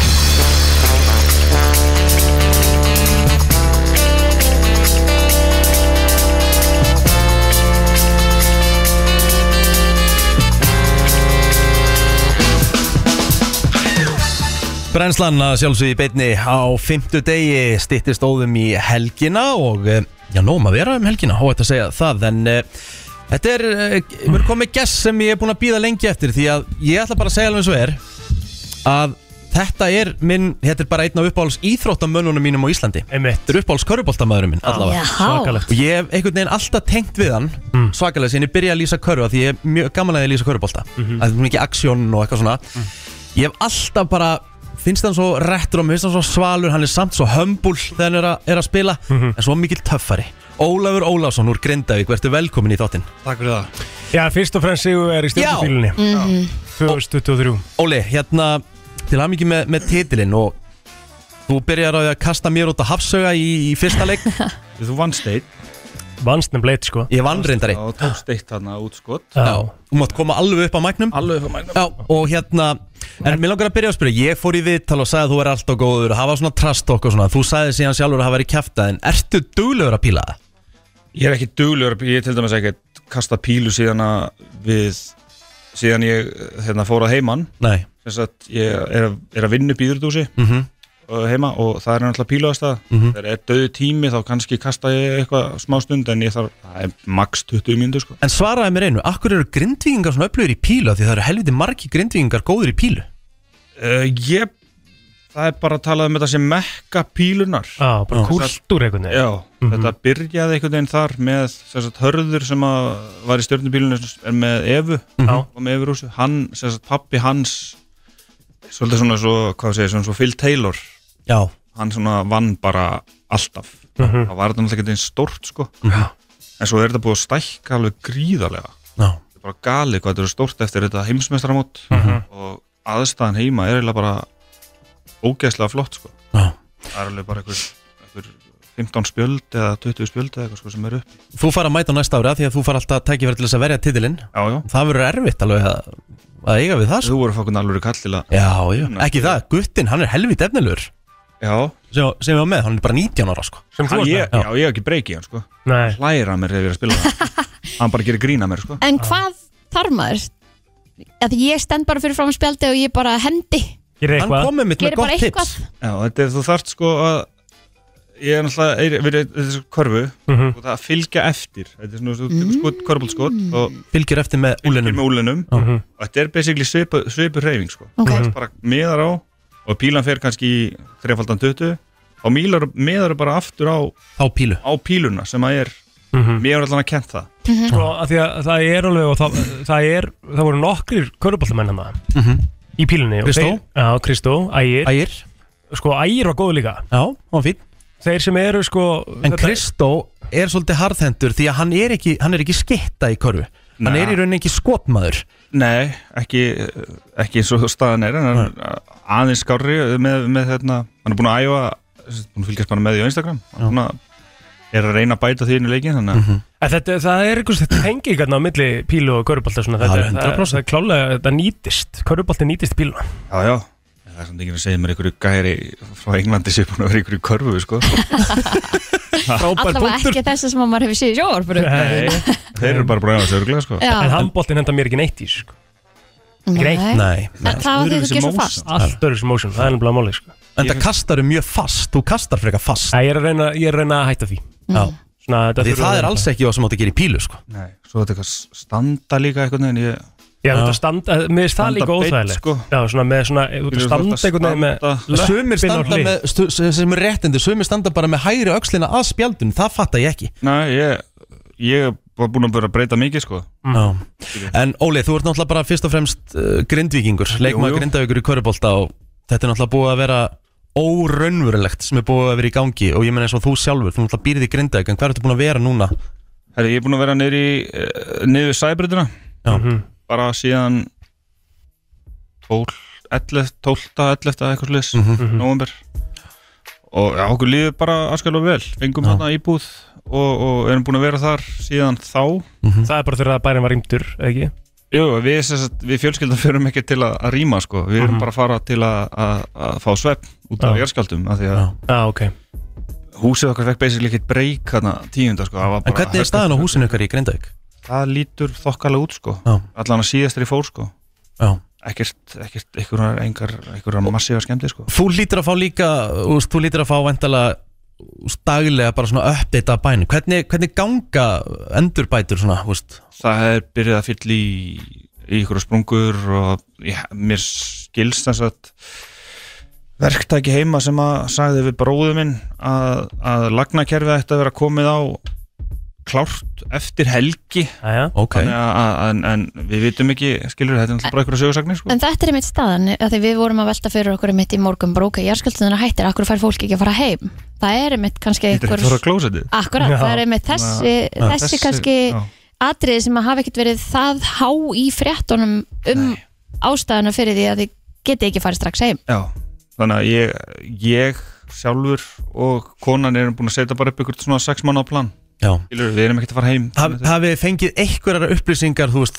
Brænslan að sjálfsögði beitni á fymtu degi stýttist óðum í helgina og eh, já, nóg maður vera um helgina, hótt að segja það en uh, þetta er, uh, mér er komið gess sem ég er búin að býða lengi eftir því að ég ætla bara að segja alveg eins og er að Þetta er minn, þetta er bara einn af uppáhalds íþróttamönnunum mínum á Íslandi Einmitt. Þetta er uppáhalds körfuboltamöðurum minn, allavega
Já. Svakalegt.
Og ég hef einhvern veginn alltaf tengt við hann mm. Svakalega, síðan ég byrja að lýsa körfa Því ég er mjög gaman að ég lýsa körfubolta
Mhm.
mm
Mm.
-hmm. Það er mikið aksjón og eitthvað svona Ég hef alltaf bara, finnst hann svo réttur og mér finnst hann svo svalur Hann er samt svo hömbul þegar hann er, a, er að spila
Mhm.
En svo mikill töffari Ólafur Ólafsson úr Grindavík, verður velkomin í þáttinn
Takk fyrir það Já, fyrst og fremst Sigur er í stjórnfílinni
Mhm.
2023
Óli, hérna til aðmyggi með, með titilinn og þú byrjar á því að kasta mér út að hafsauga í, í fyrsta
[LAUGHS]
leik Þú vannst eitt
Vannst nefnilega eitt sko
Ég vann reyndari
Og tókst eitt þarna útskot
Já, þú mátt koma alveg upp á mæknum
Alveg upp á mæknum
Já, og hérna, en mér langar að byrja að spyrja Ég fór í viðtal og sagði að þú er alltaf góður Hafa svona trast okkur svona Þú sagði síðan sjálfur að hafa verið kæfta En ertu duglegur að píla það?
Ég er ekki duglur, ég er til dæmis ekkert kasta pílu síðan að við síðan ég hérna, fór að heiman
Nei.
Þess að ég er, að- er að vinna upp í Íðurdúsi
Mhm.
og heima og það er náttúrulega pílu að stað
Mhm.
Þegar er döðu tími þá kannski kasta ég eitthvað smá stund en ég þarf, það er max 20 mínútur sko
En svaraði mér einu, akkur eru grindvíkingar svona öflugur í pílu Af Því það eru helviti margi grindvíkingar góður í pílu
uh, Ég, það er bara að tala um þetta sem mekka pílunar
Já, bara kúltúr einhvern veginn.
Já,
Mhm.
þetta byrjaði einhvern veginn þar með sem sagt, hörður sem að var í stjörnubílunum er með Evu
Mhm. Já.
og með Evu Rússu, hann, sem sagt, pappi hans svolítið svona svo, hvað segir, svona svo Phil Taylor
Já.
hann svona vann bara alltaf
Mhm.
það var þetta náttúrulega einhvern veginn stórt sko
Já.
en svo er þetta búið að stækka alveg gríðarlega
Já.
þetta er bara gali hvað þetta er stórt eftir þetta heimsmeistaramót
Mhm.
og aðstæðan heima er eiginlega bara ógeðslega flott sko.
Já.
það er alveg bara einhver, einhver 15 spjöld eða 20 spjöld eða eitthvað sko sem er upp
Þú fara að mæta á næsta ári af því að þú fara alltaf að tækja til þess að verja titilinn
já, já.
Það verður erfitt alveg að, að eiga við það sko.
Þú voru fokkun alveg kall til að
Já, já, ekki það, guttinn, hann er helvit efnilegur
Já
sem, sem ég var með, hann er bara 19 ára sko
Hann- ég, já, ég hef ekki breykið hann sko
Nei.
hlæra mér þegar ég er að spila það hann bara gerir grína mér sko
En hvað þarf maður? Að ég stend bara fyrir fram spjaldi og ég bara hendi
Gerir eitthvað. Hann kom einmitt með
Gerir bara
gott tips.
eitthvað.
Já, þetta er þú þarft sko að ég er náttúrulega, er- við erum þessu körfu og það að fylgja eftir þetta er svona, þú tekur skot,
Mm.
körbólskot og
fylgir eftir með úlenum,
með úlenum.
Mhm.
og þetta er basically svipu, svipu reyfing sko.
Ok.
Þú ert bara meðar á og pílan fer kannski í þrefaldan 20 og mílar, meðar er bara aftur á
á, pílu.
á píluna sem að er mér er allan að kent það
Sko, af því að það er alveg og það, það er, það voru nokkrir körubáltamenn hann
Mhm.
í pílunni og
Kristó.
þeir- Já, Kristó, Ægir
Ægir
Sko, Ægir var góð líka
[LAUGHS] Já, hann var fín
Þeir sem eru sko
En Kristó er svolítið harðhendur því að hann er ekki, hann er ekki skitta í körfu Hann
Nei.
er í rauninni ekki skotmaður
Nei, ekki, ekki eins og staðan er en hann er aðeins skári með, með þetta, hann er búin að æfa hún fylgjast bara með því á Instagram hann er búinn að- er að reyna að bæta því inn í leikin þannig að
Mhm.
En þetta, það er einhvers þetta hengi hérna á milli pílu og körubálta svona, þetta,
Já,
er- það,
100%.
það er klálega, þetta nýtist körubálti nýtist píluna
Já, já Það er samt ekki að segja mér einhverju gæri frá Englandi sem er búin að vera í einhverju körfu,
[LAUGHS]
sko
Allavega ekki þess að sem að maður hefur séð í sjóarbrug
Nei, þeir eru bara búin að vera sörglega, sko
Já.
En handbóltin henda mér ekki neitt í þessu, sko. Greitt
En það var því að þú gerir svo fast
Allt öðru sem motion, það er nefnilega máli sko.
En það kastar um mjög fast, þú kastar frekar fast
Æ, ég, er að reyna, ég er að reyna að hætta því
Mm.
Já
Svona, þetta
Því
þurfa að
það er
vera
alls ekki það sem átt að gera í pílu sko
Nei, svo þetta eitthvað standa líka einhvern veginn ég...
Já, þetta standa, mér finnst það
Standa
líka
beint,
óþægilegt
sko.
Já, svona með svona, þú ert að
Skilur, þú
standa
ert að
einhvern veginn með
standa-
Sumir standa
hlið.
með, stu, sem er réttindi, sumir standa bara með hægri öxlina að spjaldun, það fatta ég ekki
Nei, ég, ég var búin að vera að breyta mikið, sko
Já. En Óli, þú ert náttúrulega bara fyrst og fremst uh, grindvíkingur, leikmaður
jú.
grindavíkur í körubólta og þetta er náttúrulega búið að vera óraunverulegt sem er búið að vera í gangi og ég menna eins og þú sjálfur, þú náttúrulega býrið í grindavík en hvað ertu búin að vera núna?
Herri, ég er búin að vera niður í eh, niður sæbrytina
Já.
bara síðan 12, 11, 12, 11 eitthvað slis,
Mhm.
november og já, okkur líður bara aðskalega vel, fengum þarna íbúð og, og erum búin að vera þar síðan þá
Mhm.
Það er bara þegar að bærin var rýmdur, eða ekki?
Jú, við, sem sagt- við fjölskyldan förum ekki til að, að rýma sko, við erum bara að fara til að, að, að fá svepp út af
Mhm. Já.
jarskjaldum af því að
Já, ok
húsið okkar fekk basically ekkert breyk hana tíunda sko, það var
En
bara
hvernig er staðan á húsinu ykkar í grindavík?
það lítur þokkalega út sko,
Já.
allan að síðast er í fór sko
Já.
ekkert, ekkert, einhverjar, engar, einhverjar massífa skemmti sko
Þú lítir að fá líka, úst, þú lítir að fá vantala daglega bara svona update af bænum, hvernig, hvernig ganga endurbætur svona, úst?
það er byrjað að fylla í í ykkur sprungur og já, mér skilst þess að verktæki heima sem að sagði við bróðu minn að, að lagnakerfið ætti að vera komið á klárt eftir helgi
Aja,
okay. að, að, en, en við vitum ekki skilur þetta er náttúrulega bara einhverja sögursagnir sko.
En þetta er einmitt staðan, af því við vorum að velta fyrir okkur einmitt í morgun bróka, jarðskjöldunar hættir, akkur fær fólk ekki að fara heim? Það er einmitt kannski
Þetta er
einhver...
ekki fara á klósetið.
Akkurat,
Já.
það er einmitt þessi,
Já.
þessi
Þessi-
kannski
já.
atriði sem að hafa ekkert verið það há í fréttunum um ástæðuna fyrir því að þið geti ekki farið strax heim.
Já, þannig að ég, ég sjálfur og konan erum búin að setja bara upp ykkur svona sex mánu á plan
Já.
Skilur, við erum ekkert að fara heim
Haf- Hafið þið fengið einhverjar upplýsingar þú veist,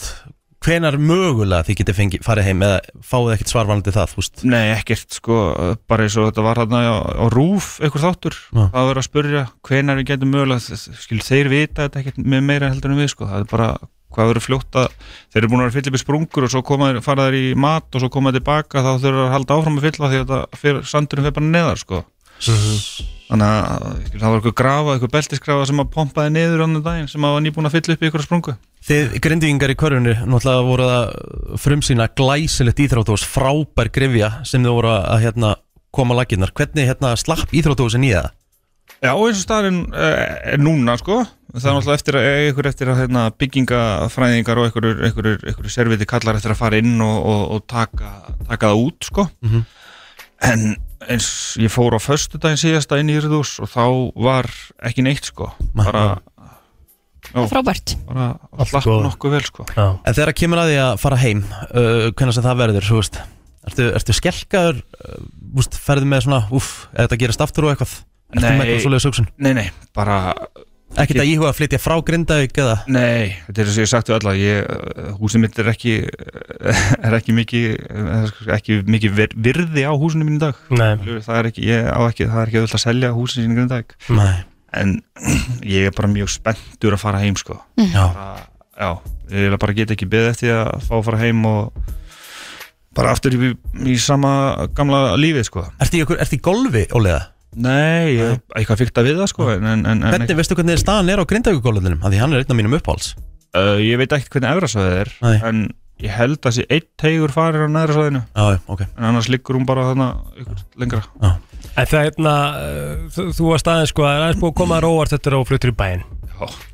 hvenar mögulega þið getið fengið, farið heim eða fáið ekkert svarvalandi það þú veist?
Nei, ekkert sko, bara eins og þetta var hérna á, á rúf ykkur þáttur
Já.
það var að spyrja hvenær við getum mögulega skil, þeir vita þetta ekkert með meira heldur en við sko, það er bara hvað verður fljótt að þeir eru búin að vera fylla upp í sprungur og svo koma, þeir- fara þeir í mat og svo koma þeir tilbaka þá þurfa þeir að halda áfram að fylla því að þetta fer- sandurinn fer bara neðar sko
Mhm.
þannig að skil, það var eitthvað grafa, eitthvað beltisgrafa sem að pompaði niður annan daginn sem að var nýbúin að fylla upp í ykkur sprungu
Þið grindingar í körfunni, náttúrulega voru það frumsýna glæsilegt íþróttús, frábær grifja sem þið voru að hérna, koma laginnar. Hvernig hérna, slapp íþróttúsin í það?
Já, eins og staðarinn eh, er núna sko Það er náttúrulega eftir að, eh, ykkur eftir að hérna, byggingafræðingar og ykkur, ykkur, ykkur serviti kallar eftir að fara inn og, og, og taka, taka það út sko
Mhm.
En eins, ég fór á föstudaginn síðasta inn í Yrðús og þá var ekki neitt sko Bara já,
Frábært.
Bara slapp
góða.
nokkuð vel sko
Já.
En þegar kemur að því að fara heim, uh, hvernig sem það verður, þú veist, ertu, ertu skelkaður, uh, úst, ferðu með svona, uff, eða þetta gerist aftur og eitthvað? Ertu með eitthvað svoleiðis hugsun?
Nei, nei, bara
Ekkert að íhuga að flytja frá Grindavík eða?
Nei, þetta er þess að ég hef sagt við alla ég, eh, húsið mitt er ekki [LAUGHS] er ekki mikið eh, ekki mikið vir- virði á húsinu mínu í dag
Nei.
Skilurðu, það er ekki, ég á ekki það er ekki auðvitað að selja húsinu sínu í dag
Nei.
en [CLEARS THROAT] ég er bara mjög spenntur að fara heim sko
Mhm. Já.
Bara- já, ég er bara get ekki beðið eftir að fá að fara heim og bara aftur í, í sama gamla lífið sko
Ertu í, ykkur- ertu í golfi, Óliða?
Nei, ég, eitthvað fyrta við það sko en, en, en,
Hvernig, veistu hvernig staðan er á Grindavíkugólfinum? Því hann er einn af mínum uppáhalds.
Uh, ég veit ekkert hvernig efrasvæðið er en ég held að sé einn teigur farir á neðra svæðinu
Já, okay.
en annars liggur hún bara þannig ykkur lengra
En það er hérna, uh, þú- þú varst aðeins sko, það er aðeins búið að koma að róvart þetta og fluttur í bæinn.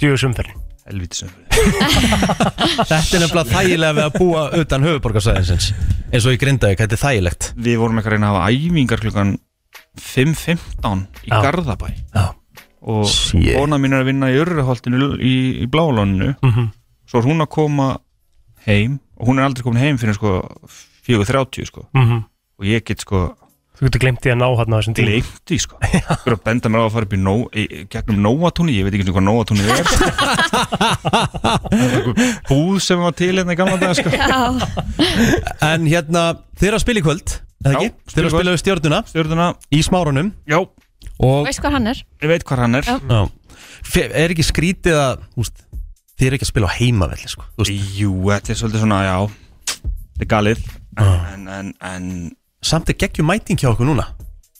Djöðu sumferðin.
Helvítið sumferðin.
[LAUGHS] Þetta er nefnilega þægilega við að búa utan höfuborgarsæðinsins eins og í Grindavík, þetta er þægilegt
Við vorum ekki að reyna að hafa æfingar klukkan 5.15 í
Já.
Garðabæ
Já.
og kona mín er að vinna í Örreholtinu í, í Blálóninu
Mhm.
svo er hún að koma heim og hún er aldrei komin heim fyrir sko 4.30 sko
Mhm.
og ég get sko
Þú getur glemt því að ná hann á þessum tíma.
gleymdi
[LAUGHS]
sko Þú er að benda mér á að fara upp í, nó, í í gegnum nóatúni Ég veit ekki einu hvað nóatúni
[LAUGHS]
er sko. Það er einhver Búð sem var til hérna í gamla dag sko.
En hérna, þeir eru að spila í kvöld eða ekki? Þeir eru að spila við stjórnuna
Stjórnuna
Í smárunum
Já
Og
Veist hvað hann er?
ég veit hvað hann er
Já.
Já. Fe- Er ekki skrítið að úst, Þeir eru ekki að spila á heimavelli sko
Jú, þetta er svolítið svona, já Þetta er galið en, en, en
Samt er geggjum mæting hjá okkur núna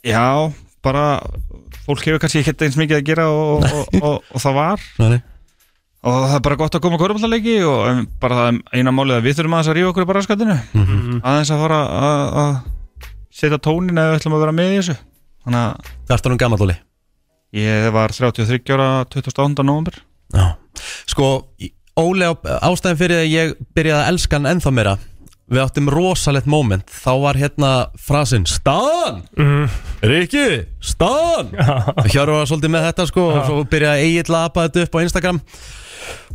Já, bara Fólk hefur kannski ekki eins mikið að gera og, og,
[LAUGHS]
og, og það var
Nei.
Og það er bara gott að koma að korfballaleiki og en bara það er eina málið að við þurfum aðeins að rífa okkur bara skatinu
Mhm.
aðeins að fara að að setja tónin eða við ætlum að vera með í þessu Þannig að
Það er stónum gammal óli
Ég var 33 ára 28. november
Sko, í- Óli á- ástæðan fyrir að ég byrjaði að elska hann ennþá meira Við áttum rosalegt moment Þá var hérna frasin Stan!
Mhm.
Rikki, Stan! Hjörður var svolítið með þetta sko Og svo byrjaði Egil að apa þetta upp á Instagram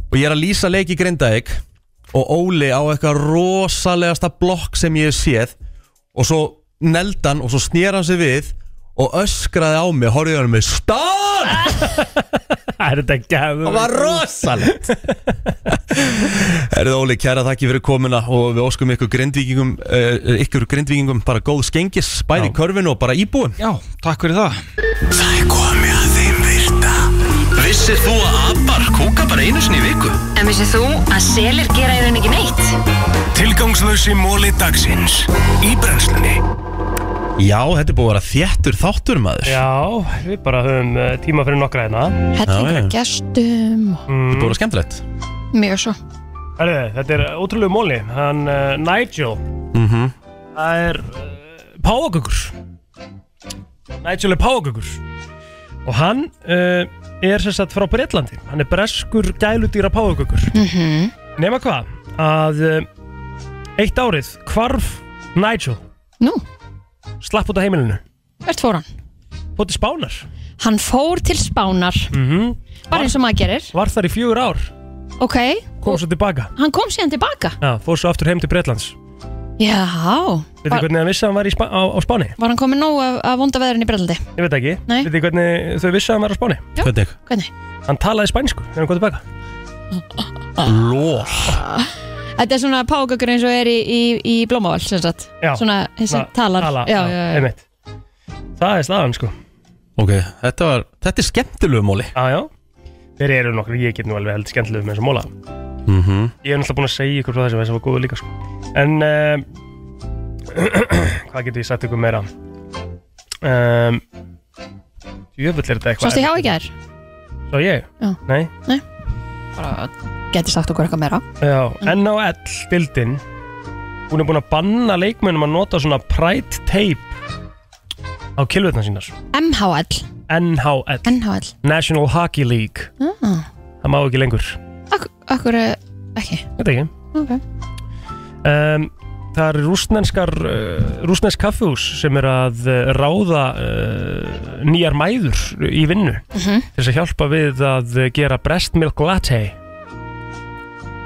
Og ég er að lýsa leik í Grindavík Og Óli á eitthvað rosalegasta blokk sem ég hef séð Og svo neldi hann og svo snýr hann sig við Og öskraði á mig, horfði hann með Stan!
Er þetta gæður?
Það var [LAUGHS] rosalegt Erðu Óli, kæra þakki fyrir komuna og við óskum ykkur grindvíkingum uh, ykkur grindvíkingum bara góð skengis bæði í körfinu og bara íbúin
Já, takk fyrir það
Það er komið að þeim virta Vissir þú að abar kúka bara einu sinni í viku?
En vissið þú að selir gera í raun ekki neitt?
Tilgangslösi móli dagsins Í brennslunni
Já, þetta er búið að vera þéttur þáttur maður
Já, við bara höfum eh, tíma fyrir nokkra hérna.
Hellingur af gestum, og-
Þetta
er búið að skemmtilegt.
mjög svo.
Herðu, þetta er ótrúlegu móli. Hann, uh, eh, Nigel,
mm -hmm.
það er uh, páfagökur. Nigel er págökur og hann uh, er sem sagt frá Breitlandi hann er breskur gæludýra págökur
Mhm.
nema hvað að uh, eitt árið hvarf Nigel
Nú?
slapp út af heimilinu
Hvert fór hann?
Fór til Spánar
Hann fór til Spánar
mm
Bara eins og maður gerir
var þar í fjögur ár
Ok,
kom svo tilbaka
hann kom síðan tilbaka
Já, fór svo aftur heim til Breitlands
Já,
Veitir
var,
hvernig það vissi að hann var í Spa- á, á Spáni?
var hann komin nóg af, af vonda veðurinn í Breldi?
Ég veit ekki
Nei.
Veitir hvernig þau vissi að hann var á Spáni?
Já.
Hvernig?
Hvernig?
Hann talaði spænsku þegar hann kom tilbaka
Lól
Þetta er svona págökur eins og er í, í, í Blómavall sem sagt
Já.
Svona þessi
Na-
talar
tala,
já, já, já.
einmitt. Það er staðan sko
Ok, þetta, var, þetta er skemmtilegu móli
Já, já Þeir eru nokkur, ég get nú alveg held skemmtilegum með þessa móla
mm -hmm.
Ég er náttúrulega búinn að segja ykkur frá þessu, þessu var góðu líka sko En uh, [CLEARS THROAT] Hvað getur ég sagt ykkur meira? Um, Jöfull er þetta eitthvað
Sástu hjá í gær?
Svo ég?
Já.
Nei
Nei Bara geti sagt okkur eitthvað meira
Já, NHL dildin Hún er búin að banna leikmennum að nota svona pride tape á kilvetna sínar
MHL
NHL,
NHL
National Hockey League
ah,
Það má ekki lengur
Akkur eh, ekki
Þetta ekki
Ok
um, Það er rúsnenskar uh, rúsnensk kaffihús sem er að uh, ráða uh, nýjar mæður í vinnu
Mhm.
til þess að hjálpa við að uh, gera breast milk latte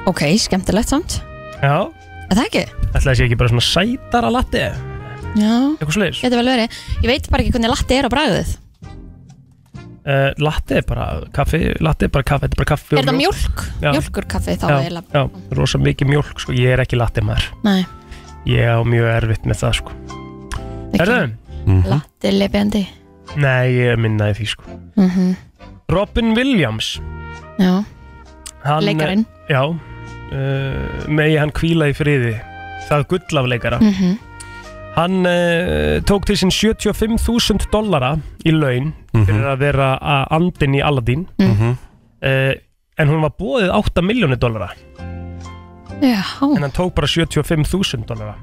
Ok, skemmtilegt samt
Já,
Er það ekki?
ætlaði sé ekki bara svona sætara latte
Já
Eitthvað sliðis
Geti vel verið Ég veit bara ekki hvernig latti er á bragðið
uh, Latte er bara kaffi, latte er bara kaffi, þetta er bara kaffi og
Er það mjólk?
Já.
Mjólkurkaffi þá
já,
eiginlega
já, rosa mikið mjólk sko, ég er ekki latte maður
Nei,
Ég á mjög erfitt með það sko Er það?
Mhm.
latti lepjandi
Nei, ég minnaði því sko
mm
Robin Williams
Já
hann,
Leikarinn.
Já, uh, megi hann kvíla í friði Það gull af leikara
Mhm.
Hann uh, tók til sín 75.000 dollara í laun fyrir að vera að andin í Aladdin
Mhm.
uh, En hún var búið 8 miljónir dollara
Já
En hann tók bara 75.000 dollara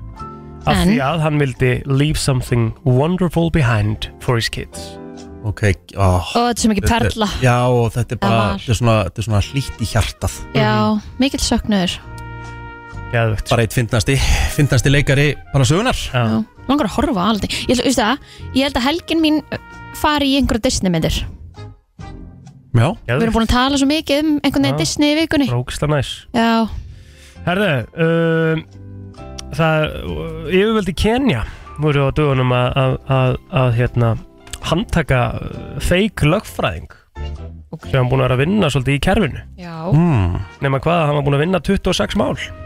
Af
En?
því að hann vildi leave something wonderful behind for his kids
Ok, oh,
Ó, þetta er svo mikið perla.
Já, og þetta er bara,
Það var.
þetta er svona, þetta er svona hlýtt í hjartað Mhm.
Já, mikill söknuður
Geðvögt
Bara eitt fyndnasti, fyndnasti leikari bara sögunar
Já
Langar að horfa á Aladdin Ég, ætla- veistu það, ég held að helgin mín ö, fari í einhverja Disney myndir
Já
Við erum búin að tala svo mikið um einhvern veginn
Já.
Disney í vikunni
Rókislega næs
Já,
Herðu, um, það yfirvöldi Kenya voru á dögunum að, að, að, að hérna, handtaka uh, fake lögfræðing sem hann búin að vera að vinna svolítið í kerfinu
já,
mm.
nema hvað, hann var búin að vinna 26 mál þannig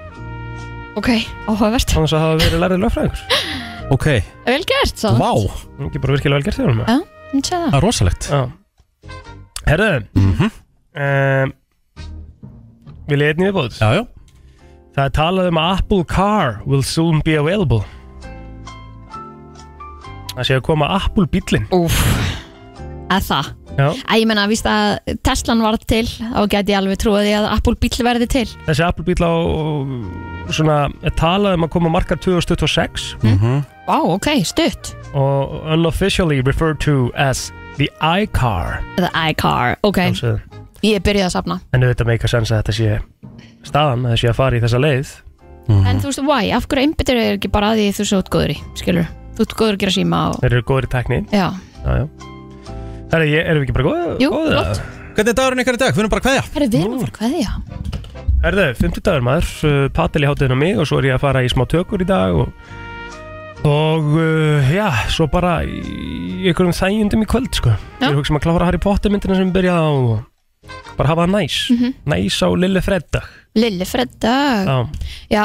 ok, áhugavert
að það hafa verið lærið lögfræðingur
Ok,
[LAUGHS] Vel gert, svo
vá,
ekki bara virkilega vel gert þér um
Já, hún sé
það
það
er rosalegt
Já. Herðu mm -hmm. um, Vil ég einnig viðbóð?
Já, já
Það er talað um að Apple Car will soon be available Það sé að koma Apple bílinn
Úf Eða það
Já,
Æ, ég menna, víst að Teslan varð til og geti ég alveg trúið því að Apple bíl verði til
þessi Apple bíl á svona er talað um að koma á markað 2026
Vá, ok, stutt
og unofficially referred to as the iCar
The iCar, ok
Sjálfsögðu.
Ég byrjaði að safna
en auðvitað meika sens að þetta sé staðan að það sé að fara í þessa leið
Mhm.
En þú veist, why, af hverju einbyttir er ekki bara að því þú svo góður í, skilur Þú ert góður að gera síma og
Þeir eru góðir í tækni
Já,
Já, já Herra, ég- erum við ekki bara góð,
Jú,
góðir?
flott.
Hvernig er dagurinn ykkar í dag? Við erum bara að kveðja
herru, við erum að fara hvað já
Herðu, 50 dagur maður, uh, patel í hátuðin á mig og svo er ég að fara í smá tökur í dag og, og uh, já, svo bara í einhverjum þægjundum í kvöld sko. Ég er að hugsa um að klára Harry Potter myndina sem byrja á og bara hafa það næs,
Mhm.
næs á lille freddag.
Lilli freddag
Já,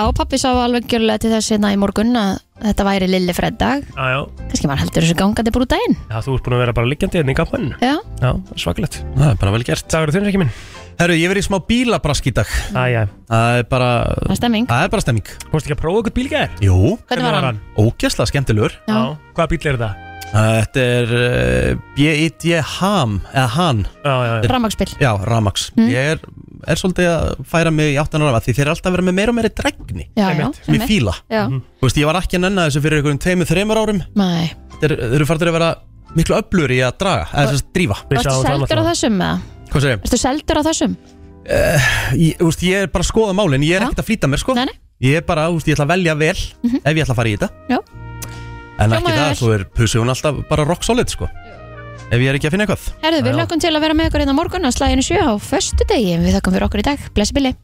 Já, pappi sá alveg gjörlega til þess hérna í morgun að þetta væri Lilli freddag
já, já,
Kannski maður heldur þessu gangandi bara út að inn
já, þú ert búin að vera bara liggjandi hérna í gafmaninu.
Já,
Já, svaklegt.
Það er bara vel gert
Dagur þunir ekki minn
Herru, ég verið í smá bílabrask í dag
Æja
Það er bara Það
er stemming
Það er bara stemming
Þú veist ekki að prófa eitthvað bílgæðir?
Jú
Hvernig var hann?
Ógæsla skemmtilegur
Já.
Hvaða bíl er þetta?
Þetta er uh, B.I.D. Ham Eða Han
Já, já,
já
Rafmagnsbíll. Hmm?
Já, Ramax Ég er, er svolítið að færa mig í áttan ára Því þeir eru alltaf að vera með meira og meiri dregni
já, já
Mér fíla Mhm.
Já,
Þú veist, ég var ekki að nenna þessu fyrir einhverjum tveimur, þreimur árum
mæ,
þeir þeir eru fartir að vera miklu öflur í að draga eða þess að drífa
Ertu seldur á þessum eða?
Hvað segir ég?
Ertu seldur á þessum?
Ég, úst, ég er bara að skoða málin, ég er ekkert að flýta mér sko
Nei, nei.
Ég er bara, úst, ég ætla að velja vel ef ég ætla að fara í þetta
Já.
En
Hljómaði
ekki það,
vel.
svo er pussun alltaf bara rock solid sko Ef ég er ekki að finna eitthvað
Herðu, við
Já.
lögum til að vera með ykkur hérna á morgun á slæginu sjö á föstudegi. Við þakkum fyrir okkur í dag. Blessi Billy.